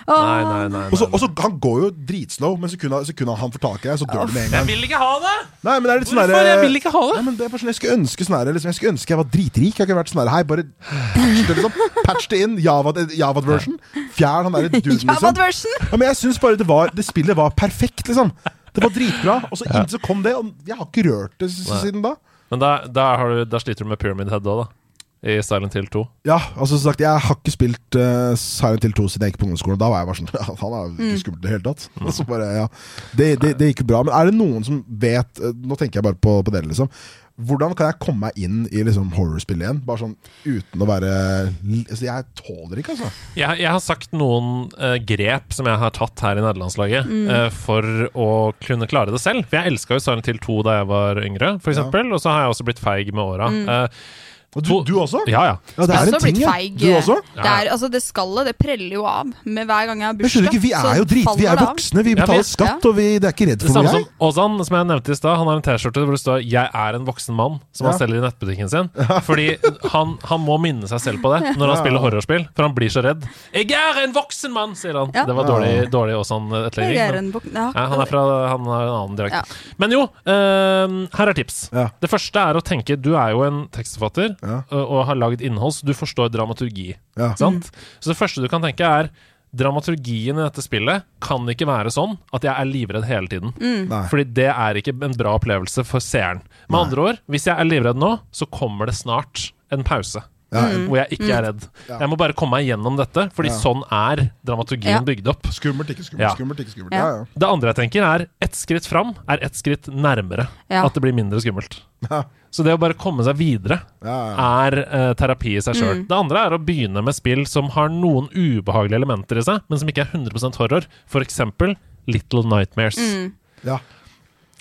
Nei, nei, nei, Og nei. så, og så Han går jo dritslow, men sekundet sekundet han får tak i deg, så dør du med en gang. Jeg vil ikke ha det! Nei, men det er litt sånn Hvorfor? derre- Jeg vil ikke ha det. Nei, men det er bare sånn, jeg skulle ønske sånn derre, liksom, Jeg skulle ønske jeg var dritrik. Jeg kunne vært sånn derre, Hei, bare patch det, liksom. Patch det inn. Javad- eh, Javad-version. Fjern han [LAUGHS] derre duden, liksom. Javad-version! Ja, men jeg syns bare det, var, det spillet var perfekt, liksom. Det var dritbra. Og så, inn, så kom det, og jeg har ikke rørt det s- Nei. siden da. Men da, da, har du, da sliter du med Pyramid Head òg, da. I Silent Hill 2. Ja, altså som sagt, Jeg har ikke spilt uh, Silent Hill 2 siden jeg gikk på ungdomsskolen. Da var jeg bare sånn [LAUGHS] ja, Han er jo Mm. ikke skummel i det hele tatt. Mm. Og så bare, ja. det, det, det gikk jo bra. Men er det noen som vet eh, Nå tenker jeg bare på, på dere, liksom. Hvordan kan jeg komme meg inn i liksom horrorspill igjen? Bare sånn uten å være l- altså, Jeg tåler ikke, altså. Jeg, jeg har sagt noen eh, grep som jeg har tatt her i nederlandslaget Mm. eh, for å kunne klare det selv. For jeg elska jo Silent Hill 2 da jeg var yngre, for eksempel. Og så har jeg også blitt feig med åra. Mm. Eh, Og du, du også? ja, ja. Ja, det Jeg har er også en ting, blitt ja. Altså, feig. Du også? Det, er, altså, det skallet det preller jo av med hver gang jeg har Men skjønner bursdag. du ikke, Vi er så jo drit, vi faller er det av. voksne, Ja, vi vi- betaler skatt, og vi, det er ikke redd Det sånn for samme som noe, jeg. Ozan, som jeg nevnte i stad. Han har en T-skjorte hvor det står 'Jeg er en voksen mann', som han Ja. selger i nettbutikken sin. Fordi han, han må minne seg selv på det [LAUGHS] når han spiller horrorspill, for han blir så redd. 'Jeg er en voksen mann', sier han. Ja. Det var dårlig, dårlig Ozan-etterligning. Jeg er men- en vok- ja. Ja, han er fra han har en annen dialekt. Ja. Men jo, eh, her er tips. Ja. Det første er å tenke Du er jo en tekstforfatter Ja. eh, og har lagd innhold, så du forstår dramaturgi. Ja. Sant? Så det første du kan tenke, er Dramaturgien i dette spillet kan ikke være sånn at jeg er livredd hele tiden. Mm. Nei. Fordi det er ikke en bra opplevelse for seeren. Med andre ord, hvis jeg er livredd nå, så kommer det snart en pause. Hvor jeg ikke er Mm. redd. Jeg må bare komme meg gjennom dette, fordi sånn er dramaturgien Ja. bygd opp. Skummelt, ikke skummelt, Ja. skummelt, ikke skummelt. Ja. Ja, ja. Det andre jeg tenker er ett skritt fram er ett skritt nærmere. Ja. At det blir mindre skummelt. Ja. Så det å bare komme seg videre Ja, ja. er eh, terapi i seg sjøl. Det andre er å begynne med spill som har noen ubehagelige elementer i seg, men som ikke er 100 horror. For eksempel Little Nightmares. Mm. Ja.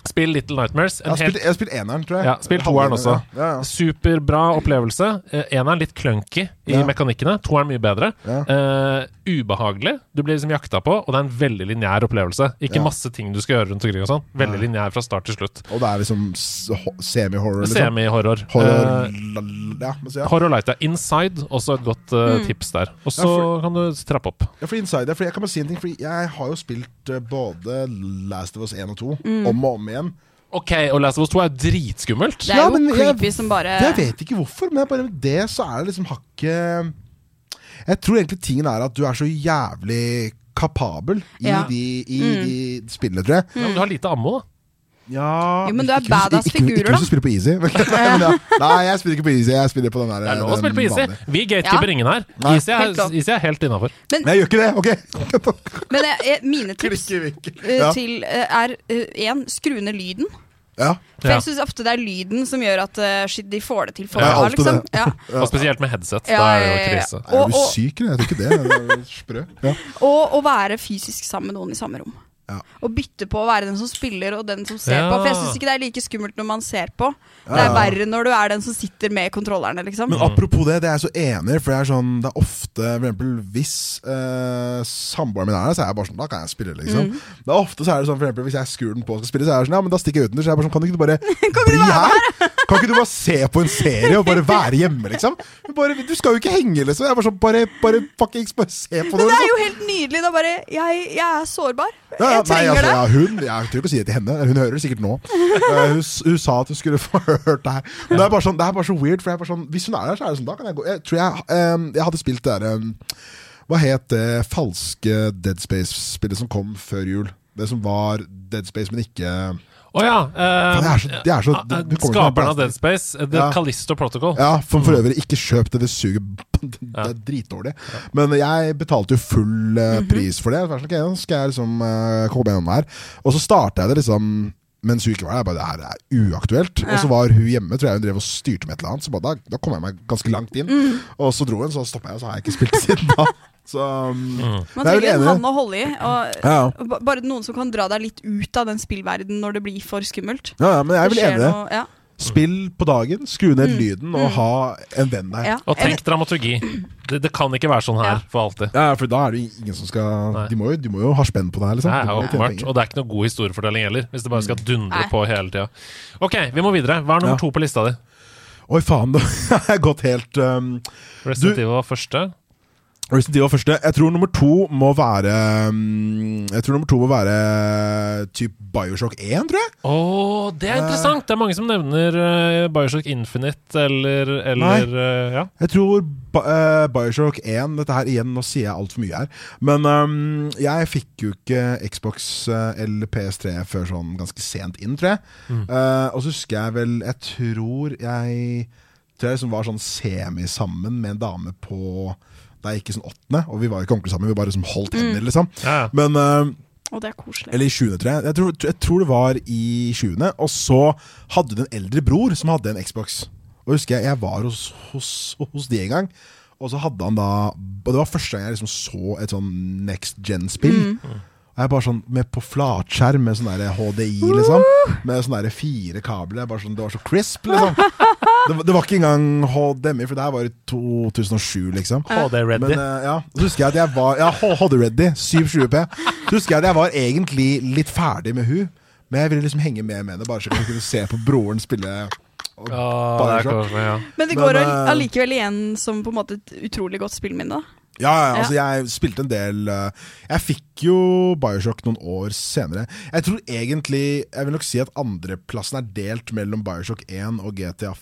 Spill Little Nightmares. Jeg En har spilt, helt jeg har spilt eneren, tror jeg. ja, spill Halvdelen, toeren også. Ja. Ja, ja. Superbra opplevelse. Eh, Eneren litt clunky i Ja. mekanikkene. Toeren mye bedre. Ja. Eh, ubehagelig. Du blir liksom jakta på, og det er en veldig lineær opplevelse. Ikke Ja. masse ting du skal gjøre rundt omkring og sånn. Veldig lineær fra start til slutt. Og det er liksom s- ho- semi-horror. Liksom. Semi-horror. Horror Eh, la- la- ja, men så ja. Horror light er inside, også et godt eh, Mm. tips der. Og så for- kan du trappe opp. ja, for Inside, ja, for jeg kan bare si en ting Fordi jeg har jo spilt eh, både Last of Us 1 og 2 Mm. om og om igjen. OK, og Last of Us 2 er jo dritskummelt. Det er Ja, jo men jeg- creepy som bare Jeg vet ikke hvorfor, men jeg bare med det så er det liksom hakket Jeg tror egentlig tingen er at du er så jævlig kapabel i, Ja. Mm. de, i de spillene, tror jeg. Ja, men du har lite ammo, da. Ja Jo, men du er ikke hvis- badass ikke- ikke- figurer, Ikke hvis du spiller på Easy. [LAUGHS] Men ja. Nei, jeg spiller ikke på Easy. Jeg spiller på den der Det er lov å den spille på Easy. vanlige. Vi gatekeeper Ja. ingen her. Nei. Easy er Helt lov. helt, er helt innafor. Men jeg gjør ikke det, OK? Men jeg, jeg, mine tips Klikker vinkel. eh, Ja. til eh, er én skru ned lyden. ja. For Ja. jeg syns ofte det er lyden som gjør at eh, shit, de får det til for Ja, bra, alltid liksom. det. Ja. Og spesielt med headset. Ja, Da er det ja, ja, jo ja. krise. Er Og- du og- syk, eller? Jeg tror ikke [LAUGHS] det. det. er Sprø. Ja. Og å være fysisk sammen med noen i samme rom. Ja. Og bytte på å være den som spiller og den som ser Ja. på. For jeg syns ikke det er like skummelt når man ser på. Det er Ja, ja. verre når du er den som sitter med kontrollerne, liksom. Men apropos det, det er jeg så enig i, for det er sånn Det er ofte, for eksempel hvis eh, samboeren min er der, så er jeg bare sånn Da kan jeg spille, Mm. liksom. Det er ofte så er det sånn, for eksempel hvis jeg skrur den på og skal spille, så er det sånn Ja, men da stikker jeg utendørs. Så er jeg bare sånn Kan ikke du [LAUGHS] bare bli her? Kan ikke du bare se på en serie og bare være hjemme, liksom? Men Bare, du skal jo ikke henge, liksom. Jeg er bare sånn Bare, bare fuckings bare se Men på det det, er liksom. jo helt nydelig. Da bare Jeg, jeg er sårbar. Ja, Jeg ja, nei, trenger altså, det. ja, hun, jeg tør ikke å si det til henne. Hun hører det sikkert nå. Eh, hun, s- hun sa at hun skulle [LAUGHS] få hørt det her. Men det, er bare sånn, det er bare så weird. For jeg er bare sånn, hvis hun er der, så er det sånn. Da kan jeg gå. Jeg tror jeg, eh, jeg hadde spilt det derre Hva het det falske Dead Space-spillet som kom før jul? Det som var Dead Space, men ikke Å ja. Faen, det er så- det er så- eh, du kommer ikke skaperen av på det. Dead Space, eh, The Ja. Callisto Protocol. Ja, for, Mm. for øvrig, ikke kjøp det. Det suger. Det er dritdårlig. Men jeg betalte jo full eh, Mhm. pris for det. Så var jeg sånn, ok, nå skal jeg liksom eh, komme gjennom her Og så starta jeg det liksom mens hun ikke var der. Jeg bare, det her er uaktuelt Og så var hun hjemme, tror jeg hun drev og styrte med et eller annet. Så bare, da, da kom jeg meg ganske langt inn. Mhm. Og så dro hun, så stoppa jeg, og så har jeg ikke spilt [LAUGHS] siden da. Så um, Man det er trenger jeg en vel enig i. hånd å holde i. Og Ja, ja. og ba- bare noen som kan dra deg litt ut av den spillverdenen når det blir for skummelt. ja, ja, men jeg er Det vel skjer enig i det. noe- Ja, Spill på dagen, skru ned lyden, og ha en venn der. ja. Og tenk dramaturgi. Det, det kan ikke være sånn her Ja. for alltid. Ja, for da er det jo ingen som skal Nei. de må, jo, de må jo ha spenn på det her, liksom. Det er De må jo tjene åpenbart, penger. og det er ikke noe god historiefortelling heller. Hvis det bare skal dundre Nei. på hele tida. Ok, vi må videre. Hva er nummer Mm. to Ja. på lista di? Oi, faen, [LAUGHS] da har jeg gått helt um, Resident Evil var første. Resident Evil var første. Jeg tror nummer to må være um, Jeg tror nummer to må være eh, typ Bioshock 1, tror jeg. Å, det er interessant! Det er mange som nevner eh, Bioshock Infinite eller, eller eh, ja. Jeg tror Bi- eh, Bioshock 1 Dette her igjen, nå sier jeg altfor mye her. Men um, jeg fikk jo ikke Xbox eh, eller PS3 før sånn ganske sent inn, tror jeg. Eh, og så husker jeg vel Jeg tror jeg Tror jeg liksom var sånn semi-sammen med en dame på Da jeg gikk i sånn åttende, og vi var jo ikke ordentlig sammen, vi bare liksom holdt hender, liksom. Ja, ja. Men eh, Og det er koselig. Eller i 20. tror jeg. Jeg tror, jeg tror det var i 20. Og så hadde hun en eldre bror som hadde en Xbox. Og husker jeg, jeg var hos, hos, hos de en gang. Og så hadde han da Og det var første gang jeg liksom så et sånn next gen-spill. Og jeg bare sånn med på flatskjerm med sånn der HDI, liksom. Med sånn der fire kabler. Jeg bare sånn, det var så crisp, liksom. Det, var- det var ikke engang HDMI, for det her var i 2007, liksom. HD Ready. Men, eh, ja, så husker jeg at jeg var Ja, HD Ready, 720p. Så husker jeg at jeg var egentlig litt ferdig med hun men jeg ville liksom henge med med det, bare så jeg kunne se på broren spille. Å, Og det bare er så- koselig, ja. Men det Men, går eh, allikevel igjen som på en måte et utrolig godt spillminne. da. Ja, ja, altså jeg spilte en del eh, Jeg fikk jo Bioshock noen år senere. Jeg tror egentlig Jeg vil nok si at andreplassen er delt mellom Bioshock 1 og GTA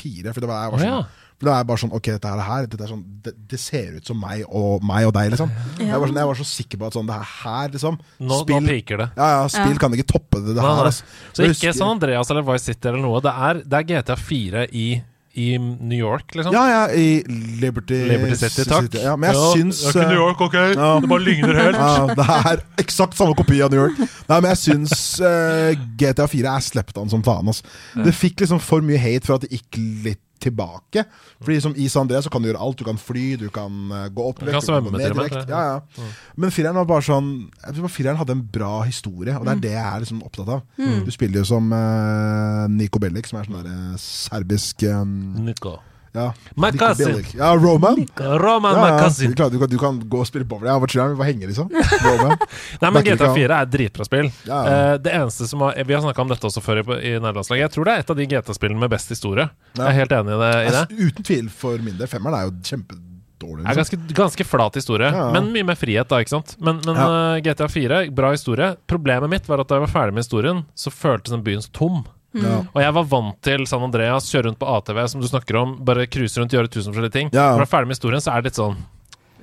4. For det var jeg var Å, sånn, ja. for det er bare sånn Ok, dette er det her. Dette er sånn, det, det ser ut som meg og, meg og deg, liksom. Jeg, var sånn, jeg var så sikker på at sånn, det er her, liksom. Nå, nå piker det. Ja, ja, spill kan ikke toppe det, det Nei, her. nei. Altså. Så Jeg ikke husker- San Andreas eller Vice City eller noe. Det er, det er GTA 4 i, i New York, liksom. Ja, ja, i Liberty, Liberty City, takk. Ja, men jeg Ja, syns det er ikke New York, ok? Det bare ligner helt. Ja, det er eksakt samme kopi av New York. Nei, men jeg syns eh, GTA 4 er slept an som faen. ass. Det fikk liksom for mye hate for at det gikk litt tilbake. Fordi som i San Andreas så kan du gjøre alt. Du kan fly, du kan eh, gå opp Du kan svømme til og med, tror jeg. Mm. Ja, ja. Men fireren var bare sånn jeg tror bare Fireren hadde en bra historie, og det er det jeg er liksom opptatt av. Mm. Du spiller jo som eh, Niko Bellic, som er sånn der eh, serbisk eh, Nico. ja. My Nico cousin. Bellic. Ja, Roman. Roman Ja, ja. Du, Makasin. klarer- du, kan, du kan gå og spille bowling. Jeg har vært chiller'n, vi bare henger, liksom. [LAUGHS] Roman. Nei, men Backer GTA ikke av. 4 er et dritbra spill. Ja, ja. Eh, det eneste som har, Vi har snakka om dette også før i, i nærlandslaget. Jeg tror det er et av de GTA-spillene med best historie. Jeg er helt enig i det. I det. Altså, uten tvil for min del. Femmeren er jo kjempedårlig. Det er Liksom. ganske, ganske flat historie, Ja. men mye mer frihet, da. ikke sant? Men, men eh, GTA 4, bra historie. Problemet mitt var at da jeg var ferdig med historien, så føltes den byen så tom. Ja. Og jeg var vant til San Andreas, kjøre rundt på ATV, som du snakker om, bare cruise rundt, gjøre tusen forskjellige ting. Ja. Når du er ferdig med historien, så er det litt sånn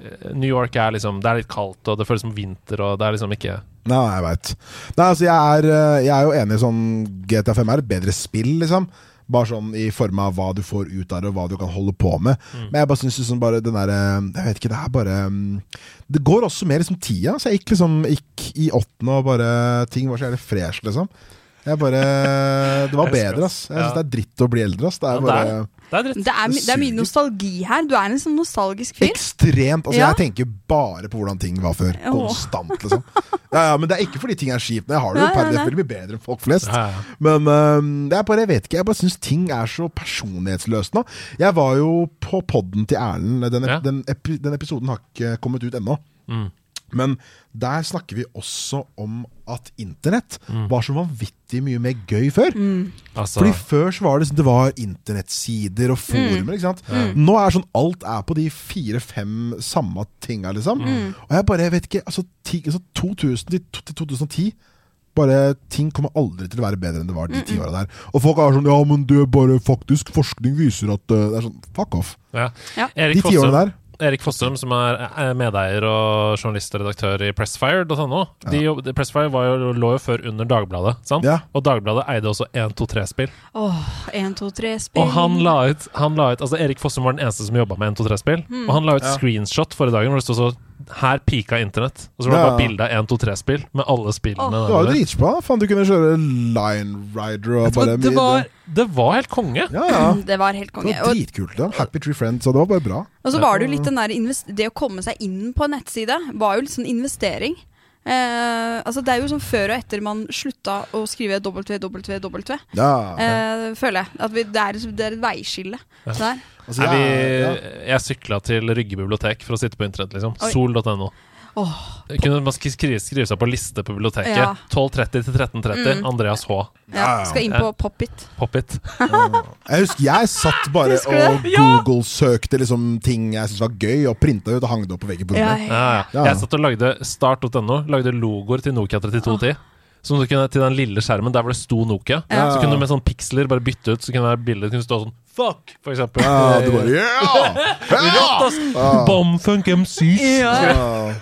eh, New York er liksom Det er litt kaldt, og det føles som vinter, og det er liksom ikke Nei, jeg veit. Nei, altså, jeg er, eh, jeg er jo enig i sånn GTA5 er et bedre spill, liksom. Bare sånn i form av hva du får ut av det, og hva du kan holde på med. Mm. Men jeg bare syns liksom bare den derre Jeg vet ikke, det er bare mm, Det går også mer liksom tida. Så jeg gikk liksom gikk i åttende, og bare ting var så jævlig fresh, liksom. Jeg [LAUGHS] bare Det var Jeg elsker bedre, ass. oss. Jeg syns Ja. det er dritt å bli eldre, ass. Det Ja, er bare Det er dritt. Det er, my- det er mye suger. nostalgi her. Du er en sånn nostalgisk fyr. Ekstremt. Altså, Ja. Jeg tenker bare på hvordan ting var før. Åh. Konstant, liksom. Ja, ja, men det er ikke fordi ting er kjipt. men Jeg har det jo Nei, per nei, nei. def veldig mye bedre enn folk flest. Ja, ja. Men øhm, det er bare, jeg vet ikke, jeg bare syns ting er så personlighetsløst nå. Jeg var jo på podden til Erlend. Den, Ja. den, epi, den episoden har ikke kommet ut ennå. Mm. Men der snakker vi også om at internett var så vanvittig mye mer gøy før. Altså, Fordi før så var det, sånn- det var internettsider Mm. og forumer. ikke sant? Nå er sånn alt er på de fire-fem samme tinga, liksom. Mm. Og jeg bare jeg vet ikke altså, ti, altså 2000 til to- til 2010 bare Ting kommer aldri til å være bedre enn det var de ti åra der. Og folk er sånn Ja, men det er bare faktisk forskning viser at eh, Det er sånn Fuck off. ja. Ja. Erik De ti årene Fossum, der. Erik Fossum, som er er medeier og journalist og redaktør i Pressfire.no de, jobb- de- Pressfire var jo, lå jo før under Dagbladet, sant? Ja. og Dagbladet eide også 123-spill. Åh, én, to, tre, spill. Og han la ut, han la ut Altså Erik Fossum var den eneste som jobba med 123-spill, og han la ut screenshot forrige dagen hvor det stod så her pika internett. Og så var det Ja, bare ja. bilde av 123-spill med alle spillene. Det var der. jo dritbra. Faen, du kunne kjøre Line Rider og Vet du hva, bare det, var, det var helt konge. Ja, ja. Mm, Det var helt konge. Det var Og, dritkult. Ja. Happy Tree Friends, og det var bare bra. og så var det jo litt den der invest- Det å komme seg inn på en nettside var jo litt sånn investering. Eh, altså Det er jo sånn før og etter man slutta å skrive www. Ja. Eh, føler jeg. At vi, det, er, liksom- det er et veiskille. Så der. Altså, Er vi, jeg- ja. jeg sykla til Rygge bibliotek for å sitte på internett, liksom. Oi. Sol.no. Åh. Kunne man sk- skrive, skrive seg på liste på biblioteket. Ja. Mm. 12.30 til 13.30. Andreas H. Ja, skal inn på Pop-It. Pop-it. Jeg husker jeg satt bare [LAUGHS] Husker og du det? Ja. Google-søkte liksom ting jeg syntes var gøy, og printa ut og hang det opp på veggen. på rommet. Ja, ja. Ja. Jeg satt og lagde start.no, lagde logoer til Nokia 3210. Som du kunne, til den lille skjermen der hvor det sto Nokia. Så kunne du med sånne piksler bare bytte ut, så kunne det være bilder kunne stå sånn Fuck! For eksempel. Ja, du bare [LAUGHS] yeah! Ja! Bomfunk MCs! Ja.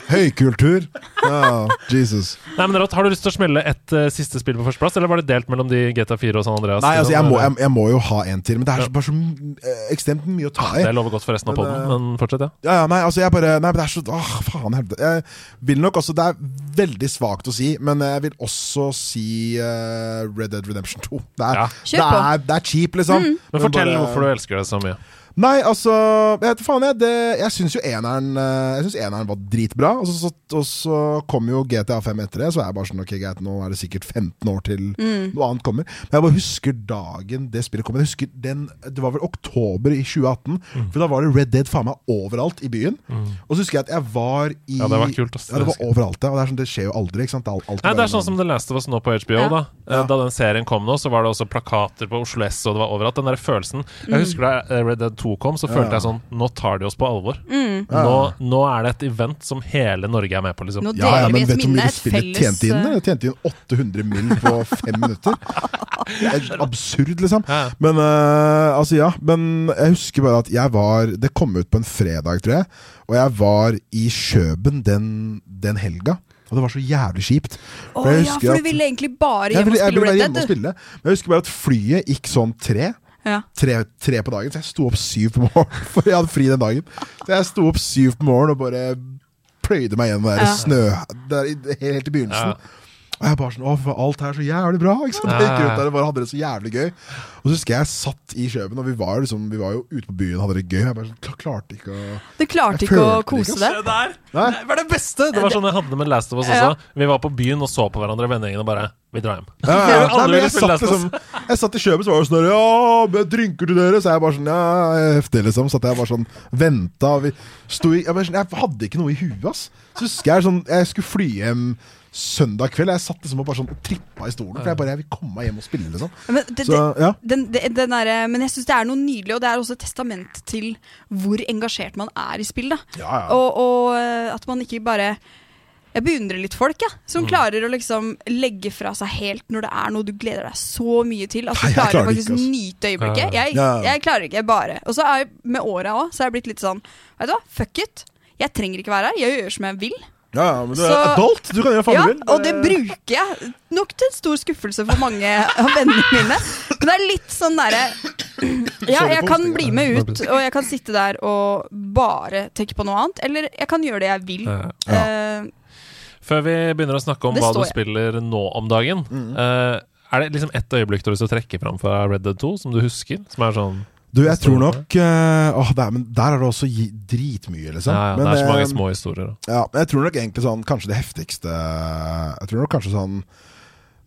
Høykultur. Ja, Jesus. Nei, men Rått, Har du lyst til å smelle et eh, siste spill på førsteplass, eller var det delt mellom de GTA 4 og San Andreas? Nei, altså, jeg må, jeg, jeg må jo ha en til, men det er så- bare så eh, ekstremt mye å ta i. Det lover godt for resten av Men, poden, eh, men fortsett, ja. Ja, ja, nei, altså jeg bare Nei, men det er så Åh, faen helvete Jeg vil nok også Det er veldig svagt å si Men jeg vil også si eh, Red Dead Redemption 2 Det er, Ja. Kjør det på. Mm. er, det er cheap liksom Men fortell bare- hvorfor du elsker det så mye. Nei, altså Jeg vet faen jeg det, Jeg synes jo eneren eh, Jeg synes eneren var dritbra Og så, så, og så kom jo GTA 5 etter det Så er jeg bare sånn Ok, greit, nå er det sikkert 15 år til Mm. Noe annet kommer Men jeg bare husker dagen det spillet kom Jeg husker den Det var vel oktober i 2018 Mm. For da var det Red Dead faen meg overalt i byen Og så husker jeg at jeg var i Ja, det var kult, ass. Mm. Ja, det var overalt ja. Og det er sånn Det skjer jo aldri, ikke sant? Det er, alt- alltid Nei, Det bare er sånn noen- som The Last of Us nå på HBO. Da Eh, Da den serien kom nå, så var det også plakater på Oslo S, og det var overalt. Den der følelsen Mm. Jeg husker da eh, Red Dead 2 kom, så følte jeg sånn Nå tar de oss på alvor. Mm. Nå, nå er det et event som hele Norge er med på, liksom. Nå ja, ja, deler vi men et vet du hvor minne, mye et spillet felles tjente inn? eh, Det tjente inn 800 mill. på fem [LAUGHS] minutter. Det er absurd, liksom. Ja. Men eh, altså, ja. Men jeg husker bare at jeg var Det kom ut på en fredag, tror jeg. Og jeg var i Kjøben den, den helga. Og det var så jævlig kjipt. Å For jeg ja, husker for at- du ville egentlig bare jeg hjem og ville, jeg spille ville være Red hjemme og Dead? du. spille. Men jeg husker bare at flyet gikk sånn tre Ja. tre, tre på dagen, så jeg sto opp syv på morgenen. [LAUGHS] For jeg hadde fri den dagen. Så jeg sto opp syv på morgenen og bare pløyde meg gjennom det der Ja. snø der, i- helt i begynnelsen. Og jeg bare sånn, Åh, for alt er så jævlig bra. Ikke sant? Jeg gikk rundt der og bare hadde det så jævlig gøy. Og så husker jeg jeg satt i Kjøben, og vi var, liksom, vi var jo ute på byen og hadde det gøy. Jeg bare sånn, kl- klarte ikke å Du klarte Jeg ikke å følte det kose ikke, deg? Det der Nei. det var det beste! Det var sånn jeg hadde det med Last of Us Ja. også. Vi var på byen og så på hverandre, vennegjengen, og bare Vi drar [LAUGHS] hjem. Ja, ja, ja. Aldri Nei, men ville jeg, spille satt, Last of Us. liksom, jeg satt i Kjøben, så var det sånn der, Ja, med drinker til dere? Så jeg bare sånn Ja, heftig, liksom. Satt jeg bare sånn Venta. og Vi sto i, jeg, bare sånn, jeg hadde ikke noe i huet, ass. Så husker jeg sånn Jeg skulle fly hjem søndag kveld. Jeg satt liksom og bare sånn og trippa i stolen. For jeg bare Jeg vil komme meg hjem og spille, liksom. Men, det, Så, det, ja. den, det, den er, eh, men jeg syns det er noe nydelig, og det er også et testament til hvor engasjert man er i spill. Da. Ja, ja. Og, og eh, at man ikke bare Jeg beundrer litt folk ja, som Mm. klarer å liksom legge fra seg helt når det er noe du gleder deg så mye til. At du Nei, jeg klarer klarer å det ikke, faktisk altså. nyte øyeblikket. Jeg, Ja, ja. jeg klarer ikke, jeg bare. Og så er jeg med åra òg, så er jeg blitt litt sånn Vet du hva, fuck it. Jeg trenger ikke være her. Jeg gjør som jeg vil. Ja, ja, men du er Så- adult. Du kan gjøre faen Ja, du vil. og det bruker jeg. Nok til stor skuffelse for mange av vennene mine. Men det er litt sånn derre [CLEARS THROAT] Ja, Sorry jeg for kan hosting. bli med ut, og jeg kan sitte der og bare tenke på noe annet. Eller jeg kan gjøre det jeg vil. Ja. Eh, Før vi begynner å snakke om Det hva du står jeg. spiller nå om dagen, Mm. eh, er det liksom ett øyeblikk du har lyst til å trekke fram fra Red Dead 2 som du husker? Som er sånn Du, jeg tror nok eh, Åh, det er, Men der er det også gi- dritmye, liksom. ja, ja, men, Det er så mange eh, små historier. da. Ja, men jeg tror nok egentlig sånn Kanskje det heftigste Jeg tror nok kanskje sånn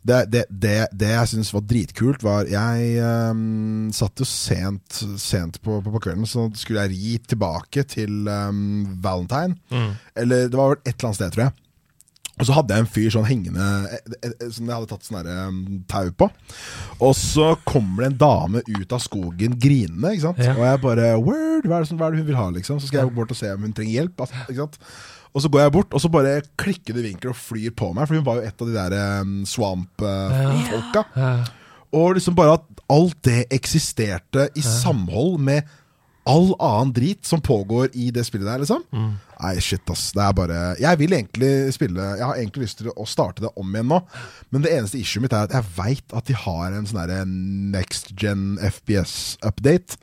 Det, det, det, det jeg syntes var dritkult, var Jeg ehm, satt jo sent, sent på, på, på kvelden, så skulle jeg ri tilbake til ehm, Valentine. Mm. Eller det var vel et eller annet sted, tror jeg. Og så hadde jeg en fyr sånn hengende eh, eh, eh, Som jeg hadde tatt sånn derre, um, tau på. Og så kommer det en dame ut av skogen grinende. ikke sant? Ja. Og jeg bare Word, hva er, det som, hva er det hun vil ha? liksom? Så skal jeg bort og se om hun trenger hjelp. Altså, ikke sant? Og så går jeg bort, og så bare klikker det vinkler og flyr på meg. For hun var jo et av de der um, swamp-folka. Og liksom bare at alt det eksisterte i samhold med all annen drit som pågår i det spillet der, liksom. Nei, shit, ass. Det er bare Jeg vil egentlig spille Jeg har egentlig lyst til å starte det om igjen nå, men det eneste issuet mitt er at jeg veit at de har en sånn derre next gen FPS-update.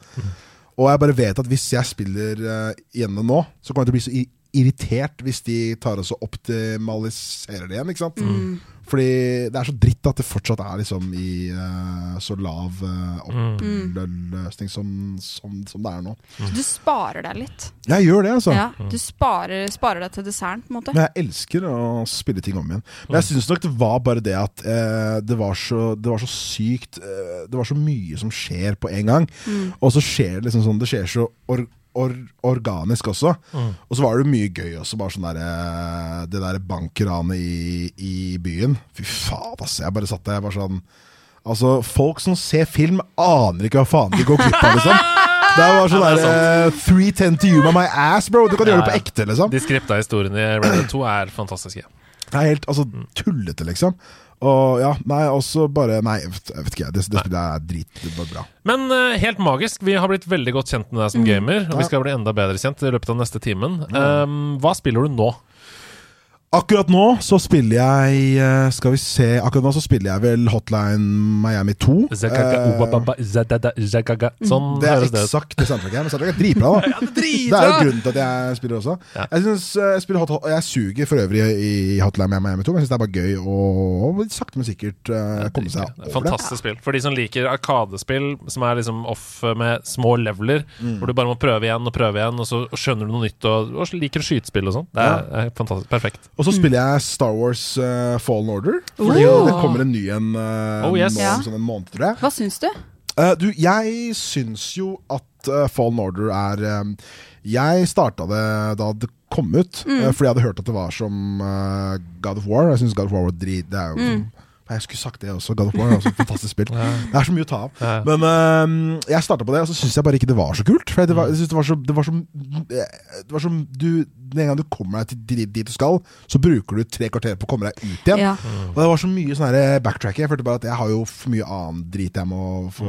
Og jeg bare vet at hvis jeg spiller eh, igjen det nå, så kommer jeg til å bli så i- irritert hvis de tar oss og optimaliserer det igjen. Mm. ikke sant? Fordi det er så dritt at det fortsatt er liksom i eh, så lav uh, Mm. Mm. oppløsning som, som, som det er nå. så du sparer deg litt. Jeg gjør det, altså. Ja, du sparer, sparer deg til desserten, på en måte. Men jeg elsker å spille ting om igjen. Men jeg syns nok det var bare det at eh, det, var så, det var så sykt eh, Det var så mye som skjer på en gang. Og så skjer det liksom sånn Det skjer så or Or organisk også. Og så var det mye gøy også. Bare sånn der, eh, det der bankranet i, i byen. Fy faen, altså. Jeg bare satt der bare sånn Altså, folk som ser film, aner ikke hva faen de går glipp av, liksom. Det var sånn der eh, 310 to you by my ass, bro. Du kan gjøre det på ekte, liksom. De skripta historiene i Red Dead 2 er fantastiske. Det er helt altså, tullete, liksom. Og ja, nei, også bare Nei, jeg vet jeg vet ikke. Det, det spillet er drit det var bra. Men eh, helt magisk. Vi har blitt veldig godt kjent med Mm. deg som gamer, og vi skal bli enda bedre kjent i løpet av neste timen. Um, hva spiller du nå? Akkurat nå så spiller jeg eh, Skal vi se Akkurat nå så spiller jeg vel Hotline Miami 2. Zagaga, Eh, obababa, zadada, zagaga. Sånn det er høres det ut. eksakt det soundtracket. her, Men soundtracket er dritbra, da. Det er jo grunnen til at jeg spiller også. Ja. Jeg synes, eh, jeg, spiller hot, og jeg suger for øvrig i Hotline Miami 2, men jeg syns det er bare gøy å å sakte, men sikkert eh, komme seg over det. Fantastisk spill. For de som liker arkadespill som er liksom off med små leveler, Mm. hvor du bare må prøve igjen og prøve igjen, og så skjønner du noe nytt, og, og så liker du skytespill og sånn. Det er, er fantastisk. Perfekt. Og så spiller jeg Star Wars eh, Fallen Order. Fordi det kommer en ny en eh, Oh, yes. nå Ja. om sånn en måned, tror jeg. Hva syns du? Eh, du, jeg syns jo at eh, Fallen Order er eh, Jeg starta det da det kom ut, eh, fordi jeg hadde hørt at det var som eh, God of War. Jeg syns God of War var drit. Det er jo Jeg skulle sagt det også. God of War er også et fantastisk spill. Det er så mye å ta av. Ja. Men eh, jeg starta på det, og så syns jeg bare ikke det var så kult. For det var, jeg synes det var så, det var så, eh, det var så du, Med en gang du kommer deg til dit, dit du skal, så bruker du tre kvarter på å komme deg ut igjen. Ja. Og det var så mye sånn her backtracking. Jeg følte bare at jeg har jo for mye annen drit jeg må få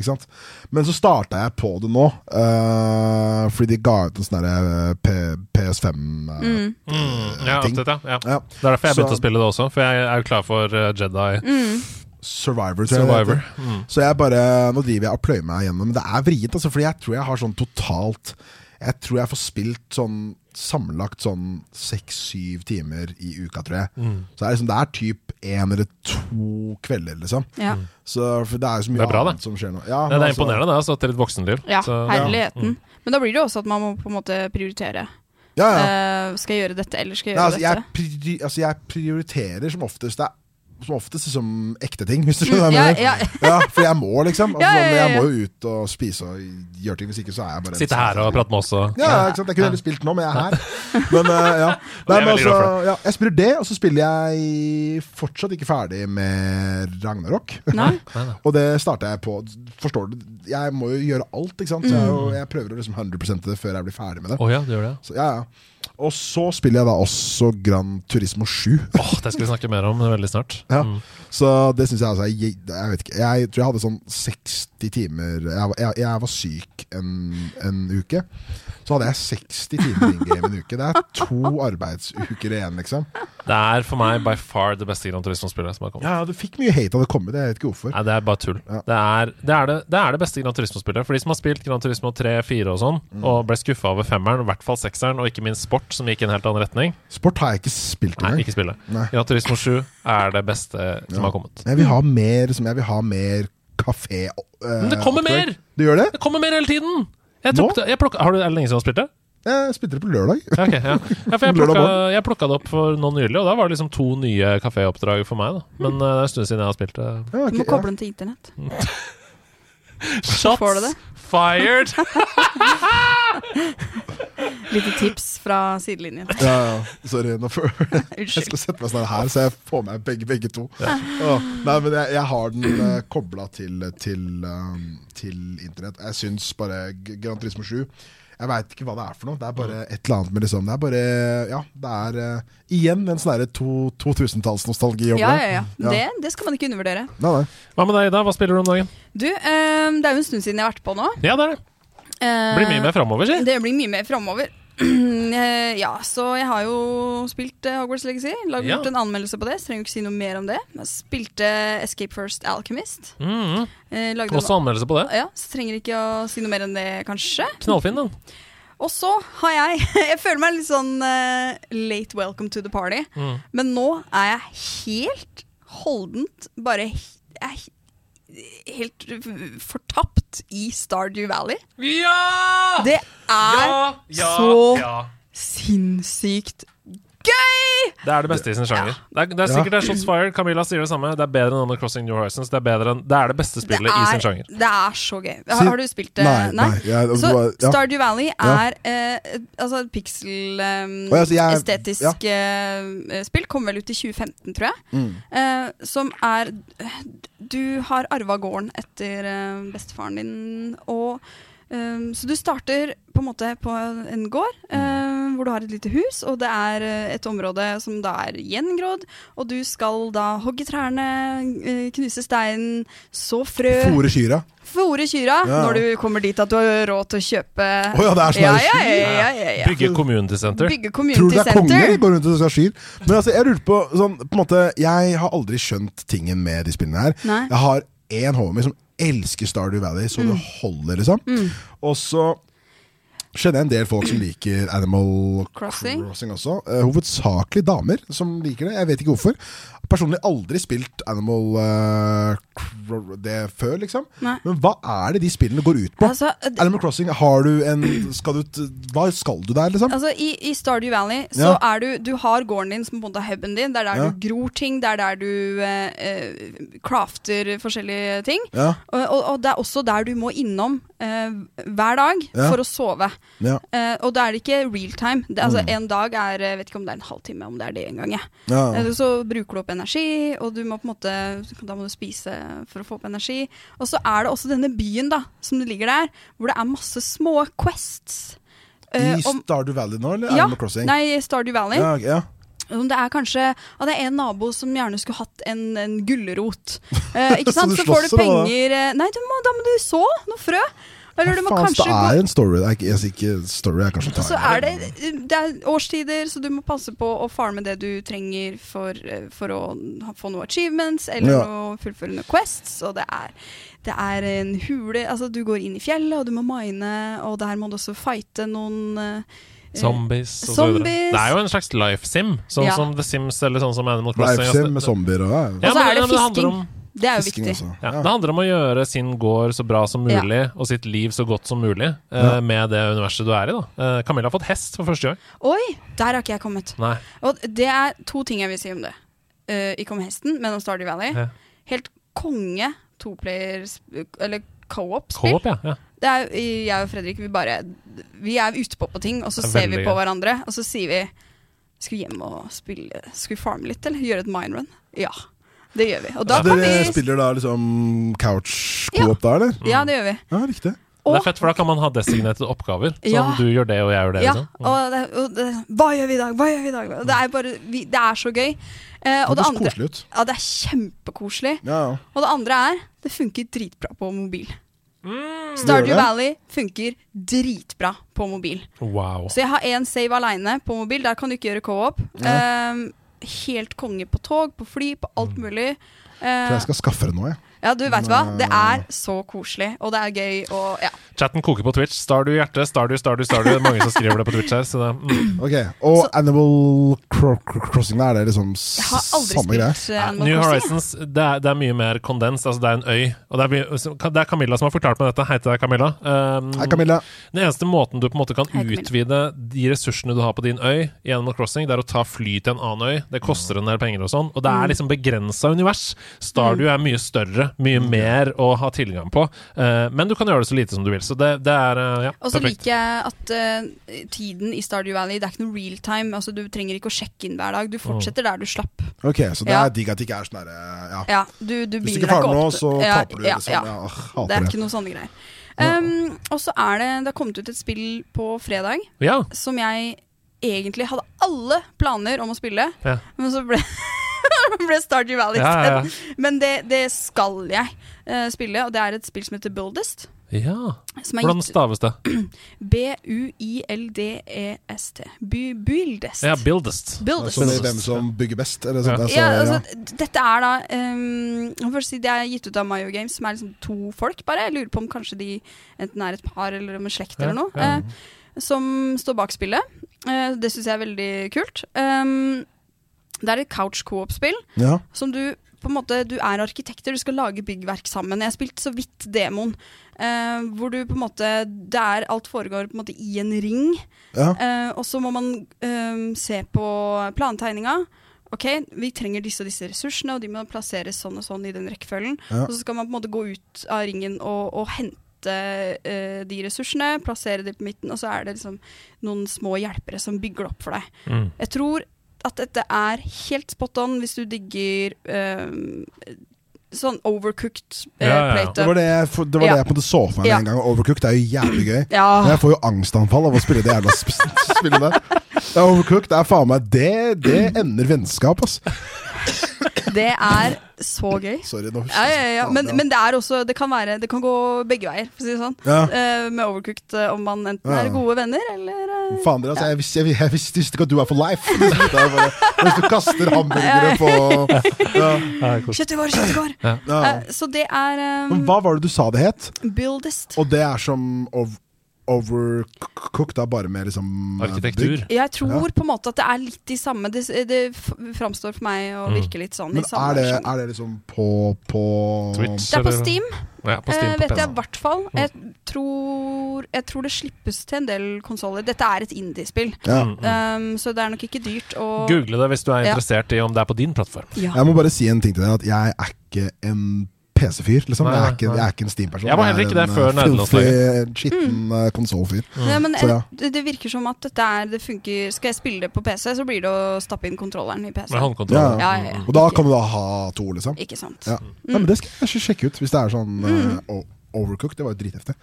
Ikke sant? Men så starta jeg på det nå, eh, fordi de ga ut en sånn her, eh, P- PS5 eh, Mm. Mm. Ja, ting. absolutt, ja. ja. ja, Det er derfor jeg Så- begynte å spille det også, for jeg er jo klar for eh, Jedi mm. Survivor, tror jeg det Survivor. Mm, heter. Så jeg bare Nå driver jeg og pløyer meg gjennom, men det er vrient, altså, fordi jeg tror jeg har sånn totalt Jeg tror jeg får spilt sånn sammenlagt sånn seks-syv timer i uka, tror jeg. mm. Så det er liksom Det er typ én eller to kvelder, liksom. Ja. Så for det er jo så mye Det er bra, det. annet som skjer nå. Det, Ja, men det er altså- imponerende, det, altså, til et voksenliv. Ja, Mm. Så- Mm. herligheten. Men da blir det jo også at man må på en måte prioritere. Ja, ja. Eh, skal jeg gjøre dette, eller skal jeg Nei, gjøre altså, jeg, dette? pri altså, jeg prioriterer som oftest det er, som oftest liksom ekte ting, hvis du skjønner Mm, hva Ja, jeg mener. ja. Ja, for jeg må, [LAUGHS] liksom. Altså, Ja, ja, ja, sånn, Jeg ja. må jo ut og spise og gjøre ting, hvis ikke så er jeg bare Sitte her og prate med oss og Ja, ikke sant? Jeg kunne heller spilt nå, men jeg er her. Men eh, [LAUGHS] ja. Det Nei, er men veldig altså, glad for ja, jeg spiller det, og så spiller jeg fortsatt ikke ferdig med Ragnarok. Nei. og det starter jeg på. Forstår du? Jeg Mm. må jo gjøre alt, ikke sant? Så jeg, er jo- jeg prøver å liksom 100 det før jeg blir ferdig med det. Å ja, du gjør det? Så, ja, ja. Og så spiller jeg da også Gran Turismo 7. Åh, det skal vi snakke mer om veldig snart. Ja. Mm. Så det syns jeg altså er jeg, jeg vet ikke. Jeg tror jeg hadde sånn 60 timer Jeg, var- jeg, jeg var syk en, en uke. Så hadde jeg 60 timer in game en uke. Det er to arbeidsuker igjen, liksom. Det er for meg by far det beste Gran Turismo-spillet som har kommet. Ja, Du fikk mye hate av det komme, det jeg vet ikke hvorfor. Nei, det er bare tull. Ja. Det, er, det, er det, det er det beste Gran Turismo-spillet. For de som har spilt Gran Turismo 3, 4 og sånn, Mm. og ble skuffa over femmeren, i hvert fall sekseren, og ikke minst sport, som gikk i en helt annen retning Sport har jeg ikke spilt Nei, engang. ikke spillet. Nei. Gran Turismo 7 er det beste som har kommet. Jeg vil ha mer, som jeg vil ha mer kafé eh, Men det kommer opplegg. mer! Du gjør det? Det kommer mer hele tiden! Jeg tok Nå? det, jeg plukka, har du, er det lenge siden du har spilt det? Jeg spilte det på lørdag. Ja, ok, ja. ja [LAUGHS] for jeg Lørdag plukka, morgen. jeg plukka det opp for nå nylig, og da var det liksom to nye kaféoppdrag for meg. da Men eh, det er en stund siden jeg har spilt det. Ja, Du [LAUGHS] ok, må ja. koble den til internett. får du Shots det. [LAUGHS] fired! Lite tips [LAUGHS] fra sidelinjen. Ja, ja. Sorry. Nå får jeg Unnskyld. skal sette meg snart her, så jeg får med begge, begge to. Åh, nei, men jeg, jeg har den uh, kobla til, til, um, til internett. Jeg syns bare G- Gran Turismo 7 Jeg veit ikke hva det er for noe. Det er bare et eller annet med liksom Det er bare Ja, det er eh, igjen en sånn derre to- 2000-tallsnostalgi over Ja, ja, ja. Ja. Det, det skal man ikke undervurdere. Nei, nei. Hva med deg, Ida? Hva spiller du om dagen? Du, eh, det er jo en stund siden jeg har vært på nå. Ja, det er det. Eh, Det blir mye mer framover, si. Det blir mye mer framover. [CLEARS THROAT] Eh, ja, så jeg har jo spilt eh, Hogwarts Legacy. Laget Ja. en anmeldelse på det, så trenger jo ikke si noe mer om det. Jeg spilte Escape First Alchemist. Mhm. Eh, lagde en- Også anmeldelse på det. Ja, så trenger ikke å si noe mer enn det, kanskje. Knallfin, den. Og så har jeg [LAUGHS] Jeg føler meg litt sånn eh, late welcome to the party. Mm. Men nå er jeg helt holdent bare he- jeg er helt f- fortapt i Stardew Valley. Ah, Ja! Det er så sinnssykt gøy! Det er det beste i sin sjanger. Det er, det er sikkert det er Shots Fired. Camilla sier det samme. Det er bedre enn Animal Crossing New Horizons. Det er, bedre enn, det, er det beste Det spillet i sin er, sjanger. det er så gøy. Har, Si- har du spilt det? Nei, nei, jeg- det så var- ja. Stardew Valley Ja. er eh, altså et pixel um, Å, ja, så jeg- estetisk ja. eh, spill. Kom vel ut i 2015, tror jeg. Mm. Eh, som er Du har arva gården etter eh, bestefaren din, og eh, Så du starter på en måte på en gård Mm. eh, hvor du har et lite hus, og det er eh, et område som da er gjengrodd, og du skal da hogge trærne, eh, knuse steinen, så frø Fôre kyra. Fôre kyra Ja. når du kommer dit at du har råd til å kjøpe Å ja, det er sånn ja, her ja, skyr. ja, ja, ja, ja. Bygge community center. Bygge Tror du community det er konger? center. Går rundt og skal ha skyer? Men altså, jeg lurer på, sånn, på en måte, jeg har aldri skjønt tingen med de spillene her. Nei. Jeg har én homie som elsker Stardew Valley, så Mm. det holder, liksom. Og så kjenner jeg en del folk som liker Animal Crossing. Crossing, også. Eh, hovedsakelig damer som liker det. Jeg vet ikke hvorfor. Personlig aldri spilt Animal eh, Cro- det før, liksom. Nei. Men hva er det de spillene går ut på? Altså, d- Animal Crossing, har du en skal du, t- Hva skal du der, liksom? altså i, I Stardew Valley så Ja. er du Du har gården din som på en måte er huben din. Det er der Ja. du gror ting, det er der du eh, eh, crafter forskjellige ting. Ja, Og, og, og det er også der du må innom eh, hver dag Ja. for å sove. ja. Mm. Eh, og da er det ikke real time. Det, altså, En dag er Jeg vet ikke om det er en halvtime, om det er det engang. Ja. Ja. Eh, Så bruker du opp energi, og du må på en måte Da må du spise for å få opp energi. Og så er det også denne byen da som det ligger der, hvor det er masse små quests. Eh, I om- Stardew Valley nå, eller ja, Animal Crossing? nei, Stardew Valley. Ja, ok, ja. Om det er kanskje at det er en nabo som gjerne skulle hatt en, en [LAUGHS] gulrot. Eh, ikke sant? du Så, får du slåsser da, da? penger eh, Nei, du må, da må du så noe frø. Eller du må Faen, så kanskje gå det er en story. Det er ikke, jeg sier ikke story, jeg kanskje tar så er det, det er årstider, så du må passe på å farme det du trenger for, eh, for å ha- få noe achievements eller Ja. noe fullførende quests. Og det er, det er en hule Altså, du går inn i fjellet, og du må mine, og der må du også fighte noen eh, Zombies og så videre. Zombies. Det er jo en slags life sim, sånn Ja. som The Sims eller sånn som Animal Crossing. Altså, Livesim med zombier og ja, ja. Ja, Og så men- er det ja, men handler fisking. om- eh, Det er jo Fisking viktig. også. Ja, det handler om å gjøre sin gård så bra som mulig, og sitt liv så godt som mulig, eh, med det universet du er i. da Eh, Camilla har fått hest for første gang. Oi, der har ikke jeg kommet. Nei, Og det er to ting jeg vil si om det. Eh, ikke om hesten, men om Stardew Valley. Ja. Helt konge toplayer... Eller co-op-spill. Coop, ja. ja. det er, jeg og Fredrik vi bare Vi er ute på, på ting, og så Det er ser vi veldig på gøy. hverandre, og så sier vi Skal vi hjem og spille Skal vi farme litt, eller? Gjøre et mine run? Ja. Det gjør vi. Og da Så kan Altså, dere vi spiller da liksom couch co-op da, eller? Ja, det gjør vi. Ja, riktig. Det Og er fett, for da kan man ha designated oppgaver. Sånn Ja. du gjør det, og jeg gjør det. Ja, liksom. Mm. Og det, og det, hva gjør vi i dag? Hva gjør vi i dag? Og Det er, bare, vi, det er så gøy. Eh, og det høres andre Mm. koselig ut. Ja, det er kjempekoselig. Ja, ja. Og det andre er det funker dritbra på mobil. Gjør Stardew det? Valley funker dritbra på mobil. Wow. Så jeg har én save aleine på mobil. Der kan du ikke gjøre co-op. Ehm, helt konge på tog, på fly, på alt mulig. Mm. For Eh, jeg skal skaffe det nå, jeg. ja, du veit hva. Det er så koselig, og det er gøy og ja. Chatten koker på Twitch. Stardew hjerte, Stardew, Stardew, Stardew. Det er Mange som skriver det på Twitch her. Så det, mm. Ok, Og Animal Cro Cro Crossing, da er det liksom s- Jeg har aldri samme greie? spilt eh, Animal New Crossing, jeg. Horizons det er, det er mye mer kondens. Altså, det er en øy. Og det er, mye- det er Camilla som har fortalt meg dette. Hei til deg, Camilla. Um, Hei, Camilla. Den eneste måten du på en måte kan Hei, Camilla. utvide de ressursene du har på din øy, i Animal Crossing, det er å ta fly til en annen øy. Det koster en del penger og sånn. Og det Mm. er liksom begrensa univers. Stardew er mye større, mye mer å ha tilgang på. Eh, men du kan gjøre det så lite som du vil. Så det, det er eh, ja, Og så perfekt. liker jeg at eh, tiden i Stardew Valley Det er ikke noe real time. Altså, du trenger ikke å sjekke inn hver dag. Du fortsetter der du slapp. Ok, Så det Ja. er digg at det ikke er sånn derre ja. Ja, du, du Hvis binder du ikke deg klarer det nå, opp så til- ja, taper du. ja, liksom. ja. Ja, åh, Det hater er det. ikke noe sånne greier. Um, og så er det Det har kommet ut et spill på fredag Ja. som jeg egentlig hadde alle planer om å spille, Ja. men så ble [LAUGHS] ble Stardew Valley Ja, ja, ja. isteden. Men det, det skal jeg eh, spille, og det er et spill som heter Buildest. ja. Som er Hvordan gitt staves det? E B-U-I-L-D-E-S-T. Bu- Buildest. Ja, buildest. Buildest. Sånn i hvem som bygger best, eller sånt. Ja. altså, Ja, altså, ja. d- dette er da ehm, jeg må først si Det er gitt ut av Mayo Games, som er liksom to folk, bare. Jeg lurer på om kanskje de enten er et par eller om en slekt Ja, eller noe. ja. eh, som står bak spillet. Eh, det syns jeg er veldig kult. Ehm, det er et couch co-op-spill Ja. som du på en måte, Du er arkitekter, du skal lage byggverk sammen. Jeg har spilt så vidt demoen. eh, hvor du på en måte Der alt foregår på en måte i en ring. Ja. Eh, og så må man eh, se på plantegninga. Ok, Vi trenger disse og disse ressursene, og de må plasseres sånn og sånn i den rekkefølgen. Ja. Og så skal man på en måte gå ut av ringen og, og hente eh, de ressursene, plassere de på midten, og så er det liksom noen små hjelpere som bygger det opp for deg. Mm. Jeg tror at dette er helt spot on hvis du digger eh, sånn overcooked uh, Ja, ja, ja. plate. Det var det jeg, for- det var Ja. det jeg på en måte så for meg med Ja. en gang. Overcooked er jo jævlig gøy. Ja. Men jeg får jo angstanfall av å spille det jævla sp [LAUGHS] spillet der. Ja, Overcooked er faen meg Det, det ender vennskap, ass. Det er så gøy. Sorry, nå Ja, ja, ja. Men, men det er også Det kan, være, det kan gå begge veier, for å si det sånn. Ja. Eh, med Overcooked, eh, om man enten Ja. er gode venner eller eh, Faen dere, altså, jeg, visste, jeg, jeg visste ikke at du er for life. [LAUGHS] Det er bare, hvis du kaster hamburgere på ja. Kjøttegård, kjøttegård! Ja. Eh, så det er eh, Men hva var det du sa det het? Buildest. Og det er som ov overcooked, da, bare med liksom eh, bygg. Arkitektur. Jeg tror på en måte at det er litt de samme. Det, eh, det f- framstår for meg å Mm. virke litt sånn. Men i samme er det, sjanger. er det liksom på, på Twitch. det er på eller- Steam, Ja, på Steam eh, på vet jeg i PC. hvert fall. Mm. Jeg tror, jeg tror det slippes til en del konsoller. Dette er et indiespill, Ja. um, så det er nok ikke dyrt Mm, å Google det hvis du er Ja. interessert i om det er på din plattform. Ja. Jeg må bare si en ting til deg, at jeg er ikke en PC-fyr, liksom. Nei, jeg, er ikke, nei. jeg er ikke en Steam-person. Jeg var heller ikke det en, før eh, nederlandslaget. filthy, skitten mm. konsollfyr. Nei, men Så ja. det, det virker som at dette er, det funker Skal jeg spille det på PC, så blir det å stappe inn kontrolleren i PC. Med Ja, håndkontroll. Ja, ja, ja. Og da kan du da ha to, liksom. Ikke sant. Mm. Ja. Ja. Nei, men det skal jeg ikke sjekke ut, hvis det er sånn eh, o- overcooked. Det var jo dritheftig.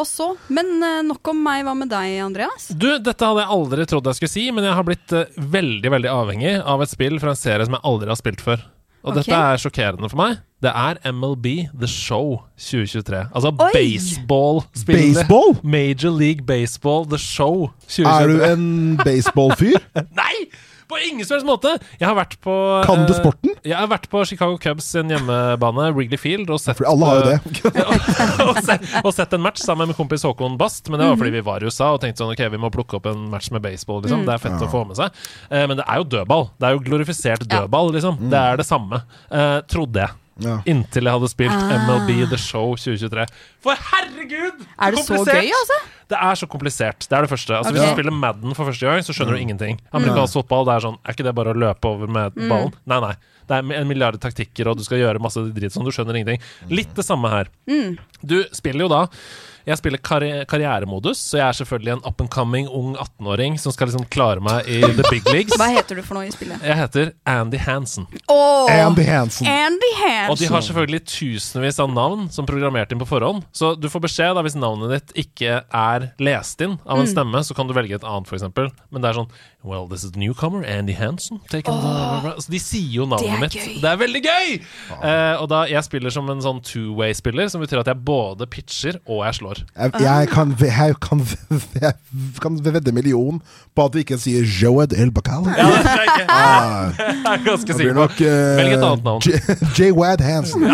Og så, men eh, nok om meg. Hva med deg, Andreas? Du, dette hadde jeg aldri trodd jeg skulle si, men jeg har blitt eh, veldig veldig avhengig av et spill fra en serie som jeg aldri har spilt før. Og Ok. dette er sjokkerende for meg. Det er MLB The Show 2023. Altså Oi! baseballspillet. Baseball? Major League Baseball The Show 2023. Er du [LAUGHS] en baseballfyr? Nei! På ingen som helst måte! Jeg har vært på Kan du eh, sporten? Jeg har vært på Chicago Cubs sin hjemmebane, Wrigley Field, og sett For alle har jo [LAUGHS] eh, det. [LAUGHS] og, sett, og sett en match sammen med kompis Håkon Bast. Men det var Mhm. fordi vi var i USA og tenkte sånn, ok, vi må plukke opp en match med baseball. Mm. Liksom. Det er fett å få med seg. Eh, men det er jo dødball. Det er jo glorifisert Ja. dødball. Liksom. Mm. Det er det samme, eh, trodde jeg. Ja. Inntil jeg hadde spilt Ah. MLB The Show 2023. For herregud! Er det så komplisert! gøy, altså? Det er så komplisert. Det er det første. Altså, Hvis Ok. du spiller Madden for første gang, så skjønner du ingenting. Amerikansk fotball det er sånn Er ikke det bare å løpe over med ballen? Nei, nei. Det er en milliard taktikker, og du skal gjøre masse dritt sånn. Du skjønner ingenting. Litt det samme her. Du spiller jo da Jeg spiller karri karrieremodus, så jeg er selvfølgelig en up and coming ung 18-åring som skal liksom klare meg i the big leagues. Hva heter du for noe i spillet? Jeg heter Andy Hansen, Åh, Andy Hansen. Andy og de Hansen. har selvfølgelig tusenvis av navn som programmert inn på forhånd. Så du får beskjed da hvis navnet ditt ikke er lest inn av en Mm. stemme, så kan du velge et annet, f.eks. Men det er sånn Well, this is the newcomer, Andy Hansen. Take on the- Så de sier jo navnet mitt. Det er gøy. Ah. Det er veldig gøy! Eh, og da jeg spiller som en sånn two-way-spiller, som betyr at jeg både pitcher og jeg slår. Jeg, jeg kan, ve- jeg kan, ve- jeg kan vedde million på at vi ikke sier Joed El Bacal. Ja, det tror jeg ikke. Ah, Jeg er ganske det sikker blir på nok eh, Velg et annet navn. J- J. [LAUGHS] Wad Hansen. Ja,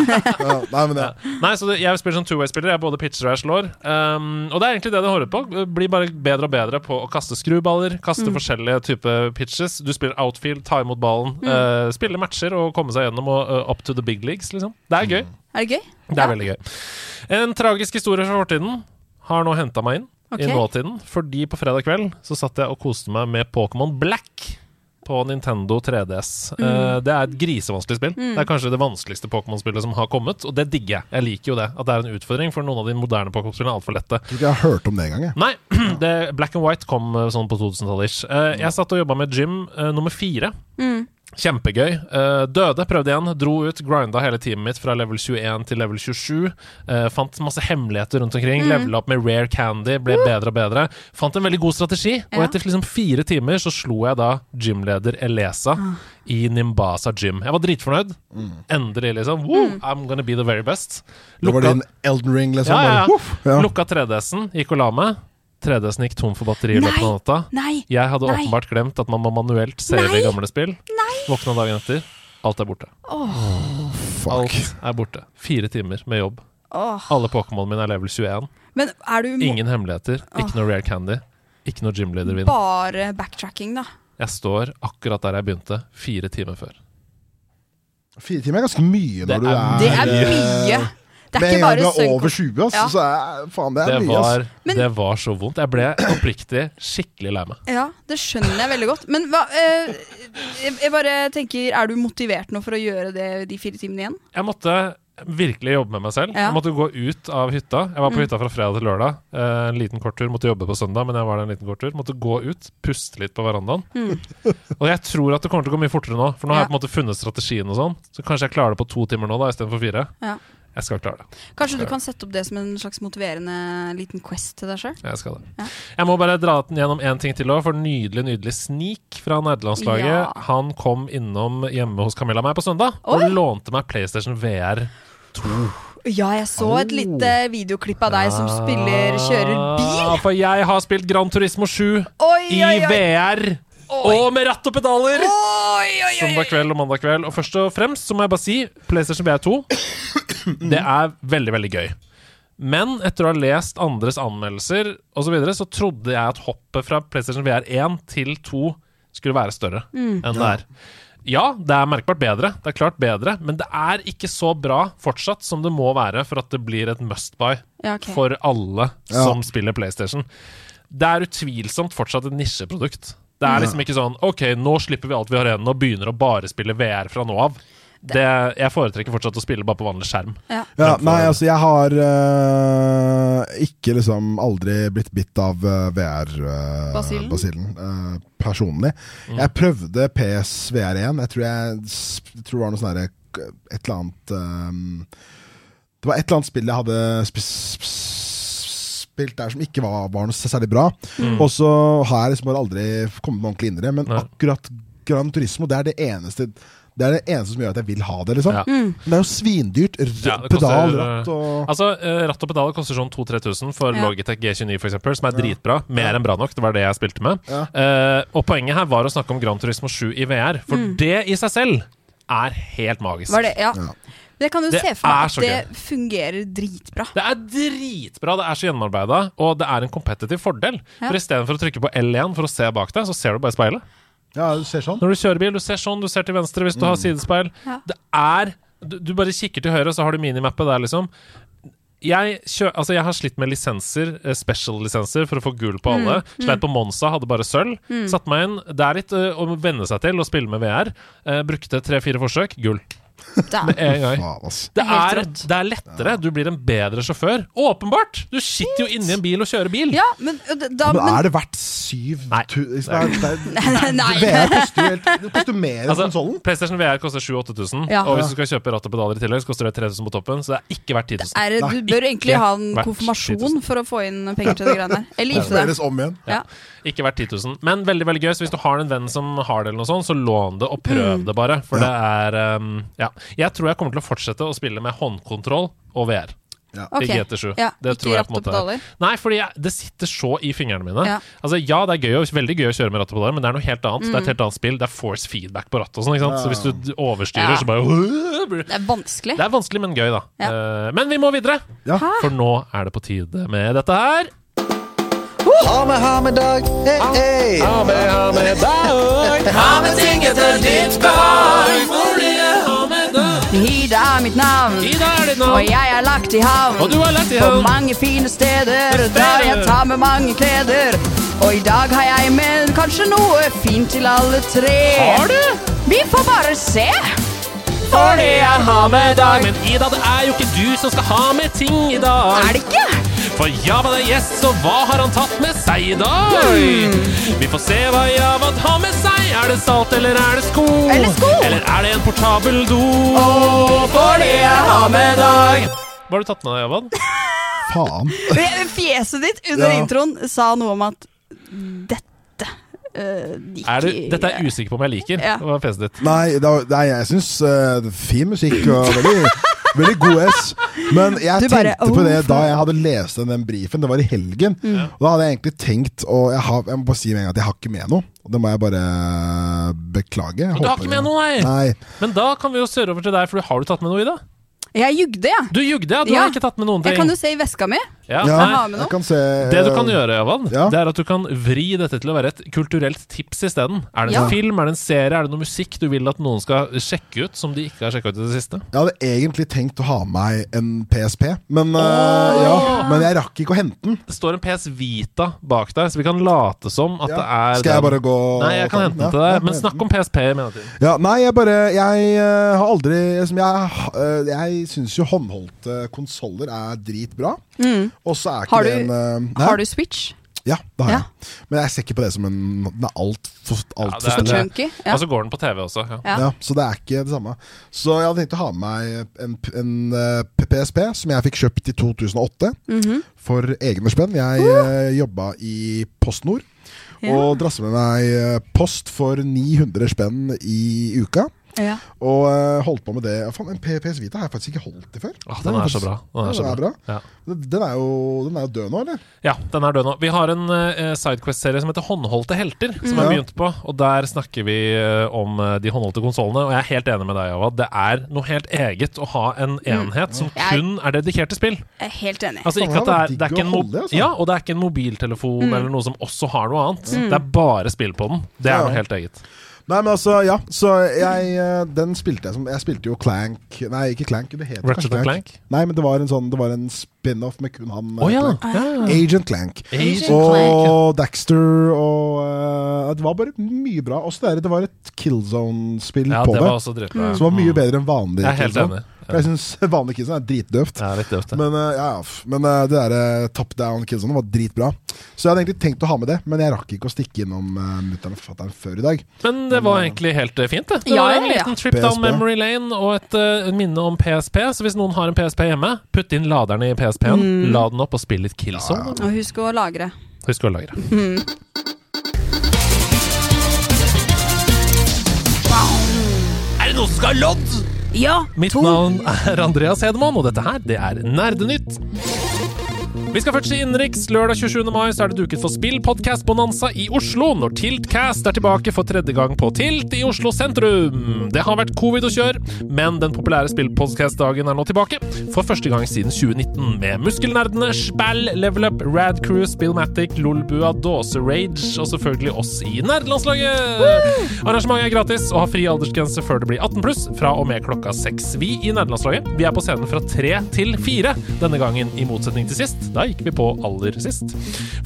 nei, men det, Nei, så det, jeg spiller som two-way-spiller. Jeg både pitcher og jeg slår. Um, og det er egentlig det det holder på. Blir bare bedre og bedre på å kaste skruballer, kaste forskjellige typer pitches. Du spiller outfield, ta imot ballen, eh, spille matcher og komme seg gjennom og eh, up to the big leagues, liksom. Det er gøy. Er det gøy? Det er veldig gøy. En tragisk historie fra fortiden har nå henta meg inn Ok. i nåtiden, fordi på fredag kveld så satt jeg og koste meg med Pokémon Black. På Nintendo 3DS. Eh, det er et grisevanskelig spill. Det er kanskje det vanskeligste Pokémon-spillet som har kommet, og det digger jeg. Jeg liker jo det. At det er en utfordring, for noen av de moderne Pokémon-spillene er altfor lette. tror ikke jeg har hørt om det engang. jeg. Nei, [CLEARS THROAT] det, Black and White kom eh, sånn på 2000-tallet ish. Eh, jeg satt og jobba med gym eh, nummer fire. Mm. Kjempegøy. Eh, døde, prøvde igjen, dro ut, grinda hele teamet mitt fra level 21 til level 27. Eh, fant masse hemmeligheter rundt omkring, Mhm. levela opp med rare candy, ble bedre og bedre. Fant en veldig god strategi, og Ja. etter liksom fire timer så slo jeg da gymleder Elesa Ah. i Nimbasa gym. Jeg var dritfornøyd. Endelig, liksom. Woo, Mm. I'm gonna be the very best. Mm. Det var Lukka- din Elden Ring, liksom. ja, ja, bare, ja. uff, ja. Lukka 3DS-en, gikk og la meg. 3DS-en gikk tom for batteri i løpet av natta. Nei! Jeg hadde Nei. åpenbart glemt at man må manuelt save Nei. i gamle spill. Våkna dagen etter. Alt er borte. Alt Fuck. er borte. Fire timer med jobb. Åh. Alle Pokémon mine er level 21. Men er du Ingen hemmeligheter. Ikke noe rare candy. Ikke noe gymleader-vinn. bare backtracking, da? Jeg står akkurat der jeg begynte, fire timer før. Fire timer er ganske mye når Det du er er Det er eh, mye! Det er Med en ikke bare gang du er over søvn. 20, ass, Ja. så er, faen, det er Det mye. altså. Ass. var, Men- det var så vondt. Jeg ble oppriktig skikkelig lei meg. Ja, det skjønner jeg veldig godt. Men hva eh, jeg, jeg bare tenker, er du motivert nå for å gjøre det de fire timene igjen? Jeg måtte virkelig jobbe med meg selv. Ja. Jeg Mm. måtte gå ut av hytta. Jeg var på hytta fra fredag til lørdag. Eh, en liten kort tur. Måtte jobbe på søndag, men jeg var der en liten kort tur. Måtte gå ut, puste litt på verandaen. Mm. og jeg tror at det kommer til å gå mye fortere nå, for nå har jeg Ja. på en måte funnet strategien og sånn. Så kanskje jeg klarer det på to timer nå da, istedenfor fire. Ja. Jeg skal klare det. Kanskje du kan sette opp det som en slags motiverende liten quest til deg sjøl? Jeg skal det. Ja. Jeg må bare dra den gjennom én ting til òg, for nydelig, nydelig Snik fra nederlandslaget. Ja. Han kom innom hjemme hos Camilla og meg på søndag Oi. og lånte meg PlayStation VR. Ja, jeg så Oh. et lite videoklipp av deg som spiller kjører bil. Ah, For jeg har spilt Gran Turismo 7 Oi, i oi, oi! VR og med ratt og pedaler! Oi, oi, oi! Søndag kveld og mandag kveld. Og først og fremst så må jeg bare si PlayStation VR 2. Det er veldig, veldig gøy. Men etter å ha lest andres anmeldelser osv., så, videre, så trodde jeg at hoppet fra PlayStation VR 1 til 2 skulle være større Mm. enn det er. Ja, det er merkbart bedre, Det er klart bedre men det er ikke så bra fortsatt som det må være for at det blir et must buy Ja, ok. for alle Ja. som spiller PlayStation. Det er utvilsomt fortsatt et nisjeprodukt. Det er liksom ikke sånn OK, nå slipper vi alt vi har igjen og begynner å bare spille VR fra nå av. Det, jeg foretrekker fortsatt å spille bare på vanlig skjerm. Ja, nei, altså, jeg har eh, ikke liksom aldri blitt bitt av eh, Basillen? VR-basillen eh, personlig. Jeg prøvde PSVR1. Jeg tror jeg s- tror det var noe sånn derre k- Et eller annet eh, Det var et eller annet spill jeg hadde sp sp spilt der som ikke var, var noe særlig bra. Og så har jeg liksom bare aldri kommet meg ordentlig inn i det, men Mm. Nei. akkurat Gran Turismo det er det eneste Det er det eneste som gjør at jeg vil ha det, liksom. Ja. Mm, Men det er jo svindyrt. R Ja, det koster, pedal, eh, ratt og Altså, eh, Ratt og pedaler koster sånn 2000-3000 for Ja. Logitech G29, for eksempel, som er dritbra. Mer enn bra nok. Det var det jeg spilte med. Ja. Eh, og poenget her var å snakke om Gran Turismo 7 i VR, for det i seg selv er helt magisk. Mm. Var det, ja. Ja. Jeg kan jo Det se for meg er at så det fungerer dritbra. Det er dritbra, det er så gjennomarbeida, og det er en kompetitiv fordel. Ja. For istedenfor å trykke på L1 for å se bak deg, så ser du bare i speilet. Ja, du ser sånn. Når du kjører bil, du ser sånn, du ser til venstre hvis du har sidespeil. Ja. Det er du, du bare kikker til høyre, og så har du minimappet der, liksom. Jeg, kjø, altså jeg har slitt med lisenser, eh, special-lisenser, for å få gull Mm. på alle. Sleit på Monza, hadde bare sølv. Satt meg inn. Det er litt eh, å venne seg til å spille med VR. Eh, brukte tre-fire forsøk, gull. med en gang. Faen, ass. Det Helt er, rått. det er lettere. Du blir en bedre sjåfør. Åpenbart! Du sitter jo inni en bil og kjører bil. Ja, men, ø, d- da, Men men, er det verdt syv Nei. tu- liksom, det er- [LAUGHS] det er- Nei. VR koster jo helt Det koster mer enn Altså, konsollen. PlayStation VR koster 7000-8000, Ja. og hvis du skal kjøpe ratt og pedaler i tillegg, så koster det 3000 på toppen, så det er ikke verdt 10 000. er det, du bør egentlig ha en vært konfirmasjon for å få inn penger til de greiene der. Eller gifte deg. Deles om igjen. sånn. Ja. Ikke verdt 10 000. Men veldig veldig gøy, så hvis du har en venn som har det, eller noe sånt, så lån det og Mm. prøv det bare. For det er um, Ja. Jeg tror jeg kommer til å fortsette å spille med håndkontroll og VR. Ok. I GT7. Ja, det ikke tror jeg på en ratt og måte pedaler. er. Nei, fordi jeg, det sitter så i fingrene mine. Ja. Altså Ja, det er gøy, og veldig gøy å kjøre med ratt og pedaler, men det er noe helt annet. Mm. Det er et helt annet spill. Det er force feedback på rattet og sånn, ikke sant. Så hvis du overstyrer, Ja. så bare øh, [LAUGHS] blir- Det er vanskelig. Det er vanskelig, men gøy, da. Eh, men vi må videre, Ja. for nå er det på tide med dette her. Ha med, ha med dag. Hey, hey. Ha med, ha med dag. Ha med ting etter ditt behag. Hvor de er. Ida er mitt navn, Ida er ditt og navn. jeg er lagt i havn. Og du har lagt i På havn. mange fine steder, Steder. der jeg tar med mange kleder. Og i dag har jeg med kanskje noe fint til alle tre. Har du? Vi får bare se. Fordi jeg har med dag. Men Ida, det er jo ikke du som skal ha med ting i dag. Er det ikke? For Javad er gjest, så hva har han tatt med seg i dag? Hmm. Vi får se hva Javad har med seg. Er det salt, eller er det sko? Eller sko. Eller er det en portabel do? fordi jeg har med dag. Hva har du tatt med deg, Javad? Faen. Fjeset ditt under Ja. introen sa noe om at dette øh, gikk Er du, i- dette er jeg usikker på om jeg liker. Ja. Hva er fjeset ditt? [LAUGHS] Nei, da, nei jeg syns fin musikk og veldig, veldig god S. Men Du jeg bare, tenkte på det oh, da jeg hadde lest den, den briefen. Det var i helgen. Mm. Og da hadde jeg egentlig tenkt Og jeg, har, jeg må bare si med en gang at jeg har ikke med noe. Og det må jeg bare eh, beklage. Jeg Du har håper- ikke med noe, nei. Nei. Men da kan vi jo søre over til deg, for har du tatt med noe, Ida? Jeg jugde, jeg. Du jugde, ja. Du Ja. har ikke tatt med noen ting. Jeg kan jo se i veska mi. ja. Ja, Nei. med noe. jeg kan se Det du kan gjøre, Javan, Eh, Ja. det er at du kan vri dette til å være et kulturelt tips isteden. Er det en Ja. film, er det en serie, er det noe musikk du vil at noen skal sjekke ut som de ikke har sjekka ut i det siste? Jeg hadde egentlig tenkt å ha med meg en PSP, men, eh, ja, men jeg rakk ikke å hente den. Det står en PS Vita bak deg, så vi kan late som at Ja. det er Skal jeg den. bare gå og Nei, jeg kan ta hente den Ja, til ja, deg, jeg men henter snakk om PSP i mellomtiden. den. ja, Nei, jeg bare Jeg eh, har aldri liksom, Jeg, ha- eh, jeg syns jo håndholdte konsoller er dritbra. Og så er Mm. ikke Har det du- en eh, nei, Har du Switch? Ja, det har Ja. jeg. Men jeg ser ikke på det som en Den er altfor alt Ja, for det er- stor. Chunky? Ja. Og så går den på TV også. Ja. Ja. Ja, så det er ikke det samme. Så jeg hadde tenkt å ha med meg en, en eh, PSP som jeg fikk kjøpt i 2008 for egne spenn. Jeg uh! jobba i PostNord Ja. og drassa med meg eh, post for 900 spenn i uka. Ja. Og eh, holdt på med det. Ja, Faen, en P- PS Vita har jeg faktisk ikke holdt i før. Åh, den er så bra. Den er så bra. Ja. Den- Den er jo, den er jo død nå, eller? Ja, den er død nå. Vi har en eh, Sidequest-serie som heter Håndholdte helter, som jeg Ja. begynte på. Og der snakker vi eh, om eh, de håndholdte konsollene. Og jeg er helt enig med deg, Java. Det er noe helt eget å ha en enhet som Jeg- kun er dedikert til spill. Jeg er helt enig. Altså Mm. Faen, ikke at det det var er, det er digg ikke en å mo holde i, altså. Mm. Ja, og det er ikke en mobiltelefon eller noe som også har noe annet. Det er bare spill på den. Det er Ja. noe helt eget. Nei, men altså, ja. Så jeg, eh, den spilte jeg som Jeg spilte jo Clank Nei, ikke Clank. Det heter Ratchet kanskje and Nei, men det var en sånn Det var en spin-off med kun han. eh, Å ja. Clank. ja. Agent Clank. Agent Og Daxter og eh, Det var bare mye bra. Også det, der, det var et killzone-spill ja, på det det. var også dritbra. Som var mye bedre enn vanlig. Jeg er helt Killzone. enig. For Jeg syns [LAUGHS] vanlig Killzone er dritdøvt. Det er litt døvt, det. Men, eh, ja, f- men eh, det der eh, Top Down Killzone var dritbra. Så jeg hadde egentlig tenkt å ha med det, men jeg rakk ikke å stikke innom uh, mutter'n og fatter'n før i dag. Men det var egentlig helt eh, fint, det. Det Ja, var en ja, ja. liten trip down PSP. memory lane og et eh, minne om PSP. Så hvis noen har en PSP hjemme, putt inn laderen i PSP-en. Mm. La den opp og spill litt Killzone. Og husk å lagre. Husk å lagre. Er det noen som skal ha lodd? Ja, Mitt to. navn er Andreas Hedemann, og dette her, det er Nerdenytt. Vi skal først til innenriks. Lørdag 27. mai så er det duket for spill podcast bonanza i Oslo når Tiltcast er tilbake for tredje gang på Tilt i Oslo sentrum. Det har vært covid og kjør, men den populære spillpodcast-dagen er nå tilbake. For første gang siden 2019 med muskelnerdene Spell, Level Up, Rad Crew, Spillmatic, Lolbua, Dåse Rage og selvfølgelig oss i nerdelandslaget. Arrangementet er gratis og har fri aldersgrense før det blir 18 pluss fra og med klokka 6. Vi i nerdelandslaget vi er på scenen fra 3 til 4 denne gangen, i motsetning til sist. Da gikk vi på aller sist.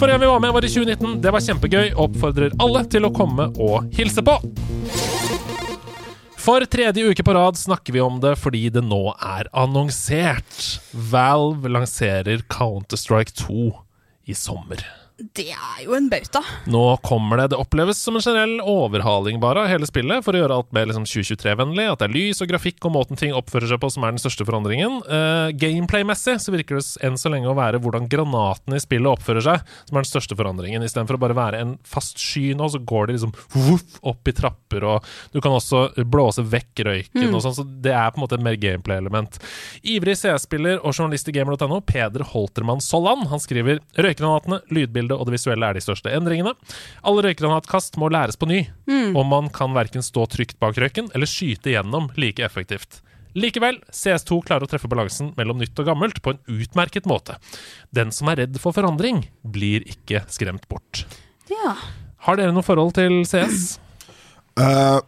Forrige gang vi var med, var i 2019. Det var kjempegøy. Oppfordrer alle til å komme og hilse på. For tredje uke på rad snakker vi om det fordi det nå er annonsert. Valve lanserer Counter-Strike 2 i sommer. Det er jo en bauta. Nå kommer det. Det oppleves som en generell overhaling bare av hele spillet, for å gjøre alt mer liksom 2023-vennlig. At det er lys og grafikk og måten ting oppfører seg på som er den største forandringen. Eh, Gameplay-messig så virker det s- enn så lenge å være hvordan granatene i spillet oppfører seg, som er den største forandringen. Istedenfor å bare være en fast sky nå, så går de liksom voff, opp i trapper, og du kan også blåse vekk røyken og sånn, så det er på en måte et mer gameplay-element. Ivrig CS-spiller og journalist i gamer.no, Peder Holtermann Solland, han skriver røykgranatene, lydbildet og det visuelle er de største endringene. Alle røykgranatkast må læres på ny, og man kan verken stå trygt bak røyken eller skyte gjennom like effektivt. Likevel, CS2 klarer å treffe balansen mellom nytt og gammelt på en utmerket måte. Den som er redd for forandring, blir ikke skremt bort. Ja. Har dere noe forhold til CS? Eh,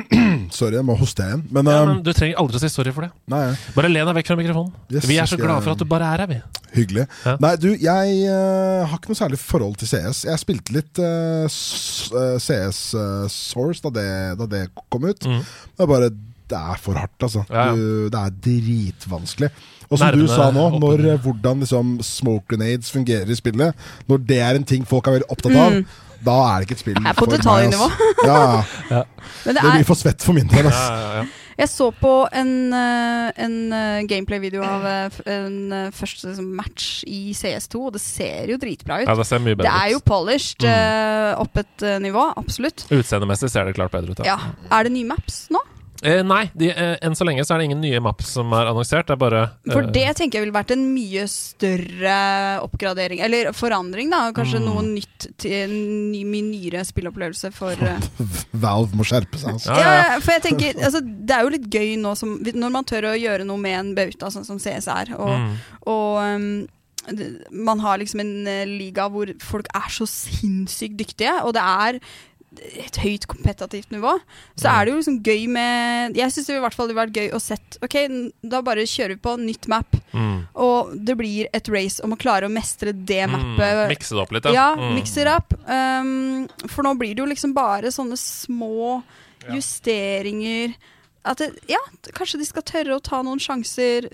[CLEARS THROAT] sorry, jeg må hoste igjen. Men, Ja, eh, men du trenger aldri å si sorry for det. nei, Bare len deg vekk fra mikrofonen. Yes, vi er så skal jeg- glade for at du bare er her, vi. hyggelig. Ja. Nei, du, jeg eh, har ikke noe særlig forhold til CS. Jeg spilte litt eh, s- eh, CS eh, Source da det, da det kom ut. Det er bare det er for hardt, altså. Mm. Ja, ja. Du, det er dritvanskelig. Og som Nervene du sa nå, åpner. når, eh, hvordan liksom, smoke grenades fungerer i spillet, når det er en ting folk er veldig opptatt av, da er det ikke et spill Mm. er på detaljnivå. ass. Ja, ja. Men [LAUGHS] det det er, blir for svett for min del. altså. ass. jeg så på en, eh, en eh, gameplay-video av eh, f- en eh, første liksom, match i CS2, og det ser jo dritbra ut. Ja, det ser mye Det bedre er jo ut. Mm. polished eh, opp et eh, nivå, absolutt. Utseendemessig ser det klart bedre ut. Ja. Ja. Er det nye maps nå? Eh, nei, de, eh, enn så lenge så er det ingen nye maps som er annonsert. Det er bare eh, For det tenker jeg ville vært en mye større oppgradering, eller forandring, da. Kanskje Mm. noe nytt til en ny, mye nyere spilleopplevelse for eh, Valve må skjerpe seg. Altså. Ja, ja, ja. ja, for jeg tenker altså, Det er jo litt gøy nå som, når man tør å gjøre noe med en bauta, sånn som CS er. Og, Mm. og um, det- man har liksom en eh, liga hvor folk er så sinnssykt dyktige, og det er et høyt kompetativt nivå. Så Ja. er det jo liksom gøy med Jeg syns i hvert fall det ville vært gøy å sett OK, n- da bare kjører vi på nytt map, Mm. og det blir et race om å klare å mestre det Mm. mappet. Mikse det opp litt, Ja, Mm. mix it up. Um, for nå blir det jo liksom bare sånne små justeringer. At det, ja, t- kanskje de skal tørre å ta noen sjanser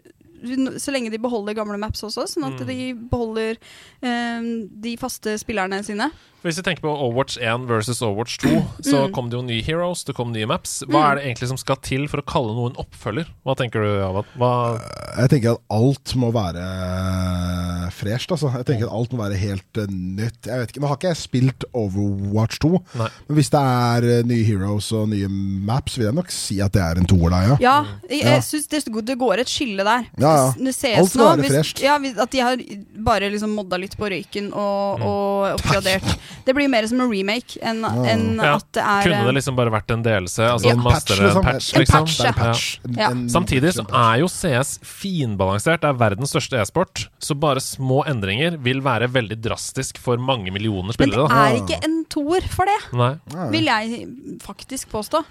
n- så lenge de beholder gamle maps også, sånn Mm. at de beholder um, de faste spillerne sine. Hvis vi tenker på Overwatch 1 versus Overwatch 2, Mm. så kom det jo nye heroes, det kom nye maps. Hva er det egentlig som skal til for å kalle noen oppfølger? Hva tenker du, Avat? Hva Eh, Jeg tenker at alt må være fresht, altså. Jeg tenker at alt må være helt eh, nytt. Jeg vet ikke, Nå har ikke jeg spilt Overwatch 2, Nei. men hvis det er eh, nye heroes og nye maps, vil jeg nok si at det er en toer der, ja. Ja, Mm. jeg, Ja. jeg synes det, det går et skille der. Ja, ja. Det ses Alt nå, skal være hvis- fresht. Ja, hvis- at de har bare liksom modda litt på røyken og, Mm. og oppgradert. Det blir mer som en remake enn enn Ja. at det er eh, Kunne det liksom bare vært en delelse? Altså En en patch, mastere liksom. en patch, En liksom? patch, Det er en Ja. patch. En- Ja. en- Samtidig så er jo CS finbalansert. Det er verdens største e-sport. Så bare små endringer vil være veldig drastisk for mange millioner Men det spillere. Da. er ikke en toer for det. Nei. Ja, ja. vil jeg faktisk påstå.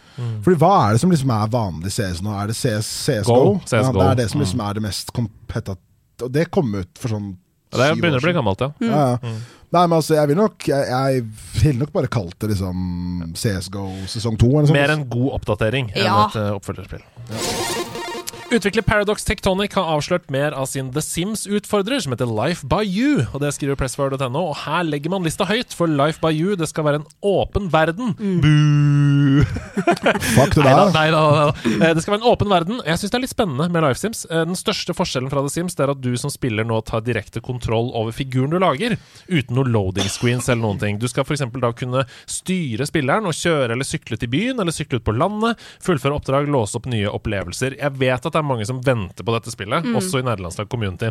Fordi hva er det som liksom er vanlig CS nå? Er det CS, CSGO? Go, CS:GO. Ja, det er det som liksom er det mest kompetative Og det kom ut for sånn Det syv begynner å år bli siden. gammelt, ja. Ja, ja. Mm. Nei, men altså, jeg ville nok Jeg, jeg ville nok bare kalt det liksom CSGO sesong to. eller noe sånt. Mer en god oppdatering enn Ja. et eh, oppfølgerspill. Utvikler Paradox Tectonic har avslørt mer av sin The Sims-utfordrer, som heter Life by You. og Det skriver pressfire.no, og her legger man lista høyt, for Life by You det skal være en åpen verden. Buh! Fuck det Neida, der. da. neida, neida. Eh, Det skal være en åpen verden. Jeg syns det er litt spennende med Life Sims. Eh, Den største forskjellen fra The Sims det er at du som spiller nå tar direkte kontroll over figuren du lager, uten noe loading screens eller noen ting. Du skal f.eks. da kunne styre spilleren og kjøre eller sykle til byen eller sykle ut på landet, fullføre oppdrag, låse opp nye opplevelser. Jeg vet at det er mange som venter på dette spillet, Mm. også i nederlandslag community.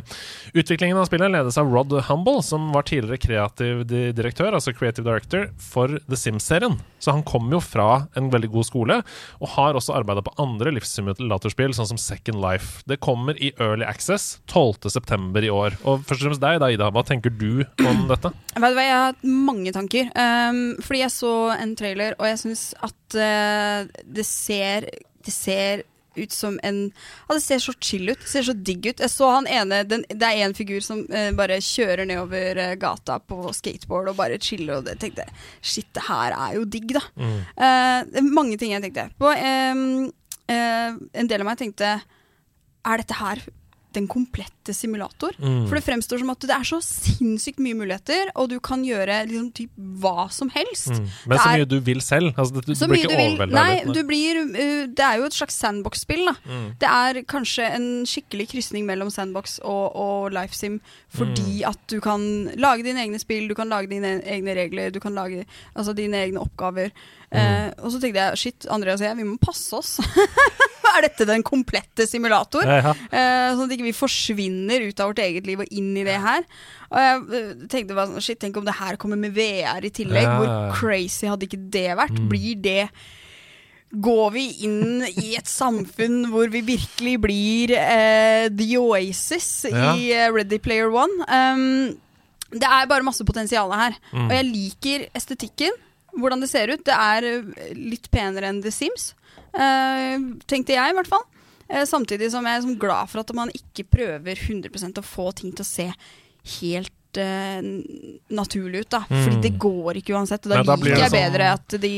Utviklingen av spillet ledes av Rod Humble, som var tidligere kreativ di- direktør, altså creative director, for The Sims-serien. Så han kom jo fra en veldig god skole, og har også arbeida på andre livssimulatorspill, sånn som Second Life. Det kommer i Early Access 12.9. i år. Og først og fremst deg, da, Ida. Hva tenker du [CLEARS THROAT] om dette? Jeg vet du hva, Jeg har hatt mange tanker. Um, fordi jeg så en trailer, og jeg syns at eh, det ser Det ser ut som en Ja, det ser så chill ut. Det ser så digg ut. Jeg så han ene den, Det er en figur som eh, bare kjører nedover eh, gata på skateboard og bare chiller, og det tenkte jeg Shit, det her er jo digg, da. Mm. Eh, det er mange ting jeg tenkte på. Em, eh, en del av meg tenkte Er dette her den komplette simulator? Mm. For det fremstår som at det er så sinnssykt mye muligheter, og du kan gjøre liksom, typ, hva som helst. Mm. Men så Det er- mye du vil selv. Altså, det, du Så blir mye ikke du vil. overveldet. Nei, av du det. blir, eh, det er jo et slags sandbox-spill. da. Mm. Det er kanskje en skikkelig krysning mellom sandbox og, og LifeSim, fordi Mm. at du kan lage dine egne spill, du kan lage dine egne regler, du kan lage altså, dine egne oppgaver. Mm. Eh, og så tenkte jeg shit, Andreas og jeg, vi må passe oss. [LAUGHS] er dette den komplette simulator? Ja, ja. Eh, sånn at ikke vi forsvinner ut av vårt eget liv og inn i det her. Og jeg eh, tenkte bare sånn, shit, tenk om det her kommer med VR i tillegg. Ja. Mm. Hvor crazy hadde ikke det vært? Blir det Går vi inn i et samfunn [LAUGHS] hvor vi virkelig blir eh, The Oasis Ja. i eh, Ready Player One? Um, det er bare masse potensial her. Mm. Og jeg liker estetikken. Hvordan det ser ut. Det er eh, litt penere enn The Sims, eh, tenkte jeg i hvert fall. Eh, samtidig som jeg er som glad for at man ikke prøver 100 å få ting til å se helt eh, n- naturlig ut, da. Fordi Mm. det går ikke uansett. Og da, Nei, da blir det liker jeg sånn- bedre at de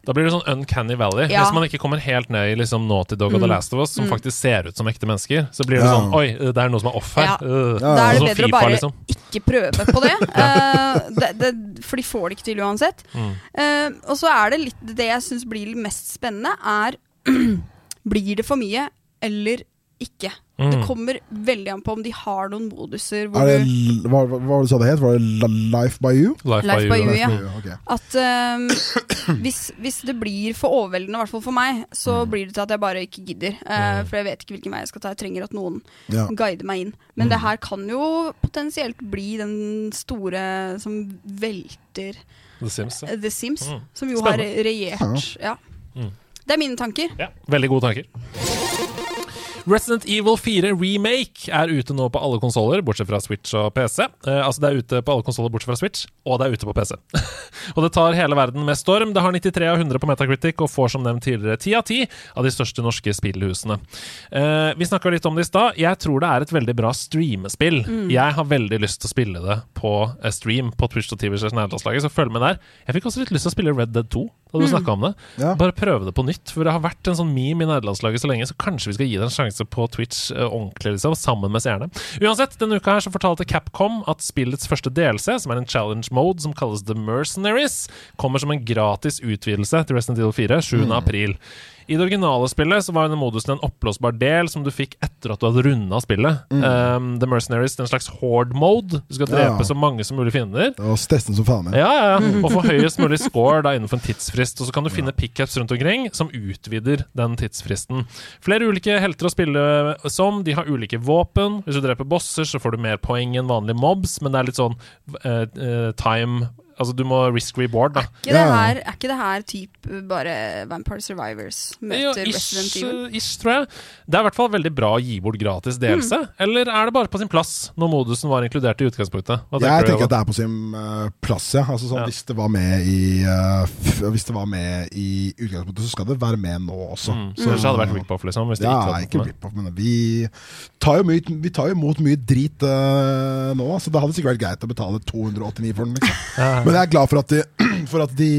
Da blir det sånn Uncanny Valley. Ja. Hvis man ikke kommer helt ned i liksom Naughty Dog og The Mm. Last of Us, som Mm. faktisk ser ut som ekte mennesker, så blir det Ja. sånn Oi, det er noe som er off her. Ja. Øh, Da er sånn som det bedre å FIFA, bare liksom. ikke prøve på det. [LAUGHS] Eh, det, det for de får det ikke til uansett. Mm. Eh, og så er det litt det jeg syns blir mest spennende, er [CLEARS THROAT] Blir det for mye eller ikke? Det Mm. kommer veldig an på om de har noen moduser hvor Er det, du l- hva, hva var det du sa det het? Var det Li- Life by You? Life, Life by by you. you. Ja. Ok. At eh, [CLEARS THROAT] hvis, hvis det blir for overveldende, i hvert fall for meg, så Mm. blir det til at jeg bare ikke gidder. eh, For jeg vet ikke hvilken vei jeg skal ta. Jeg trenger at noen Ja. guide meg inn. Men Mm. det her kan jo potensielt bli den store som velter The Sims. Ja. eh, The Sims, Mm. som jo Spennende. har regjert. Ja. Mm. Det er mine tanker. Ja, veldig gode tanker. Resident Evil 4 Remake er ute nå på alle konsoller, bortsett fra Switch og PC. Eh, altså, det er ute på alle konsoller bortsett fra Switch, og det er ute på PC. [LAUGHS] og det tar hele verden med storm. Det har 93 av 100 på Metacritic, og får som nevnt tidligere 10 av 10 av de største norske spillhusene. Eh, vi snakka litt om det i stad. Jeg tror det er et veldig bra streamespill. Jeg har veldig lyst til å spille det på eh, stream på Twitch og TV, så følg med der. Jeg fikk også litt lyst til å spille Red Dead 2, da du snakka om det. Ja. Bare prøve det på nytt, for det har vært en sånn meme i nederlandslaget så lenge, så kanskje vi skal gi det en sjanse på Twitch eh, ordentlig, liksom, sammen med seerne. Uansett, denne uka her så fortalte Capcom at spillets første DLC, som er en challenge mode som kalles The Mercenaries, kommer som en gratis utvidelse til Resident Evil 4 7. Mm. april. I det originale spillet så var denne modusen en oppblåsbar del som du fikk etter at du hadde runda spillet. Um, The Mercenaries, en slags horde mode. Du skal drepe Mm. Ja. så mange som mulig fiender. Det var stressende som faen. Ja. Ja, ja, Mm. ja. Og få høyest mulig score da innenfor en tidsfrist. Og så kan du finne pickups rundt omkring som utvider den tidsfristen. Flere ulike helter å spille som. De har ulike våpen. Hvis du dreper bosser, så får du mer poeng enn vanlige mobs, men det er litt sånn eh, eh, time Altså du må risk reward, da. Ikke det Ja. her, er ikke det her typ eh, bare Vampire Survivors møter Ja, Resident Evil? Mm. ish, tror jeg. Det er i hvert fall veldig bra å gi bort gratis delelse. Eller er det bare på sin plass, når modusen var inkludert i utgangspunktet? Hva Jeg tenker du, tenker at Johan? det er på sin eh, plass, ja. Altså, sånn, Ja. Hvis det var med i eh, f Hvis det var med i utgangspunktet, så skal det være med nå også. Mm. Så det hadde vært rip-off, liksom. Hvis det Ja, ikke hadde ikke rip-off, men vi tar jo, mye, vi tar jo imot mye drit eh, nå, så det hadde sikkert vært greit å betale 289 for den. [LAUGHS] Liksom. Men jeg er glad for at, de, [CLEARS THROAT] for at de,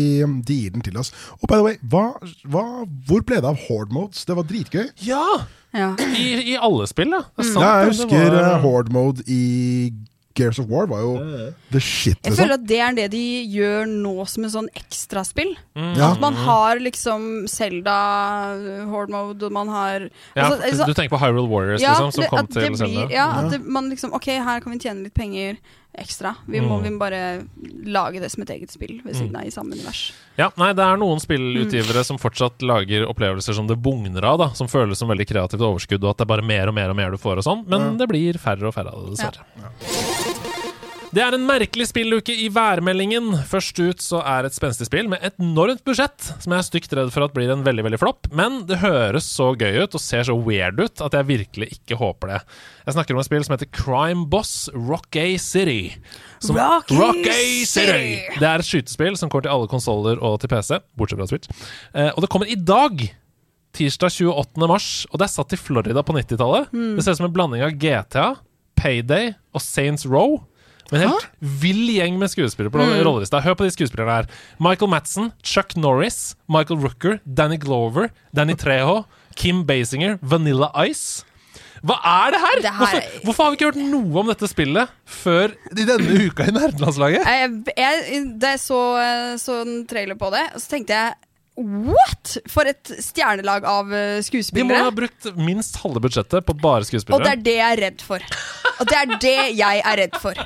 de gir den til oss. Og by the way, hva, hva, hvor ble det av horde modes? Det var dritgøy. Ja! Ja. I, I alle spill, ja. Mm. Det er sant, Ja, jeg det. Det husker var- eh, horde mode i Gears of War var jo the shit, Jeg liksom. føler at det er det de gjør nå som en sånn ekstraspill. Mm. Ja. At man har liksom Selda, Horde Mode, og man har Ja, altså, altså- du tenker på Hyrule Warriors, Ja, liksom, som det- kom at det til blir- Zelda? Ja, at det, man liksom Ok, her kan vi tjene litt penger ekstra. Vi må, Mm. vi må bare lage det som et eget spill ved siden av i samme univers. Ja, nei, det er noen spillutgivere som fortsatt lager opplevelser som det bugner av, da. Som føles som veldig kreativt overskudd, og at det er bare mer og mer og mer du får og sånn. Men det blir færre og færre av det, dessverre. Det er en merkelig spilluke i værmeldingen. Først ut så er et spenstig spill med et enormt budsjett, som jeg er stygt redd for at blir en veldig veldig flopp. Men det høres så gøy ut og ser så weird ut at jeg virkelig ikke håper det. Jeg snakker om et spill som heter Crime Boss Rock A City. Som, Rock A A City! Det er et skytespill som går til alle konsoller og til PC, bortsett fra Switch. Eh, og det kommer i dag! tirsdag 28. mars, og det er satt i Florida på 90-tallet. Det ser ut som en blanding av GTA, Payday og Saints Row. Med en helt vill gjeng med skuespillere på Mm. rollelista. Hør på de skuespillerne her. Michael Madsen, Chuck Norris, Michael Rooker, Danny Glover, Danny Treho, Kim Basinger, Vanilla Ice. Hva er det her?! Det her- Hvorfor, hvorfor har vi ikke hørt noe om dette spillet før i denne uka i nerdelandslaget? Jeg, jeg, da jeg så, eh, så en trailer på det, så tenkte jeg What?! For et stjernelag av eh, De må ha skuespillere. brukt minst halve budsjettet på bare Og det skuespillere. er det jeg er redd for. Og det er det jeg er redd for.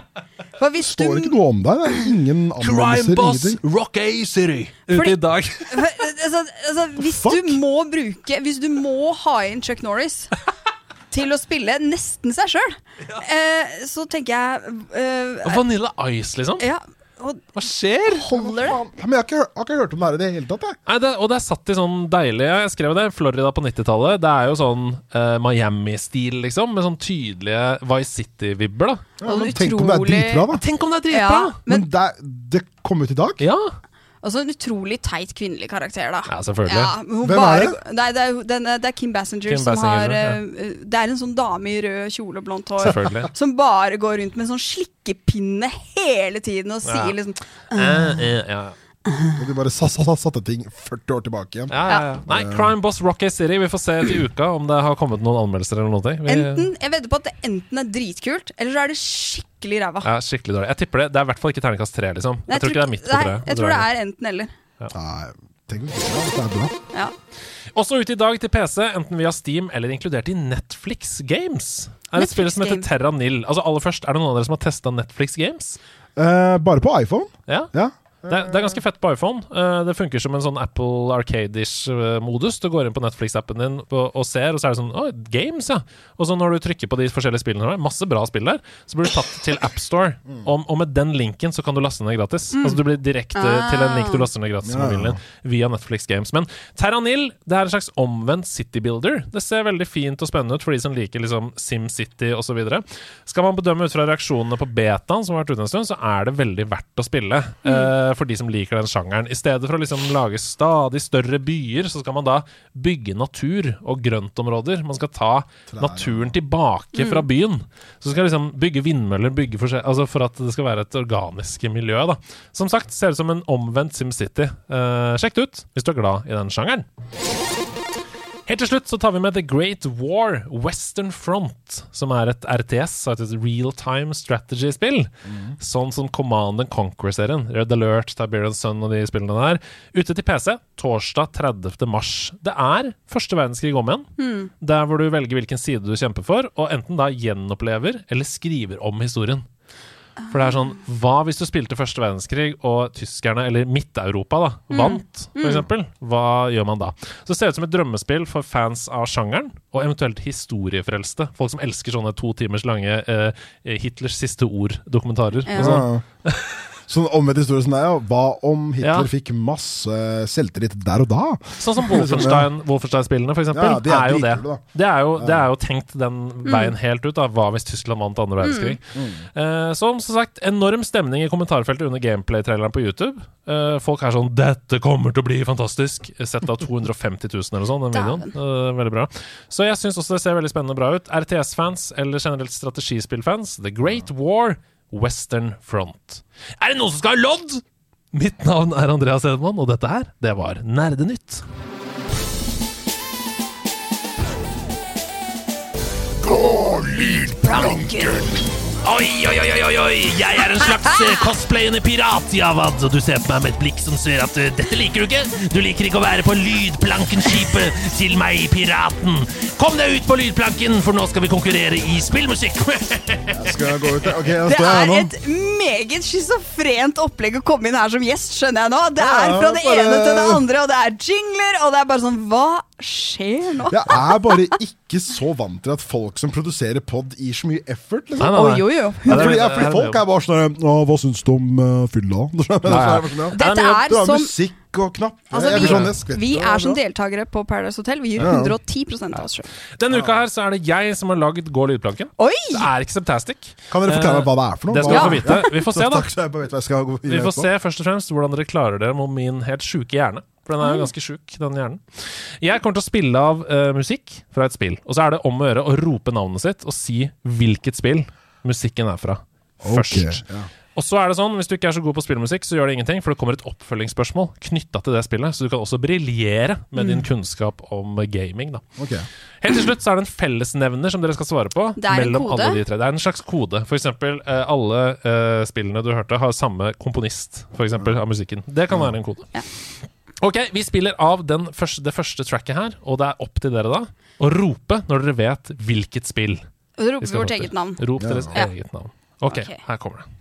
For hvis Det var du ikke noe om deg. Det er ingen anmeldelser. ingenting. Rock A City. Ute fordi- i dag. For, altså, altså, hvis Fuck. du må bruke Hvis du må ha inn Chuck Norris til å spille nesten seg sjøl, eh, så tenker jeg eh, Vanilla Ice, liksom. Ja, og Hva skjer? holder det? Ja, men jeg har, ikke, jeg har ikke hørt om det her i det hele tatt. Jeg. Nei, det, og det er satt i sånn deilig Jeg skrev det, Florida på 90-tallet. Det er jo sånn eh, Miami-stil, liksom. Med sånn tydelige Vice City-vibber, da. Ja, men tenk om det er Utrolig- dritbra, da. Tenk om det er Ja, dritbra! Men, men det, er- det kom ut i dag? Ja. altså en utrolig teit kvinnelig karakter, da. ja, selvfølgelig. Ja, men hun Hvem er bare, det? Nei, det, er, jo- den, er- det er Kim Bassinger Kim som Basinger, har eh, ja. Det er en sånn dame i rød kjole og blondt hår [LAUGHS] Selvfølgelig. som bare går rundt med en sånn slikkepinne hele tiden og Ja. sier liksom Eh, eh, ja. Og de bare sa- sa- sa- satte ting 40 år tilbake igjen. Ja, ja, ja. Nei, Crime Boss Rocky City. Vi får se til uka om det har kommet noen anmeldelser eller noe. Vi, Enten, jeg vedder på at det enten er dritkult, eller så er det skikkelig ræva. ja, skikkelig dårlig. Jeg tipper det. Det er i hvert fall ikke terningkast tre, liksom. Nei, Jeg tror ikke det er midt på Nei, treet. jeg tror det er enten eller. Nei, tenk om det er bra. Det er bra. Ja. Også ute i dag til PC, enten via Steam eller inkludert i Netflix Games. Er et Netflix spill som heter Game. Terra Nil. Altså aller først, Er det noen av dere som har testa Netflix Games? Eh, bare på iPhone. Ja? Ja. Det, er- det er ganske fett på iPhone. Eh, det funker som en sånn Apple Arcade-ish eh, modus. Du går inn på Netflix-appen din og, og ser, og så er det sånn Å, games, ja. Og så når du trykker på de forskjellige spillene, det er masse bra spill der, så blir du tatt til AppStore. Og, og med den linken så kan du laste ned gratis. Altså du blir direkte til en link du laster ned gratis på Ja. mobilen din via Netflix Games. Men Terranil det er en slags omvendt City Builder. Det ser veldig fint og spennende ut for de som liker liksom SimCity osv. Skal man bedømme ut fra reaksjonene på betaen, som har vært ute en stund, så er det veldig verdt å spille eh, for de som liker den sjangeren. I stedet for å liksom lage stadig større byer, så skal man da bygge natur og grøntområder. Man skal ta naturen tilbake fra byen. Så skal liksom bygge vindmøller bygge for, seg, altså for at det skal være et organisk miljø. Da. Som sagt, ser ut som en omvendt SimCity. Eh, sjekk det ut hvis du er glad i den sjangeren. Helt til slutt så tar vi med The Great War, Western Front, som er et RTS, altså et real time strategy-spill. Sånn som Command and Conquer-serien. Red Alert, Tiberian Sun og de spillene der. Ute til PC torsdag 30. mars. Det er første verdenskrig om igjen. Der hvor du velger hvilken side du kjemper for, og enten da gjenopplever eller skriver om historien. For det er sånn, Hva hvis du spilte første verdenskrig og tyskerne, eller Midt-Europa, da, vant? For eksempel, hva gjør man da? Så Det ser ut som et drømmespill for fans av sjangeren, og eventuelt historiefrelste. Folk som elsker sånne to timers lange eh, Hitlers siste ord-dokumentarer. og sånn. Ja. Sånn omvendt historie som det er, ja. Hva om Hitler Ja. fikk masse selvtillit der og da? Sånn som Wolfenstein- Wolfenstein-spillene, for eksempel. Ja, de er er jo det. dritkule, da. Det er, jo, det er jo tenkt den veien helt ut. da Hva hvis Tyskland vant andre verdenskrig? Mm. Eh, som som sagt, enorm stemning i kommentarfeltet under gameplay-traileren på YouTube. Eh, folk er sånn 'Dette kommer til å bli fantastisk!' Sett av 250 000 eller sånn, den videoen. Eh, veldig bra. Så jeg syns også det ser veldig spennende bra ut. RTS-fans eller generelt strategispillfans, The Great War, Western Front. Er det noen som skal ha lodd?! Mitt navn er Andreas Hedman, og dette her, det var Nerdenytt. Oi, oi, oi, oi, oi, oi, jeg er en slags eh, cosplayende pirat, Javad, og du ser på meg med et blikk som sier at eh, dette liker du ikke. Du liker ikke å være på lydplankenskipet til meg, piraten. Kom deg ut på lydplanken, for nå skal vi konkurrere i spillmusikk. [LAUGHS] Skal jeg gå ut der? Ok, da Det står jeg her er nå. et meget schizofrent opplegg å komme inn her som gjest, skjønner jeg nå. Det er Ja, fra det bare- ene til det andre, og det er jingler, og det er bare sånn Hva skjer nå? Jeg er bare ikke så vant til at folk som produserer pod, gir så mye effort. liksom. Å, jo, jo. Ja, fordi, ja, fordi folk er bare sånn «Å, Hva syns du om eh, fylla? [LAUGHS] Så er det sånn, ja. Dette er Du har som musikk og knapp. Altså, jeg vi- blir sånn, jeg skvetter, Vi det er som bra. deltakere på Paradise Hotel. Vi gir 110 av oss sjøl. Denne uka her så er det jeg som har lagd Gå lydplanken. Oi! Det er ikke Septastic. Kan dere forklare meg hva det er for noe? Det skal Hva- du få vite. Vi får se, da. Takk, så jeg bare vet hva jeg skal gå Vi får se først og fremst hvordan dere klarer dere med min helt sjuke hjerne. For den er jo ganske sjuk, den hjernen. Jeg kommer til å spille av eh, musikk fra et spill. Og så er det om å gjøre å rope navnet sitt og si hvilket spill musikken er fra. Først. ja. Og så er det sånn, Hvis du ikke er så god på spillmusikk, så gjør det ingenting, for det kommer et oppfølgingsspørsmål knytta til det spillet, så du kan også briljere med din kunnskap om gaming. da. Ok. Helt til slutt så er det en fellesnevner som dere skal svare på. Det er en mellom kode. alle de tre. Det er en slags kode. For eksempel, eh, alle eh, spillene du hørte, har samme komponist for eksempel, av musikken. Det kan være en kode. Ja. Ok, Vi spiller av den første, det første tracket her, og det er opp til dere da å rope når dere vet hvilket spill. Og så roper vi vi skal vårt rope. eget navn. Rop Ja. deres Ja. eget navn. Ok, Ok. her kommer det.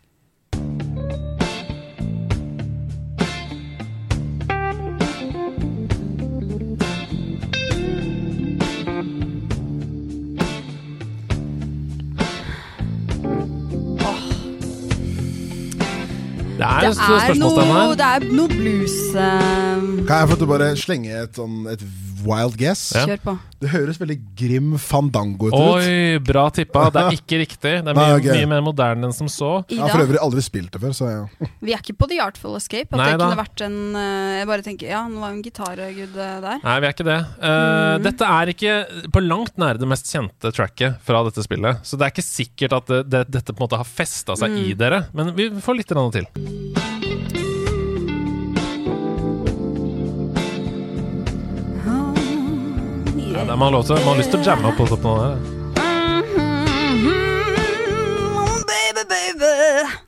Det er, Det jo store er spørsmålstegn noe, her. det er noe blues eh, Kan jeg få til å bare slenge et, sånn, et wild guess? Ja. Kjør på. Det høres veldig Grim Fandango ut. Oi, bra tippa. [LAUGHS] Det er ikke riktig. Det er mye, Nei, ok. mye mer moderne enn som så. Jeg har for Ida, øvrig aldri spilt det før, så ja. vi er ikke på The Artful Escape. At Nei det da. kunne vært en eh, Jeg bare tenker, ja, nå var jo en gitargud eh, der. Nei, vi er ikke det. Eh, Dette er ikke på langt nære det mest kjente tracket fra dette spillet. Så det er ikke sikkert at det, det, dette på en måte har festa seg i dere. Men vi får litt grann til. Ja, det er man, har lov til, man har lyst til å jamme på toppen av det. her. Mhm, Baby, baby.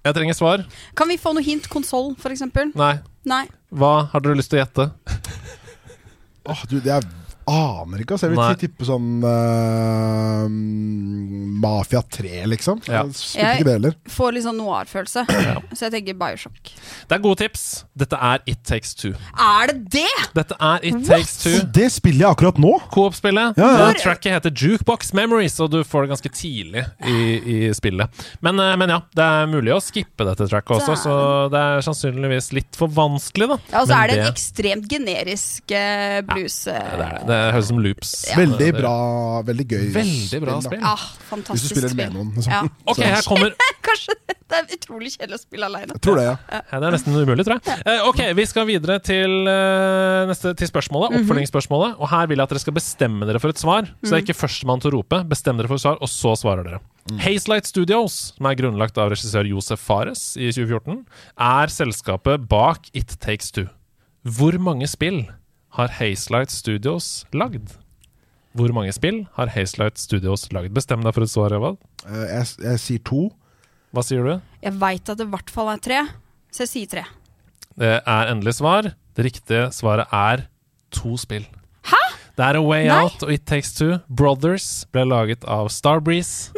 Jeg trenger svar. Kan vi få noe hint? Konsoll, f.eks.? Nei. Nei. Hva har dere lyst til å gjette? Åh, du, det jeg aner ikke. Altså. Jeg vil Nei. ti- tippe sånn eh, Mafia 3, liksom. Ja. Jeg spilte ikke det heller. Får litt sånn noir-følelse. Så jeg tenker Bioshock. Det er gode tips. Dette er It Takes Two. Er det det?! Dette er It Takes Two. Det spiller jeg akkurat nå! Coop-spillet. Ja, ja. Eh, Tracket heter Jukebox Memories, og du får det ganske tidlig i, i spillet. Men, eh, men ja, det er mulig å skippe dette tracket også, Dæven. så det er sannsynligvis litt for vanskelig, da. Ja, og så Men Altså, er det en ekstremt generisk eh, blues. det, er eh, det. det høres ut som loops. Veldig bra, veldig gøy. Veldig bra da. spill. Ja, Hvis du Ah, fantastisk spiller det med spill. noen. Liksom. Ja. Ok, her kommer [LAUGHS] Kanskje det er utrolig kjedelig å spille aleine. Jeg tror det, ja. Ja, Det er nesten umulig, tror jeg. Eh, ok, Vi skal videre til, eh, neste, til spørsmålet, oppfølgingsspørsmålet. Og Her vil jeg at dere skal bestemme dere for et svar. Så det er ikke førstemann til å rope. Bestem dere for et svar, og så svarer dere. Hazelight Studios, som er grunnlagt av regissør Josef Fares i 2014, er selskapet bak It Takes Two. Hvor mange spill har Hazelight Studios lagd? Hvor mange spill har Hazelight Studios lagd? Bestem deg for et svar, Evald. Eh, Jeg, jeg sier to. Hva sier du? Jeg veit at det i hvert fall er tre, så jeg sier tre. Det er endelig svar. Det riktige svaret er to spill. Hæ? Det er A Way Nei. Out og It Takes Two. Brothers ble laget av Starbreeze.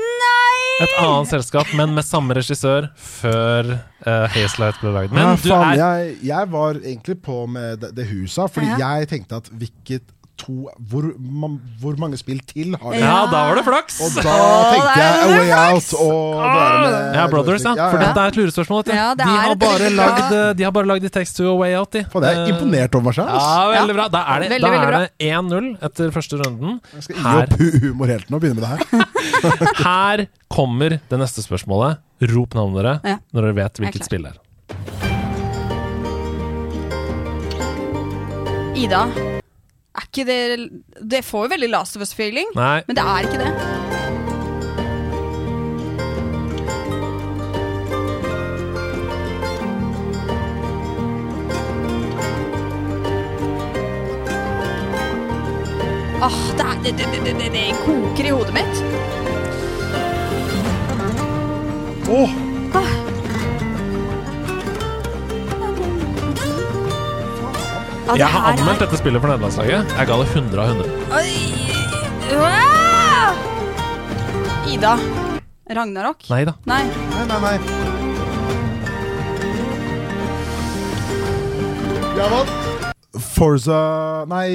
Et annet selskap, men med samme regissør, før uh, Hazelight ble laget. Men Ja, du faen, er jeg, jeg var egentlig på med det, det huset, her, fordi Ja. jeg tenkte at hvilket to hvor, man, hvor mange spill til har de? Ja, da var det flaks! Og da tenkte jeg A Way Out og bare med Ja, Brothers, ja. For dette er et lurespørsmål. vet du. Ja, det de, er har et bare veldig bra- lagd, eh, de har bare lagd It Takes Two og Way Out, de. Faen, jeg Eh, er imponert over meg selv. Ja, ass. veldig bra. Da er det, Veldig, da er veldig bra. det 1-0 etter første runden. Jeg skal gi opp hu- humorhelten og begynne med det her. Her kommer det neste spørsmålet. Rop navnet dere Ja. når dere vet Jeg er hvilket klar. spill det er. Ida, er ikke det Det får jo veldig Last of Us-feeling, Nei, men det er ikke det. Åh, det, er, det, det, det, det, det koker i hodet mitt. Åh, Ja, det jeg har her er- anmeldt dette spillet for nederlandslaget. Jeg ga det 100 av 100. Oi. Uah! Ida. Ragnarok? Nei da. Nei. nei, nei, nei. Ja, hva? Forza Nei,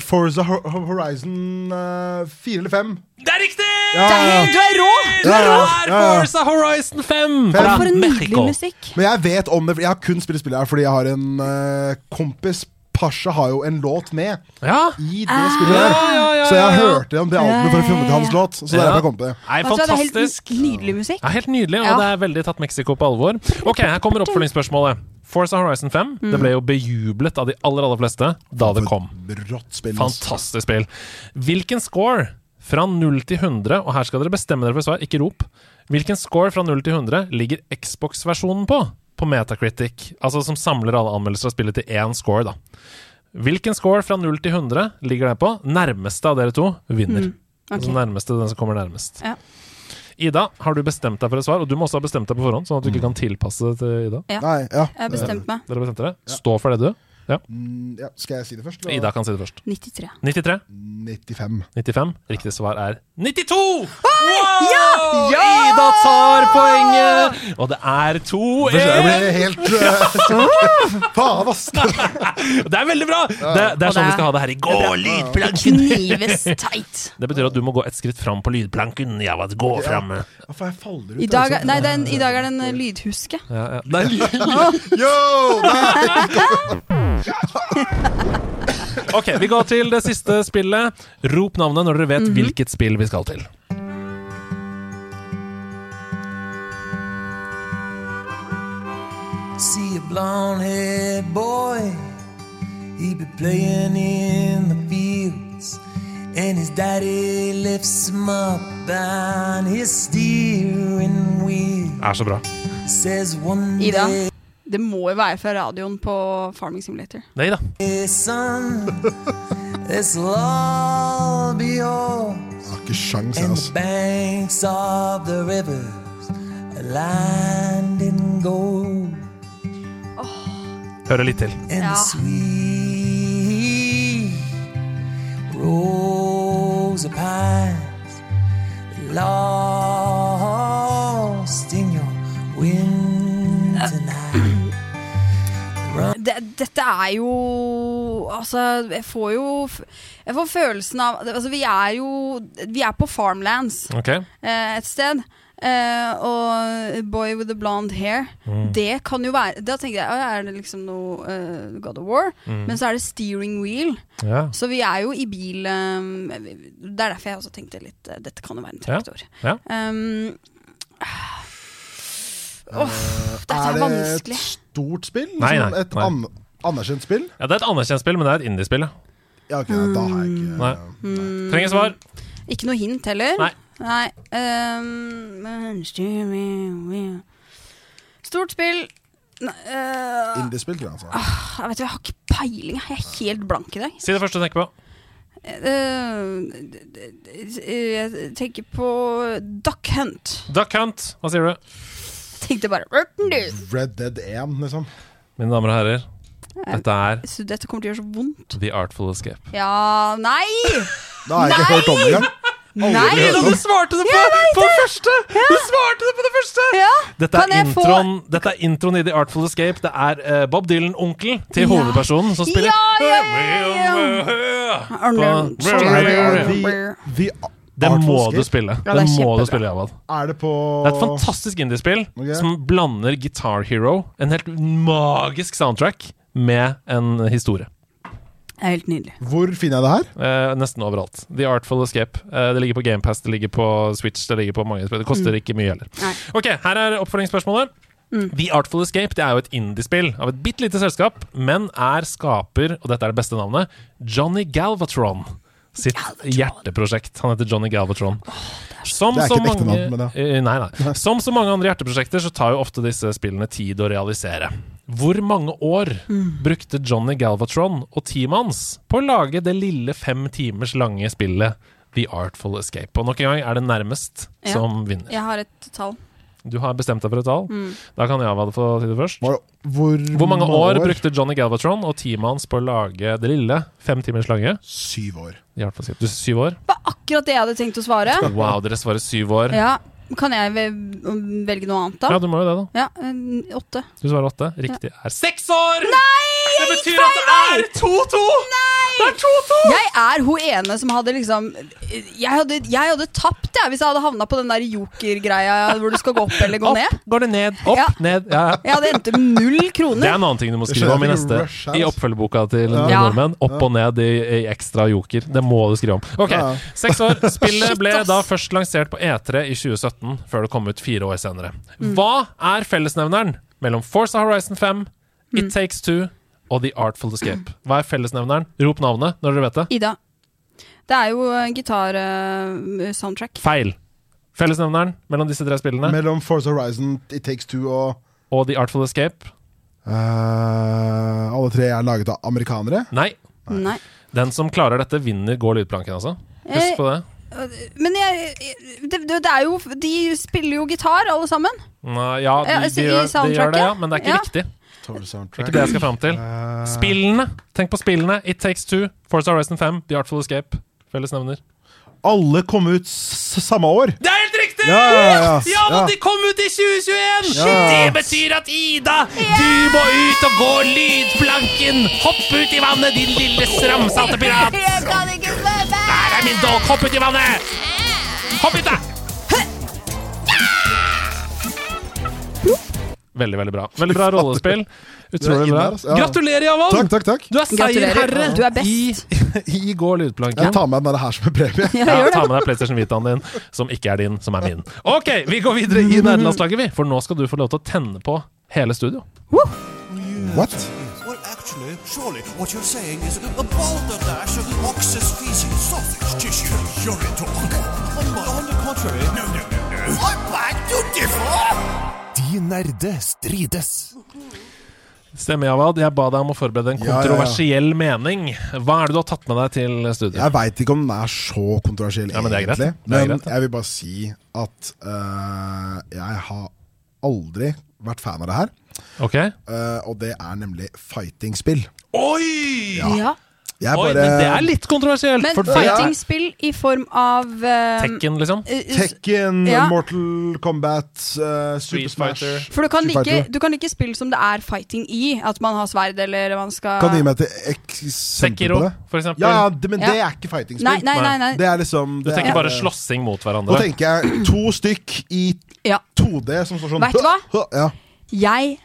Forza Ho- Ho- Horizon 4 eller 5. Det er riktig! Ja, ja, Du er rå! Det Ja, ja, er ja, ja. Forza Horizon 5 fra For en nydelig Mexico. musikk. Men jeg vet om det, for jeg har kun spilt spillet her fordi jeg har en eh, kompis. Pasha har jo en låt med Ja. i det spillet Ja, der. ja, ja, Så jeg ja, ja. hørte om det albumet for å finne til hans låt. Så det er Ja. derfor jeg kom på det. Nei, Vet du hva, det er helt fantastisk. Nydelig musikk. Ja, helt nydelig, og Ja. det er veldig tatt Mexico på alvor. Ok, her kommer oppfølgingsspørsmålet. Forza Horizon 5 Mm. Det ble jo bejublet av de aller aller fleste da det kom. Rått altså. spill. ass. Fantastisk spill. Hvilken score fra 0 til 100 Og her skal dere bestemme dere for svar, ikke rop. Hvilken score fra 0 til 100 ligger Xbox-versjonen på på Metacritic? Altså som samler alle anmeldelser av spillet til én score, da. Hvilken score fra 0 til 100 ligger den på? Nærmeste av dere to Mm. vinner. Altså nærmeste den som kommer nærmest. Ja. Ida, har du bestemt deg for et svar? Og du må også ha bestemt deg på forhånd, sånn at du ikke kan tilpasse det til Ida. Nei, ja. Jeg har bestemt meg. Dere bestemte dere? Stå for det, du. Mm, ja. Skal jeg si det først? eller? Ida kan si det først. 93. 93? 95. 95. Riktig svar er 92! Wow! Ida tar poenget! Og det er Jeg 2-1! ble helt eh, Faen, ass! [LAUGHS] Det er veldig bra! Det, det er sånn vi skal ha det her i går. Lydplanken! Knives tight. Det betyr at du må gå ett skritt fram på lydplanken. Ja, hva, gå fram. Hvorfor jeg faller ut? I dag, er- altså? nei, det er en, i dag er det en eh, lydhuske. Ja, [LAUGHS] ja. Det er lyd. Yo! Nei! Ok, vi går til det siste spillet. Rop navnet når dere vet hvilket spill vi skal til. See a blonde haired boy. He be playing in the fields. And his daddy lifts him up on his steering wheel. Er så bra. Says one Ida, day, det må jo være fra radioen på Farming Simulator. Nei da. son, this'll all be yours. Jeg har ikke sjans, jeg, And ass. the banks of the rivers are lined in gold. Hører litt til. and the Ja. sweet rose of pines lost in your wind tonight. Det, dette er jo Altså, jeg får jo f- Jeg får følelsen av Altså, vi er jo Vi er på farmlands Ok. eh, et sted. Eh, og Boy with the blonde hair. Mm. Det kan jo være Da tenkte jeg «Å, er det liksom noe eh, God of War? Mm. Men så er det steering wheel. Ja. Så vi er jo i bil um, Det er derfor jeg også tenkte litt eh, Dette kan jo være en Ja, traktor. ja. Um, Eh, Åh, dette er, det et vanskelig. stort spill? Nei, Liksom nei, et nei. an anerkjent spill? ja, det er et anerkjent spill, men det er et indiespill. ja. Ja, ok, da har jeg ikke Nei. Trenger svar. Hmm. Ikke noe hint heller. Nei. um, men steering wheel. Stort spill Nei, eh, Indiespill, tror jeg. Altså. jeg vet du, jeg har ikke peiling. Jeg er helt blank i dag. Si det første du tenker på. Eh, d- d- d- jeg tenker på Duck Hunt. Duck Hunt, hva sier du? Jeg tenkte bare Rotten Goose. Red Dead 1, liksom. Mine damer og herrer, dette er Så dette kommer til å gjøre så vondt. The Artful Escape. Ja [LAUGHS] Nei! Da har jeg ikke hørt om det engang. Nei! du svarte det på, på det første! Du svarte det på det første! Ja. Dette Kan er, jeg få- introen, dette er introen i The Artful Escape. Det er eh, Bob Dylan, onkel til hovedpersonen, som spiller Ja, ja, The Det Artful må du Escape. spille. Ja, det må det er du kjempebra. spille, Javad. Er det på Det er et fantastisk indiespill Ok. som blander Guitar Hero, en helt magisk soundtrack, med en historie. Det er helt nydelig. Hvor finner jeg det her? Eh, nesten overalt. The Artful Escape. Eh, det ligger på GamePass, det ligger på Switch, det ligger på mange spill. Det koster ikke mye heller. Nei. Ok, her er oppfølgingsspørsmålet. The Artful Escape det er jo et indiespill av et bitte lite selskap, men er skaper, og dette er det beste navnet, Johnny Galvatron sitt hjerteprosjekt. Han heter Johnny Galvatron. Som Det er så ikke et ekte mange- navn, men ja. Eh, Nei, nei. Som så mange andre hjerteprosjekter så tar jo ofte disse spillene tid å realisere. Hvor mange år Mm. brukte Johnny Galvatron og teamet hans på å lage det lille fem timers lange spillet The Artful Escape? Og nok en gang er det nærmest Ja. som vinner. Jeg har et tall. Du har bestemt deg for et tall. Mm. Da kan Java få si det først. Hvor, hvor, Hvor mange år brukte Johnny Galvatron og teamet hans på å lage det lille fem timers lange Syv år. The Artful Escape? Du syv år? Det var akkurat det jeg hadde tenkt å svare. Wow, dere svarer syv år. Ja. Kan jeg ve- velge noe annet, Ja, da? du må jo det, da. Ja, en åtte. Du svarer åtte. Riktig er seks år! Nei! Det betyr at det er 2-2! Det er 2-2! Jeg er hun ene som hadde liksom Jeg hadde, jeg hadde tapt, jeg, hvis jeg hadde havna på den der jokergreia hvor du skal gå opp eller gå ned. Opp, går det ned. Opp, Ja. ned. Ja, ja. Jeg hadde endt med null Det er kroner. en annen ting du må skrive skjønner om i ikke neste rush her, I altså. oppfølgerboka til Ja. nordmenn. Opp og ned i, i ekstra joker. Det må du skrive om. Ok, Ja. Seks år. [LAUGHS] Spillet Shit, ble ass. da først lansert på E3 i Mm. 2017, før det kom ut fire år senere. Hva er fellesnevneren mellom Forza Horizon 5, Mm. It Takes Two og The Artful Escape. Hva er fellesnevneren? Rop navnet når dere vet det. Ida. Det er jo eh, gitar-soundtrack. Feil. Fellesnevneren mellom disse tre spillene Mellom Force Horizon, It Takes Two og og The Artful Escape? eh, Alle tre er laget av amerikanere. Nei. Nei. Den som klarer dette, vinner går lydplanken, altså. Eh. Husk på det. Men jeg, jeg- det, det er jo De spiller jo gitar, alle sammen. Nei, ja, de, Ja, de, altså, gjør, i de gjør det, soundtracket? ja, men det er ikke Ja. riktig. Det Total er soundtrack. ikke det jeg skal fram til. Eh, Spillene! Tenk på spillene. It Takes Two, Forza Horizon 5, The Artful Escape. Fellesnevner. alle kom ut s samme år. Det er helt riktig! Ja, ja, ja. Ja. men de kom ut i 2021! Ja. Det betyr at Ida, du må ut og gå lydplanken! Hopp ut i vannet, din lille stramsatte pirat! Jeg kan ikke svømme! Der er min dog! Hopp ut i vannet! Hopp ut, da! Veldig, veldig bra. Veldig bra rollespill. Utrolig bra. [LAUGHS] Du er inn her, altså. Ja. Gratulerer, Javan! Takk, takk, takk. Du er seierherre Gratulerer. Du er best. i, [LAUGHS] i Gå lydplanken. Jeg tar med denne her som en premie. Ja, Ja, gjør ta det. med deg PlayStation Vitaen din, som ikke er din, som er min. Ok, vi går videre i nederlandslaget, vi. For nå skal du få lov til å tenne på hele studio. What? Well, actually, surely what you're saying is a balderdash of oxus, feces, sausage tissue, urine talk. On, the- on the contrary, no, no, no, no. I beg to differ! De nerde strides. Stemmer, Javad. Jeg ba deg om å forberede en Ja, ja, ja. kontroversiell mening. Hva er det du har tatt med deg til studio? Jeg veit ikke om den er så kontroversiell, Ja, men det er greit. egentlig. Det er men greit, jeg vil bare si at eh, jeg har aldri vært fan av det her. Ok? eh, og det er nemlig fighting-spill. Oi! Ja. Jeg Oi, bare- men det er litt kontroversielt. Men for fighting-spill i form av eh, Tekken, liksom. eh, Tekken, Ja. Mortal Kombat, eh, Super Street Smash Fighter. For du kan, Street like, Fighter. du kan like spill som det er fighting i. At man har sverd eller man skal Kan du gi meg et eksempel Sekiro, på det? for eksempel. Ja, ja, det, men det Ja. er ikke Nei, fighting-spill. nei, nei. nei. Det er liksom Du det tenker er- bare slåssing mot Nå hverandre. tenker jeg to stykk i Ja. 2D som står sånn Vet du hva? [LAUGHS] Ja. Jeg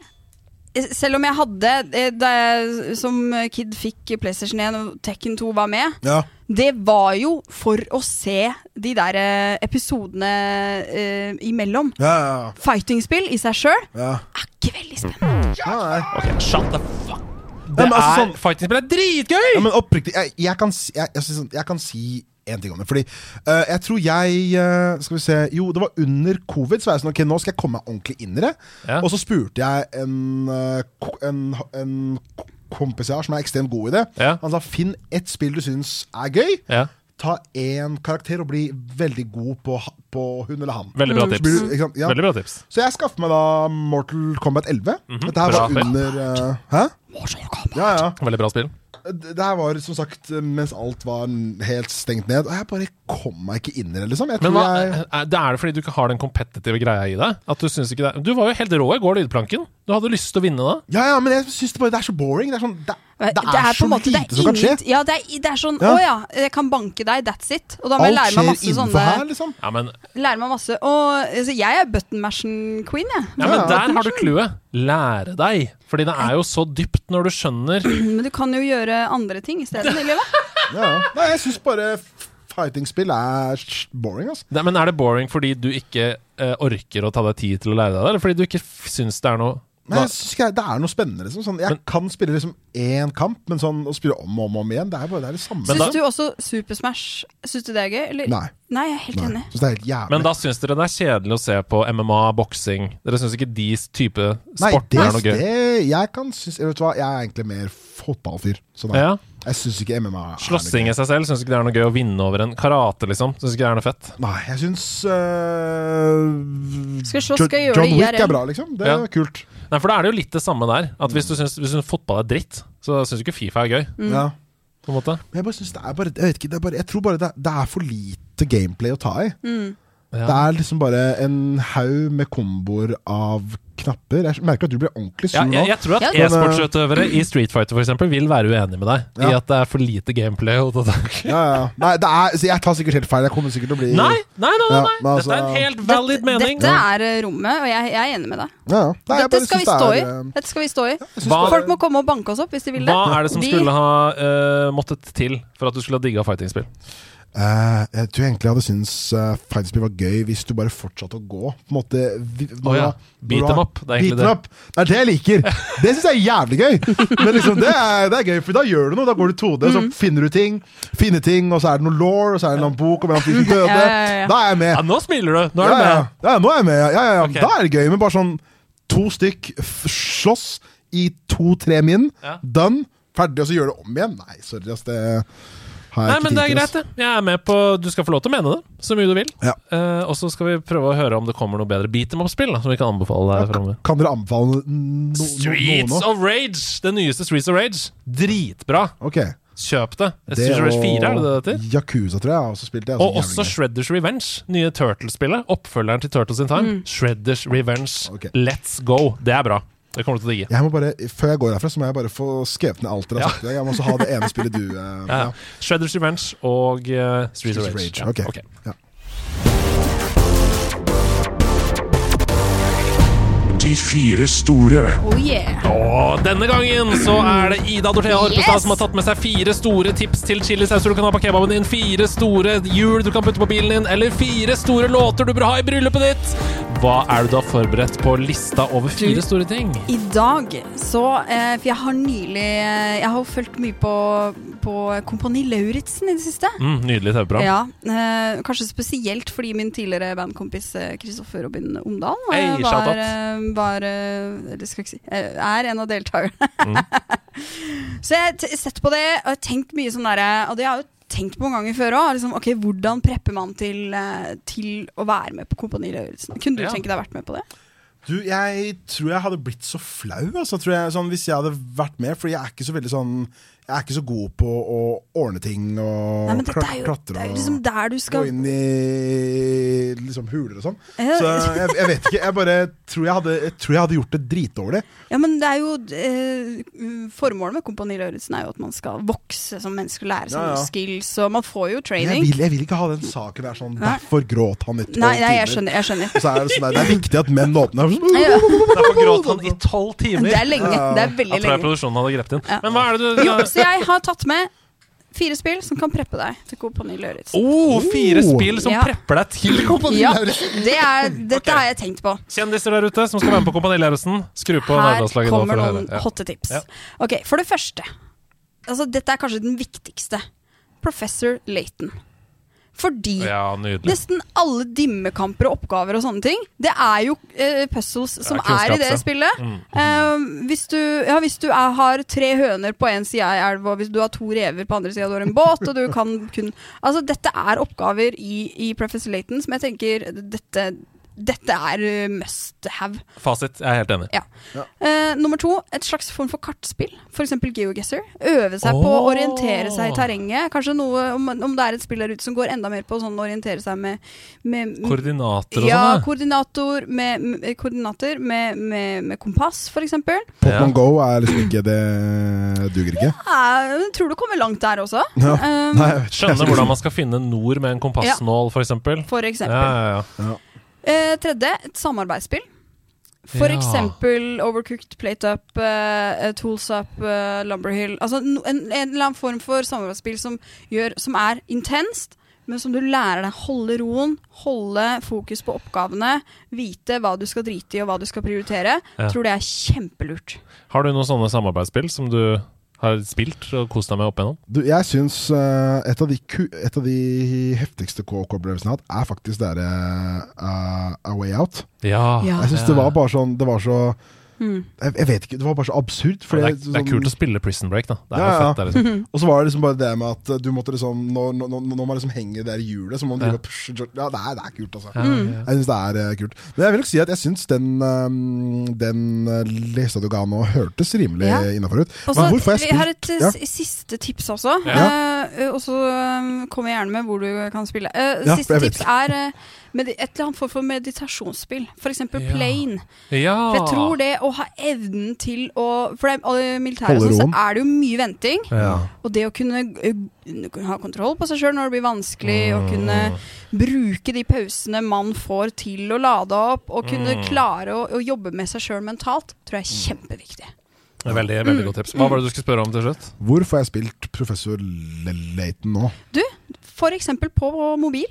selv om jeg hadde, eh, da jeg som kid fikk PlayStation 1 og Tekken 2 var med, ja. det var jo for å se de der eh, episodene eh, imellom. Ja, ja, Fighting-spill i seg sjøl ja. er ikke veldig spennende. ja nei. Ok, shut the fuck. Det Ja, men altså er, sånn- Fighting-spill er dritgøy! Ja, men oppriktig, jeg, jeg kan si, jeg, jeg, synes sånn- jeg kan si en ting om det. Fordi eh, jeg tror jeg eh, Skal vi se Jo, det var under covid. Så var jeg sånn, ok, nå skal jeg komme meg ordentlig inn i det. Ja. Og så spurte jeg en, eh, ko- en, en ko- kompis jeg har, som er ekstremt god i det. Ja. Han sa finn ett spill du syns er gøy. Ja, Ta én karakter og bli veldig god på, ha- på hun eller han. veldig bra Så blir tips. du- ikke sant? Ja. Veldig bra tips. Så jeg skaffet meg da Mortal Kombat 11. Dette Bra her var spill. under eh, Hæ? Ja, ja. Veldig bra spill. Det her var som sagt mens alt var n- helt stengt ned. Og jeg bare kom meg ikke inn i det, liksom. Jeg tror Men hva, jeg er det er det fordi du ikke har den kompetitive greia i deg? At Du synes ikke det Du var jo helt rå i går, lydplanken. Du hadde lyst til å vinne da. Ja, ja, men jeg syns det bare det er så boring. Det er, sånn, det, det er, så lite det er som kan skje. ingen- Ja, det er, det er sånn Å Ja. ja, jeg kan banke deg, that's it. Og da må jeg Alt lære meg skjer masse innenfor sånne her, liksom. Ja, men, Lære meg masse Og altså, jeg er button mashing queen, jeg. ja, men der har du clouet. Lære deg. Fordi det er jo så dypt når du skjønner Men du kan jo gjøre andre ting [LAUGHS] isteden i livet. Ja, ja. Nei, jeg syns bare f- fighting-spill er s- boring, altså. Nei, men Er det boring fordi du ikke eh, orker å ta deg tid til å lære deg det, eller fordi du ikke f- syns det er noe Nei, jeg synes ikke, det er noe spennende, liksom. Sånn, jeg kan spille liksom én kamp, men sånn å spille om og om, og om igjen, det er bare det, er det samme. Men da- Syns du også Super Smash Syns du det er gøy? Eller? Nei. jeg er helt Nei, enig. jeg synes det er helt jævlig. Men da syns dere det er kjedelig å se på MMA, boksing Dere syns ikke de type sporten Nei, er noe det, gøy? det, jeg kan synes Vet du hva, jeg er egentlig mer fotballfyr. Så nei, Ja. jeg syns ikke MMA er noe gøy. Slåssing i seg selv syns ikke det er noe gøy å vinne over en karate, liksom. Syns ikke det er noe fett. Nei, jeg syns øh, Skal jeg slåss, John, skal jeg gjøre John det Wick IRL? er bra, liksom. Det er Ja. kult. Nei, for da er det jo litt det samme der. At Mm. hvis du syns, hvis du syns fotball er dritt, så syns du ikke Fifa er gøy. Mm. Ja. På en måte. Men jeg bare synes det er bare Jeg vet ikke, det er bare, jeg tror bare det er, det er for lite gameplay å ta i. Mm. Ja. Det er liksom bare en haug med komboer av knapper. Jeg merker at du blir ordentlig sur Ja, nå. jeg, jeg tror at Ja. e-sportsutøvere i Street Fighter for eksempel, vil være uenig med deg i Ja. at det er for lite gameplay. Og det [LAUGHS] der. Ja, ja. Nei, det er, så jeg tar sikkert helt feil. Jeg kommer sikkert til å bli Nei, nei, nei! nei, Ja, nei. men Dette er en altså- helt valid mening. Dette er eh, rommet, og jeg, jeg er enig med deg. Ja, ja. Nei, jeg Dette bare skal vi synes det stå i. er, øh, Dette skal vi stå i. jeg synes Hva- bare- Folk må komme og banke oss opp hvis de vil det. Hva er det som Vi- skulle ha eh, måttet til for at du skulle ha digga fightingspill? Eh, jeg tror egentlig jeg hadde syntes uh, Fighterspill var gøy hvis du bare fortsatte å gå. På en måte vi- når Å ja, du har- beat når du 'em har- up, det er egentlig beat 'em det. up. Det er det jeg liker! Det syns jeg er jævlig gøy! Men liksom, det, er, det er gøy, for da gjør du noe. Da går du 2D, så Mm. finner du ting, finner ting, og så er det noe law, og så er det en eller annen bok om en fyr som døde. Ja, ja, ja. Da er jeg med! Ja, nå smiler du! Nå Ja, er du ja, med. ja, nå er jeg med. Ja, ja, ja. Ok. Da er det gøy, men bare sånn to stykk f- slåss i to-tre min. Ja. Done. Ferdig, og så gjør det om igjen. Nei, sorry, ass. Det har jeg Nei, ikke men tid det er til, ass. greit, det. Jeg er med på Du skal få lov til å mene det så mye du vil. Ja. Eh, og så skal vi prøve å høre om det kommer noe bedre beat em up-spill da, som vi kan anbefale deg fremover. Kan dere anbefale no- no- noe Streets nå? of Rage! Det nyeste Streets of Rage. Dritbra! Ok. Kjøp det. Streets of Rage 4, er det det det heter? Yakuza, tror jeg. har Også spilt det. Og også Shredders Revenge. Nye Turtles-spillet. Oppfølgeren til Turtles in Time. Shredders Revenge. Ok. Let's go! Det er bra. Det kommer du til å digge. jeg må bare, Før jeg går herfra, så må jeg bare få skrevet ned alt dere har Ja. sagt. i dag. Jeg må også ha det ene [LAUGHS] spillet du eh, Ja. ja. Shredders Revenge og eh, Streets of Streets of Rage. Rage. Ok. ok. Ja. De fire store. Oh yeah. Og denne gangen så er det Ida Dorthea Horpestad Yes! som har tatt med seg fire store tips til chilisauser du kan ha på kebaben din, fire store hjul du kan putte på bilen din, eller fire store låter du bør ha i bryllupet ditt. Hva er du da forberedt på lista over Du- fire store ting? I dag så eh, For jeg har nylig eh, Jeg har jo fulgt mye på, på Kompani Lauritzen i det siste. Mm, nydelig TV-program. Ja, eh, Kanskje spesielt fordi min tidligere bandkompis eh, Kristoffer Robin Omdal eh, Hey, shout out. var, eh, var eh, Eller skal jeg ikke si eh, er en av deltakerne. [LAUGHS] Så jeg har sett på det og jeg har tenkt mye sånn derre Og det har jeg jo tenkt på mange ganger før òg. Liksom, ok, hvordan prepper man til, eh, til å være med på Kompani Lauritzen? Kunne du Ja. tenke deg vært med på det? Du, jeg tror jeg hadde blitt så flau altså, tror jeg, sånn, hvis jeg hadde vært med. Fordi jeg er ikke så veldig sånn Jeg er ikke så god på å ordne ting og Nei, men dette kla- er jo, klatre det er jo og liksom der du gå skal inn i liksom, huler og sånn. Ja. Så jeg, jeg vet ikke. Jeg bare tror jeg hadde, jeg tror jeg hadde gjort det dritdårlig. Ja, men det er jo eh, Formålet med Kompani Lauritzen er jo at man skal vokse som menneske og lære seg Ja, ja. noen skills, og man får jo Men training. Jeg vil, jeg vil ikke ha den saken der sånn Nei. Derfor gråt han i tolv Nei, nei, jeg timer." skjønner. jeg skjønner [LAUGHS] Og [LAUGHS] Så er det, sånn, der, det er viktig at menn åpner sånn, Ja, Derfor gråt han i tolv timer. Det er lenge. Det er Jeg veldig tror jeg lenge. produksjonen hadde grepet inn. Ja. Men hva er det du Jo, så jeg har tatt med fire spill som kan preppe deg til Kompani Lauritzen. Oh, fire Oh. spill som Ja. prepper deg til Kompani Ja, Lauritzen. det er, dette har jeg tenkt på. Kjendiser der ute som skal være med på Kompani Lauritzen, skru på Her Nerdelandslaget nå kommer for å noen høre. Ja. hotte tips. Ja. Ok, For det første altså Dette er kanskje den viktigste. Professor Layton. Fordi ja, nydelig. Nesten alle dimmekamper og oppgaver og sånne ting, det er jo eh, puzzles som Det er er, kunnskap, i det så. spillet. Mm. Eh, hvis du, ja, hvis du er, har tre høner på én side av ei elv, og hvis du har to rever på andre sida, du har en båt, og du kan kun Altså, dette er oppgaver i, i Professor Layton som jeg tenker dette, dette er eh, must have. Fasit. Jeg er helt enig. Ja. Eh, nummer to, et slags form for kartspill. F.eks. GeoGuessr. Øve seg på å Åh. orientere seg i terrenget. Kanskje noe, om, om det er et spill der ute som går enda mer på sånn å orientere seg med, med Koordinater og ja, sånn, da. koordinator med, med, koordinater med, med, med kompass, f.eks. Pokémon Go er liksom ikke Det duger ikke. Jeg Eh, tror du kommer langt der også. [LAUGHS] Ja. Um, Nei, jeg vet ikke. Skjønne hvordan man skal finne nord med en kompassnål, for eksempel. For eksempel. Ja, ja, ja. Eh, tredje, et samarbeidsspill. For Ja. eksempel Overcooked, Plate Up, eh, Tools Up, eh, Lumberhill. Altså no, en, en eller annen form for samarbeidsspill som, gjør, som er intenst, men som du lærer deg å holde roen, holde fokus på oppgavene, vite hva du skal drite i og hva du skal prioritere. Ja. Tror det er kjempelurt. Har du noen sånne samarbeidsspill som du har spilt og kost deg med opp igjennom? Du, jeg syns eh, et, av de ku- et av de heftigste KK-opplevelsene jeg har hatt, er faktisk det derre eh, A Way Out. Ja. Ja. Jeg syns det var bare sånn Det var så Mm. jeg, jeg vet ikke, det var bare så absurd. det, fordi er, det er kult altså. å sånn, spille Prison Break, da. Det er Ja, jo ja. fett. Det er [LAUGHS] liksom. og så var det liksom bare det med at eh, du måtte liksom Når, når, når man liksom henger der i hjulet, så må man Ja. drive og pushe Ja, det er, det er kult, altså. Ja, Mm. ja. Jeg syns det er eh, kult. Men jeg vil nok si at jeg syns den, eh, den eh, lista du ga nå, hørtes rimelig Ja. innenfor innafor ut. Og så- Men hvor får jeg Altså, Vi har spilt et eh, Ja. s- siste tips også. Ja. Eh, og så eh, kommer jeg gjerne med hvor du kan spille. Eh, Ja, siste jeg vet tips er eh, med et eller annet form for meditasjonsspill. F.eks. Ja. plane. ja. For jeg tror det å ha evnen til å For det er- og i militæret Holde og sånn, roen. så er det jo mye venting. Ja. Og det å kunne eh, ha kontroll på seg sjøl når det blir vanskelig, Mm. og kunne bruke de pausene man får til å lade opp, og kunne Mm. klare å, å jobbe med seg sjøl mentalt, tror jeg er kjempeviktig. Det er Veldig, veldig godt tips. Hva var det du skulle spørre om til slutt? Hvor får jeg spilt professor L- Layton nå? F.eks. på mobil.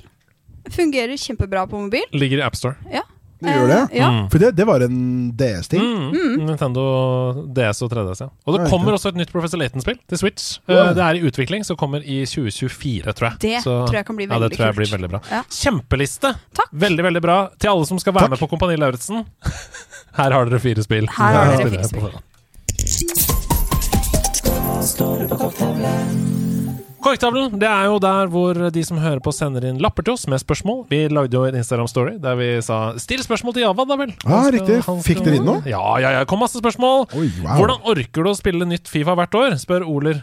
Fungerer kjempebra på mobil. Ligger i AppStore. Ja. Det gjør det? Eh, ja. Mm. For det, det var en DS-ting. Mm. Nintendo DS og 3DS. Ja. Og Ja, det riktig. kommer også et nytt Professor Layton-spill til Switch. Ja. Eh, Det er i utvikling, så kommer i 2024, tror jeg. Det så, tror jeg kan bli ja, veldig det tror jeg kult. blir veldig bra. Ja. Kjempeliste! Takk. Veldig, veldig bra. Til alle som skal være Takk. med på Kompani Lauritzen. [LAUGHS] Her har dere fire spill. Her har Ja. dere fire Spillere på spill. forhånd. Korktavlen det er jo der hvor de som hører på, sender inn lapper til oss med spørsmål. Vi lagde jo en Instagram-story der vi sa 'still spørsmål til Java', da vel. Ja, Han skal- Ah, riktig. han Fikk skal- dere inn noe? Ja, ja, ja. Kom masse spørsmål. Oi, wow. Hvordan orker du å spille nytt Fifa hvert år? spør Oler.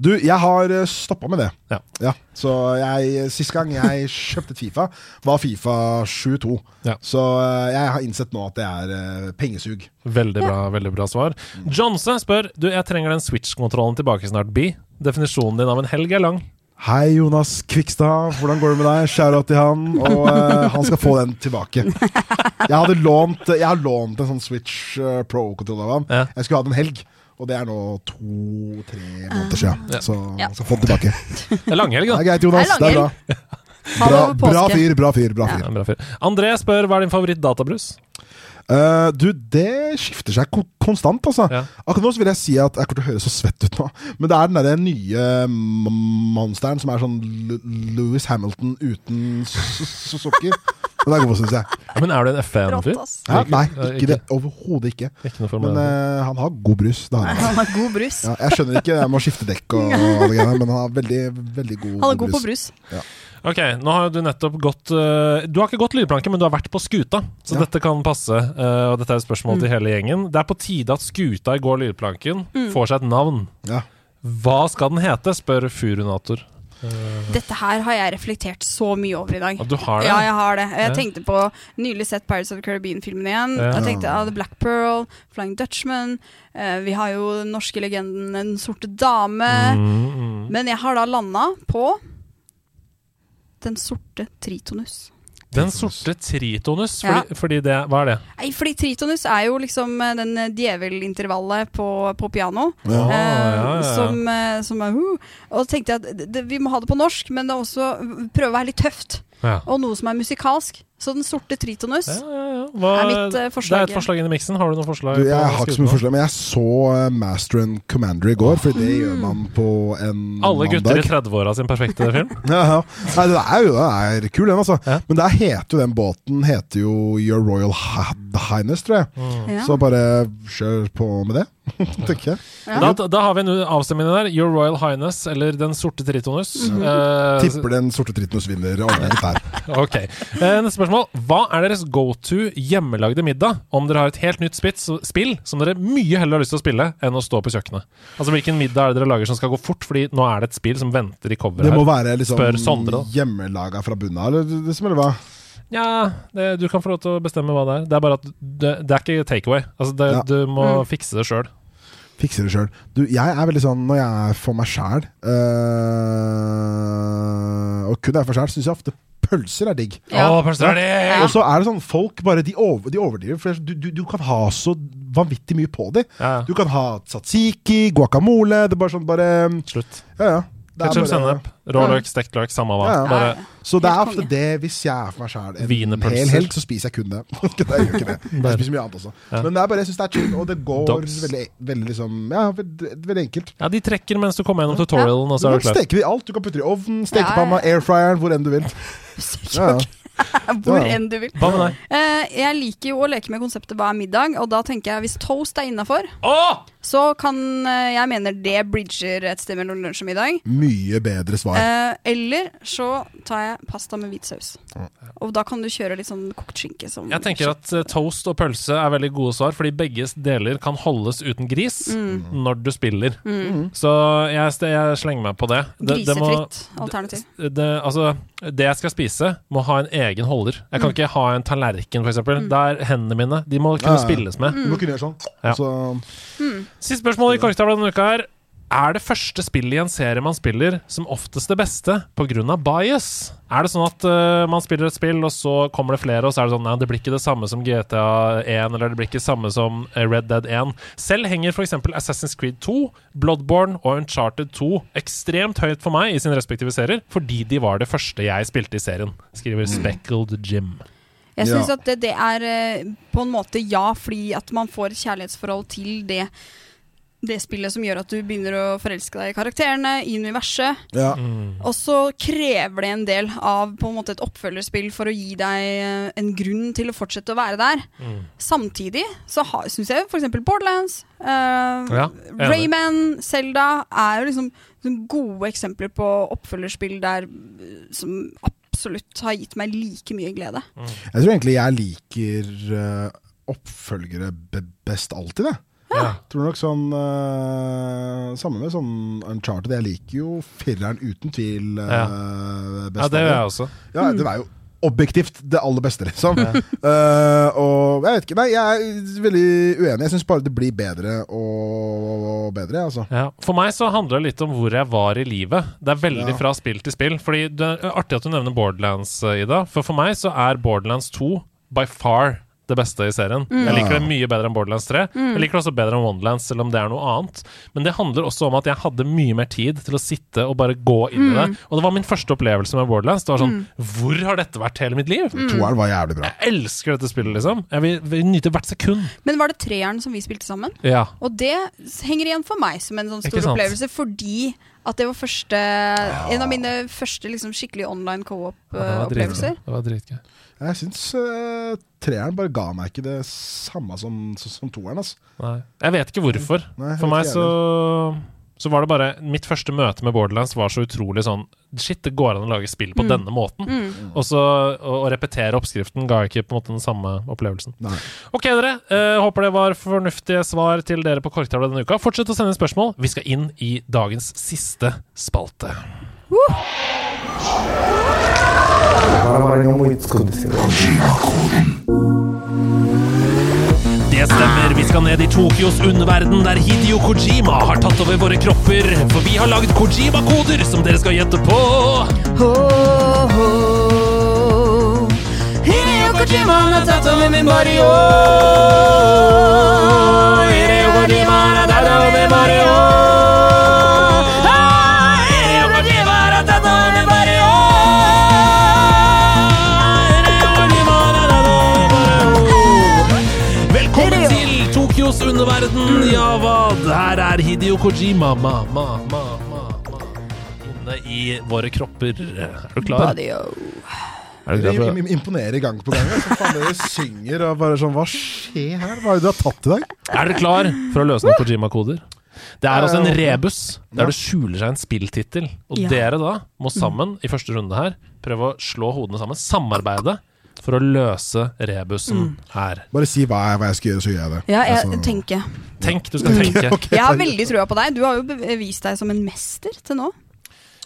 Du, jeg har stoppa med det. Ja. Så jeg, Sist [LAUGHS] gang jeg kjøpte et Fifa, var Fifa 7-2. Ja. Så eh, jeg har innsett nå at det er eh, pengesug. Veldig bra veldig bra svar. Johnse spør du, jeg trenger den Switch-kontrollen tilbake snart, Bi. Definisjonen din av en helg er lang. Hei, Jonas Kvikstad. Hvordan går det med deg? Skjæra til han. Og eh, han skal få den tilbake. Jeg hadde lånt Jeg har lånt en sånn Switch eh, Pro-kontroll av han. Ja. Jeg skulle ha den en helg. Og det er nå to-tre måneder siden. Ja. Så han skal få den tilbake. Det er langhelg, Det da. er greit, Det er Jonas. Det er bra. langhelg. Ta det Bra, over bra påske. fyr, bra fyr. bra Ja. fyr Ja, bra fyr. André spør hva er din favoritt-databrus? Eh, du, det skifter seg ko konstant, altså. Ja. Akkurat nå så vil jeg si at Jeg kommer til å høre så svett ut nå, men det er den derre nye m- monsteren som er sånn L- Lewis Hamilton uten s- s- sukker. Den er god, syns jeg. Ja, men er du en F1-fyr? Rått, ass. Hæ? Nei, Ikke- ikke det. Overhodet ikke. Ikke noe for meg. Men eh, han har god brus. Det har han. Han har god brus. Ja, jeg skjønner ikke jeg må skifte dekk [LAUGHS] og alle greiene, men han har veldig, veldig god, Han er god på brus. Ok, nå har jo du nettopp gått eh, Du har ikke gått lydplanke, men du har vært på skuta. Så Ja. Mm. dette kan passe. eh, og dette er et spørsmål til hele gjengen. Det er på tide at skuta i går lydplanken får seg et navn. Ja. Hva skal den hete, spør Furunator. Dette her har jeg reflektert så mye over i dag. Og du har det? Ja, jeg har det. Jeg Ja. tenkte på nylig sett Pirates of the Caribbean-filmen igjen. Ja. Jeg tenkte ah, The Black Pearl, Flying Dutchman. eh, vi har jo den norske legenden Den sorte dame. Eh, Mm, mm. Men jeg har da landa på Den sorte tritonus. Den sorte tritonus, fordi, Ja. fordi det Hva er det? Nei, fordi tritonus er jo liksom eh, den eh, djevelintervallet på, på piano. Å, eh, Ah, ja, ja, ja. Som, eh, som er uh. Og så tenkte jeg at det- det, vi må ha det på norsk, men det er også prøve å være litt tøft. ja. Og noe som er musikalsk. Så den sorte tritonus. Ja, ja, ja. Hva, er mitt, eh, Det er forslag. et forslag inn i miksen. Har du noen forslag? Du, på jeg har ikke så skuta? mye forslag, men jeg så eh, Master and Commander i går, for det Hmm. gjør man på en Alle gutter mandag. i 30-åra sin [LAUGHS] perfekte film? Ja, ja. Nei, det er jo det er kul, den, altså. Ja. Men der heter jo den båten heter jo Your Royal Hi- Highness, tror jeg. Ja. Så bare kjør på med det, [LAUGHS] tenker jeg. Da, da har vi en avstemning der. Your Royal Highness eller Den sorte tritonus. Mhm. Eh, Tipper den sorte tritonus vinner overlegent der. Ok, Eh, Neste spørsmål. Hva er deres go to hjemmelagde middag om dere har et helt nytt spits, spill som dere mye heller har lyst til å spille enn å stå på kjøkkenet? Altså Hvilken middag er det dere lager som skal gå fort, fordi nå er det et spill som venter i coveret Det må her? være Spør Sondre, da. liksom hjemmelaga fra bunnen av, eller det som eller hva? Ja, det, du kan få lov til å bestemme hva det er. Det er bare at det, det er ikke takeaway. Altså, det, Ja. du må Mm. fikse det sjøl. Fikser det sjøl. Du, jeg er veldig sånn når jeg er for meg sjæl, øh, og kun er for sjæl, syns jeg ofte pølser er digg. Ja. Ja. Å, pølser er det! Og så er det sånn, folk bare de, over, de overdriver. For du, du, du kan ha så vanvittig mye på dem. Ja. Du kan ha tzatziki, guacamole Det er bare sånn bare Slutt. Ja, ja. Det er Ketchup, bare- sennep, Mm. rå løk, stekt løk, samme hva. Ja, ja. Bare Så det er Helt ofte konge. det, hvis jeg er for meg sjæl en Wienerpølser. hel helg, så spiser jeg kun det. [LAUGHS] jeg gjør ikke det. Jeg spiser mye annet også. Men det er bare, jeg syns det er chill, og det går Dogs. veldig, veldig liksom Ja, veldig, veldig enkelt. Ja, de trekker mens du kommer gjennom tutorialen, og Du så er du kan klar. steke det i alt. Du kan putte det i ovnen, Ja, stekepanna, airfryeren, hvor enn du [LAUGHS] vil. Ja, ja. Hvor Ja. enn du vil. Hva med deg? Eh, jeg liker jo å leke med konseptet hva er middag, og da tenker jeg hvis toast er innafor, Åh! så kan eh, jeg mener det bridger et sted mellom lunsj og middag. Mye bedre svar. Eh, eller så tar jeg pasta med hvit saus. Og da kan du kjøre litt sånn kokt skinke som Jeg tenker at eh, toast og pølse er veldig gode svar, fordi begge deler kan holdes uten gris Mm. Um, Mm. når du spiller. Så jeg, jeg slenger meg på Mm. det. Det, det må- grisefritt alternativ. det, altså, det jeg skal spise, må ha en egen holder. Jeg Mm. kan ikke ha en tallerken, f.eks. Der hendene mine De må Ja, kunne Mm. ja. spilles med. Du må kunne gjøre sånn. Ja. Så Siste spørsmål i korktavla denne uka er Er det første spillet i en serie man spiller, som oftest det beste pga. bias? Er det sånn at eh, man spiller et spill, og så kommer det flere, og så er det sånn Nei, det blir ikke det samme som GTA1, eller det blir ikke det samme som eh, Red Dead 1. Selv henger f.eks. Assassin's Creed 2, Bloodborne og Uncharted 2 ekstremt høyt for meg i sine respektive serier, fordi de var det første jeg spilte i serien, skriver Speckled Jim. Jeg Ja. syns at det, det er eh, på en måte ja, fordi at man får et kjærlighetsforhold til det, det spillet som gjør at du begynner å forelske deg i karakterene, i universet. Ja. Mm. Og så krever det en del av på en måte et oppfølgerspill for å gi deg eh, en grunn til å fortsette å være der. Mm. Samtidig så syns jeg f.eks. Borderlands, eh, enig. Rayman, Selda er jo liksom sånn gode eksempler på oppfølgerspill der eh, som absolutt har gitt meg like mye glede. Jeg tror egentlig jeg liker eh, oppfølgere be best alltid, jeg. Ja. Tror nok sånn eh, Samme med sånn Uncharted. Jeg liker jo fireren uten tvil eh, best. Ja, det av gjør jeg også. Ja, det var jo objektivt det aller beste, liksom. [LAUGHS] Eh, og jeg vet ikke Nei, jeg er veldig uenig. Jeg syns bare det blir bedre og, og bedre, altså. Ja. For meg så handler det litt om hvor jeg var i livet. Det er veldig Ja. fra spill til spill. Fordi det er Artig at du nevner Borderlands, eh, Ida. For for meg så er Borderlands 2 by far det beste i serien. Jeg liker det mye bedre enn Borderlands 3. Jeg liker det også bedre enn Wonderlands, selv om det er noe annet. Men det handler også om at jeg hadde mye mer tid til å sitte og bare gå inn i det. Og det var min første opplevelse med Borderlands. Det var sånn Hvor har dette vært hele mitt liv? Toeren var jævlig bra. Jeg elsker dette spillet, liksom. Jeg vil, vil nyte hvert sekund. Men var det treeren som vi spilte sammen? Ja. Og det s- henger igjen for meg som en sånn Ikke stor sant? opplevelse, fordi at det var første, en av mine første liksom, skikkelig online eh, Ja, det var dritgøy. co-op-opplevelser. Det var dritgøy. Jeg syns eh, treeren bare ga meg ikke det samme som, som, som toeren, altså. Nei. Jeg vet ikke hvorfor. Nei, jeg For vet meg ikke så, så var det bare Mitt første møte med Borderlands var så utrolig sånn Shit, det går an å lage spill på denne måten. Og så å, å repetere oppskriften ga ikke på en måte den samme opplevelsen. Nei. Ok, dere. Eh, håper det var fornuftige svar til dere på Korktavla denne uka. Fortsett å sende spørsmål. Vi skal inn i dagens siste spalte. Det stemmer. Vi skal ned i Tokyos underverden, der Hidio Kojima har tatt over våre kropper. For vi har lagd Kojima-koder som dere skal gjette på. Ho, ho. Hideo Kojima han har tatt over min barrio. Hideo Kojima han har tatt over min barrio. Ah, Hideo Kojima han har tatt over min barrio. Hideo Kojima han har tatt over min barrio. Velkommen til Tokyos underverden. Ja, hva? Her er Hidio Kojima. Ma, ma, ma, ma, ma. Inne i våre kropper. Er du klar? Er du klar Dere for det? im- imponerer gang på gang. altså. Faen, dere synger og bare sånn Hva skjer her? Hva er det du har tatt i dag? Er dere klar for å løse noen Kojima-koder? Det er altså en Eh, rebus der det skjuler seg en spilltittel. Og Ja. dere da må sammen i første runde her prøve å slå hodene sammen, samarbeide, for å løse rebusen Mm. her. Bare si hva jeg, hva jeg skal gjøre, så gjør jeg det. Ja, jeg Altså, tenker. Tenk, du skal tenke. [LAUGHS] ok, Jeg har takk. veldig trua på deg. Du har jo bevist deg som en mester til nå.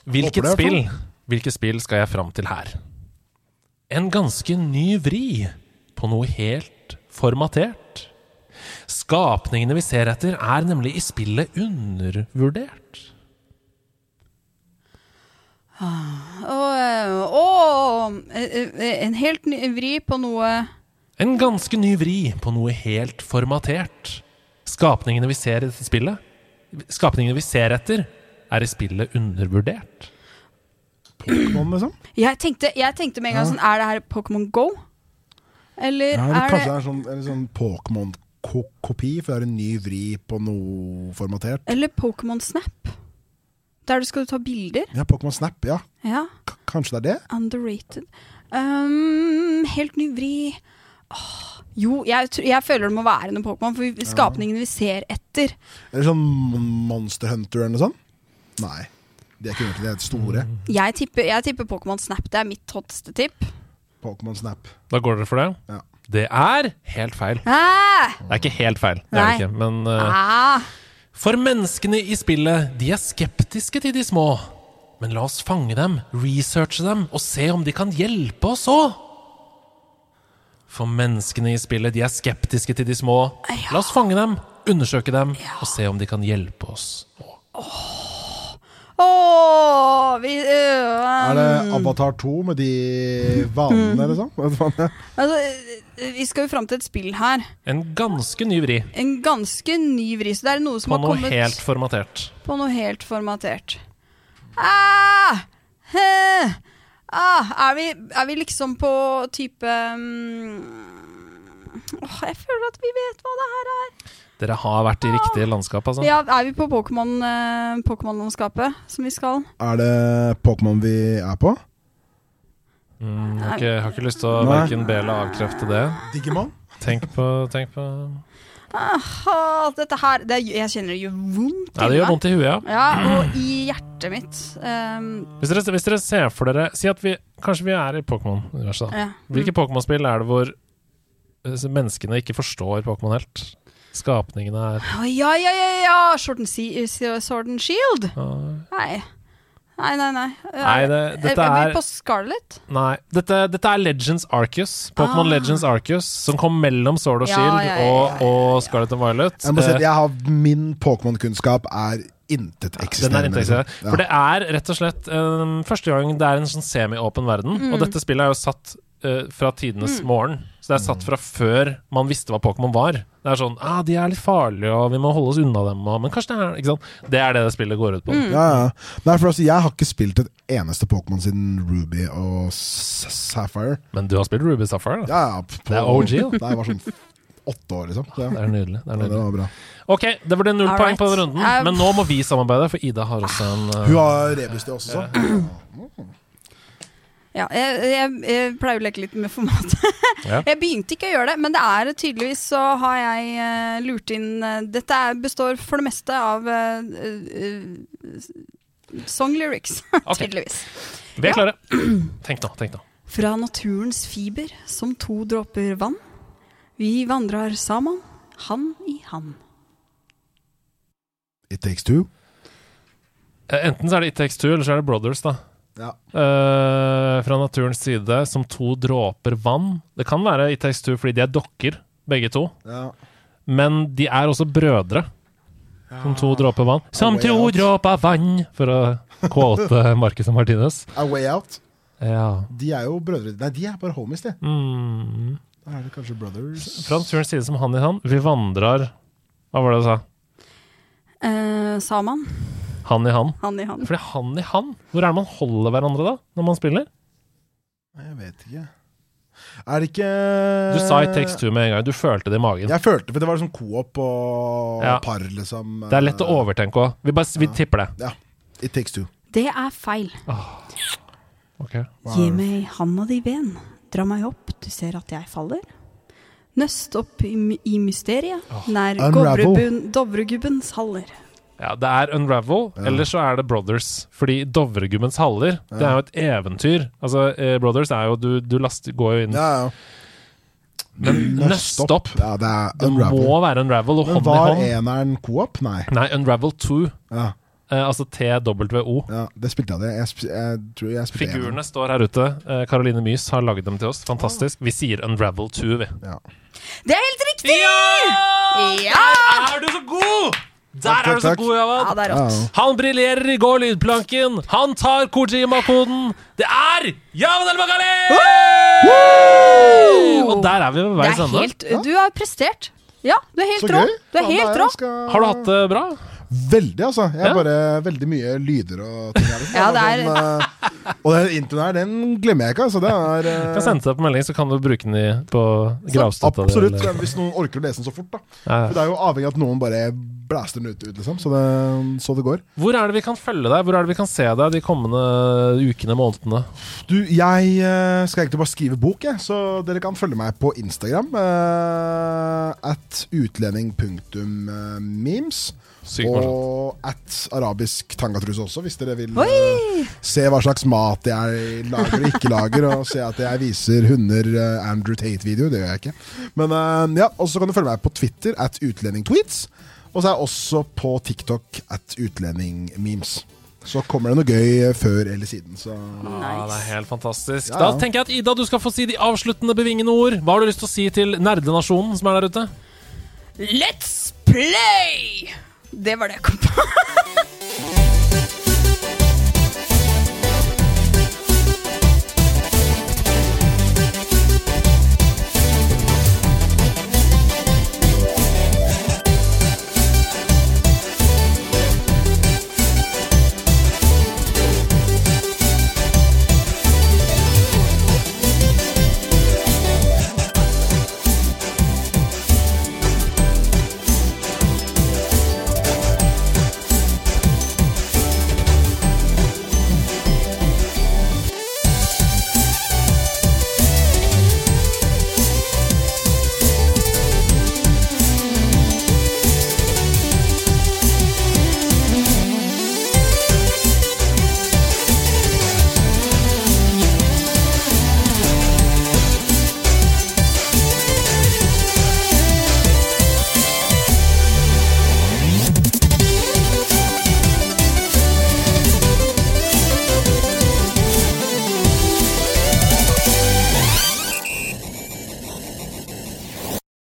Hvilket Håper det, i spill, hvilket spill skal jeg fram til her? En ganske ny vri på noe helt formatert. Skapningene vi ser etter, er nemlig i spillet undervurdert. Og, eh, å, eh, eh, en helt ny vri på noe En ganske ny vri på noe helt formatert. Skapningene vi ser i dette spillet Skapningene vi ser etter, er i spillet undervurdert. Sånn, Pokémon, liksom? Jeg tenkte, jeg tenkte med en gang sånn Er det her Pokémon Go? Eller Ja, det er kanskje det er sånn, en sånn Pokémon-kopi, for det er en ny vri på noe formatert. Eller Pokémon Snap? Der du skal ta bilder? Ja, Pokémon Snap, ja. Ja. K kanskje det er det? Underrated. Um, helt ny vri. Åh, jo, jeg, tr- jeg føler det må være noe Pokémon, for vi- skapningene vi ser etter. Eller sånn Mon- Monster Hunter eller noe sånt? Nei. De er ikke egentlig de store. Mm. Jeg tipper, jeg tipper Pokémon Snap. Det er mitt hotteste tipp. Pokémon Snap. Da går dere for det? Ja. Det er helt feil. Ah! Det er ikke helt feil, det er Nei. det ikke. Men eh, Ah! For menneskene i spillet, de er skeptiske til de små. Men la oss fange dem, researche dem og se om de kan hjelpe oss òg. For menneskene i spillet, de er skeptiske til de små. La oss fange dem, undersøke dem og se om de kan hjelpe oss òg. har vi øh, Mm. Er det Avatar 2 med de vanene, liksom? Hva faen, ja. Altså, vi skal jo fram til et spill her. En ganske ny vri En ganske ny vri, så det er noe som på har noe kommet helt formatert. på noe helt formatert. Ah! He! Ah, er, vi, er vi liksom på type mm, Åh, Jeg føler at vi vet hva det her er. Dere har vært i riktig landskap, altså. Ah. Ja, er vi på Pokémon, eh, Pokémon-landskapet som vi skal? Er det Pokémon vi er på? Mm, har, ikke, har ikke lyst til å Nei. verken be eller avkrefte det. Digimon? Tenk på, tenk på Ah, dette her det, er- Jeg kjenner det gjør vondt Ja, det gjør vondt i huet, ja. Ja, og i hjertet mitt. Um, Hvis dere, hvis dere ser for dere Si at vi kanskje vi er i Pokémon-universet. da. ja. Ah, Hvilke Pokémon-spill er det hvor eh, menneskene ikke forstår Pokémon helt? Skapningene er Å, ja, ja, ja, ja! Sword and, sea, Sword and Shield? Nei. Nei, nei, nei. Nei, det, dette Er er vi på Scarlet? Nei. Dette, dette er Legends Arceus. Pokémon Ah. Legends Arceus, som kom mellom Sword og Ja, Shield ja, ja, ja, og, og Scarlet and Violet. Jeg må si Eh, at jeg har, min Pokémon-kunnskap er Den inteteksisterende. er inntektssiden. liksom. For det er rett og slett um, første gang det er en sånn semi-åpen verden. Mm. Og dette spillet er jo satt eh, fra tidenes morgen. Så det er satt fra før man visste hva Pokémon var. Det er sånn ah, de er litt farlige, og vi må holde oss unna dem, og, men kanskje det er ikke sant? Det er det det spillet går ut på. Mm. Ja, ja. Nei, for altså, jeg har ikke spilt et eneste Pokémon siden Ruby og S- Sapphire. Men du har spilt Ruby Sapphire, da. Ja, ja, p- på, Det er OG, Da jeg var sånn åtte år, liksom. Så, Det ja. er nydelig. Det er Ja, det nydelig. var bra. Ok, det ble null All poeng på right. den runden, Um, men nå må vi samarbeide, for Ida har også en eh, Hun har rebus det også, så. Ja, jeg, jeg, jeg pleier å leke litt med formatet. [LAUGHS] Ja. Jeg begynte ikke å gjøre det, men det er tydeligvis så har jeg eh, lurt inn eh, Dette er, består for det meste av eh, eh, s- song lyrics, [LAUGHS] Ok. tydeligvis. Vi er klare. Tenk nå, tenk nå. Fra naturens fiber som to dråper vann. Vi vandrar saman, hand i hand. [CLEARS THROAT] It takes two. Eh, Enten så er det It Takes Two, eller så er det Brothers, da. Ja. Eh, fra naturens side som to dråper vann. Det kan være It Takes Two fordi de er dokker, begge to. Ja. Men de er også brødre, som to dråper vann. Som Ah. way to out. dråper vann, for å quote [LAUGHS] Marcus og Martinez. A Way Out. Ja. De er jo brødre Nei, de er bare homies, de. Mm. Da er det kanskje brothers. Fra naturens side som hand i hand. Vi vandrer Hva var det du sa? Eh, saman, Hand i hand. hand i hand. Fordi hand i hand, hvor er det man holder hverandre da, når man spiller? Nei, Jeg vet ikke. Er det ikke Du sa It Takes Two med en gang. Du følte det i magen. Jeg følte for det var sånn co-op og Ja. par, liksom. Det er lett å overtenke òg. Vi, bare- vi tipper det. It takes two. Det er feil. Ok. Gi meg handa di ven, dra meg opp, du ser at jeg faller. Nøst opp i, my- i mysteriet, nær Unravel. Govrebun- Dovregubbens haller. Ja, det er Unravel, eller så er det Brothers. Fordi Dovregubbens haller, det er jo et eventyr. Altså, eh, Brothers er jo Du, du laster, går jo inn Ja, ja. Mm. Men nøst Nøstopp. opp! Ja, det er Det unravel. må være Unravel og Men hånd i var hånd. eneren co-op? Nei. Nei, Unravel 2. Ja, Eh, altså TWO. ja, det spilte jeg det. Jeg, sp jeg tror jeg spilte eneren. Figurene står her ute. Eh, Caroline Mys har lagd dem til oss. Fantastisk. Vi sier Unravel 2, vi. Det er helt riktig! Ja! Der er du så god! Der er du så takk. god, Ja, Javad. det er rått. Han briljerer i går lydplanken. Han tar Kojima-koden. Det er Javad El-Bakali! Og der er vi ved Det veis er ende. helt, du har prestert. Ja, du er Så helt rå. gøy! altså. Du er Faen, helt jeg rå. skal- Har du hatt det bra? Veldig, altså. Jeg Ja. har bare veldig mye lyder og ting her. liksom. Ja, det er- sånn, eh, og den introen her, den glemmer jeg ikke, altså. Det er eh, Kan sende deg på melding, så kan du bruke den i, på gravstøtta. di, Absolutt. eller- Hvis noen orker å lese den så fort, da. Ja, For ja. det er jo avhengig av at noen bare blæster den ut, ut liksom. Så det, så det går. Hvor er det vi kan følge deg? Hvor er det vi kan se deg de kommende ukene, månedene? Du, jeg eh, skal egentlig bare skrive bok, jeg. Så dere kan følge meg på Instagram. eh, at utlending.memes. Sykt morsomt. Og at arabisk tangatruse også, hvis dere vil Oi! eh, se hva slags mat jeg lager og ikke lager, og se at jeg viser hunder eh, Andrew Tate-video. Det gjør jeg ikke. Men eh, ja, Og så kan du følge meg på Twitter at utlendingtweets. Og så er jeg også på TikTok at utlendingmemes. Så kommer det noe gøy eh, før eller siden. Så Ja, det er helt fantastisk. Ja, ja. Da tenker jeg at Ida, du skal få si de avsluttende bevingende ord. Hva har du lyst til å si til nerdenasjonen som er der ute? Let's play! Det var det jeg kom på.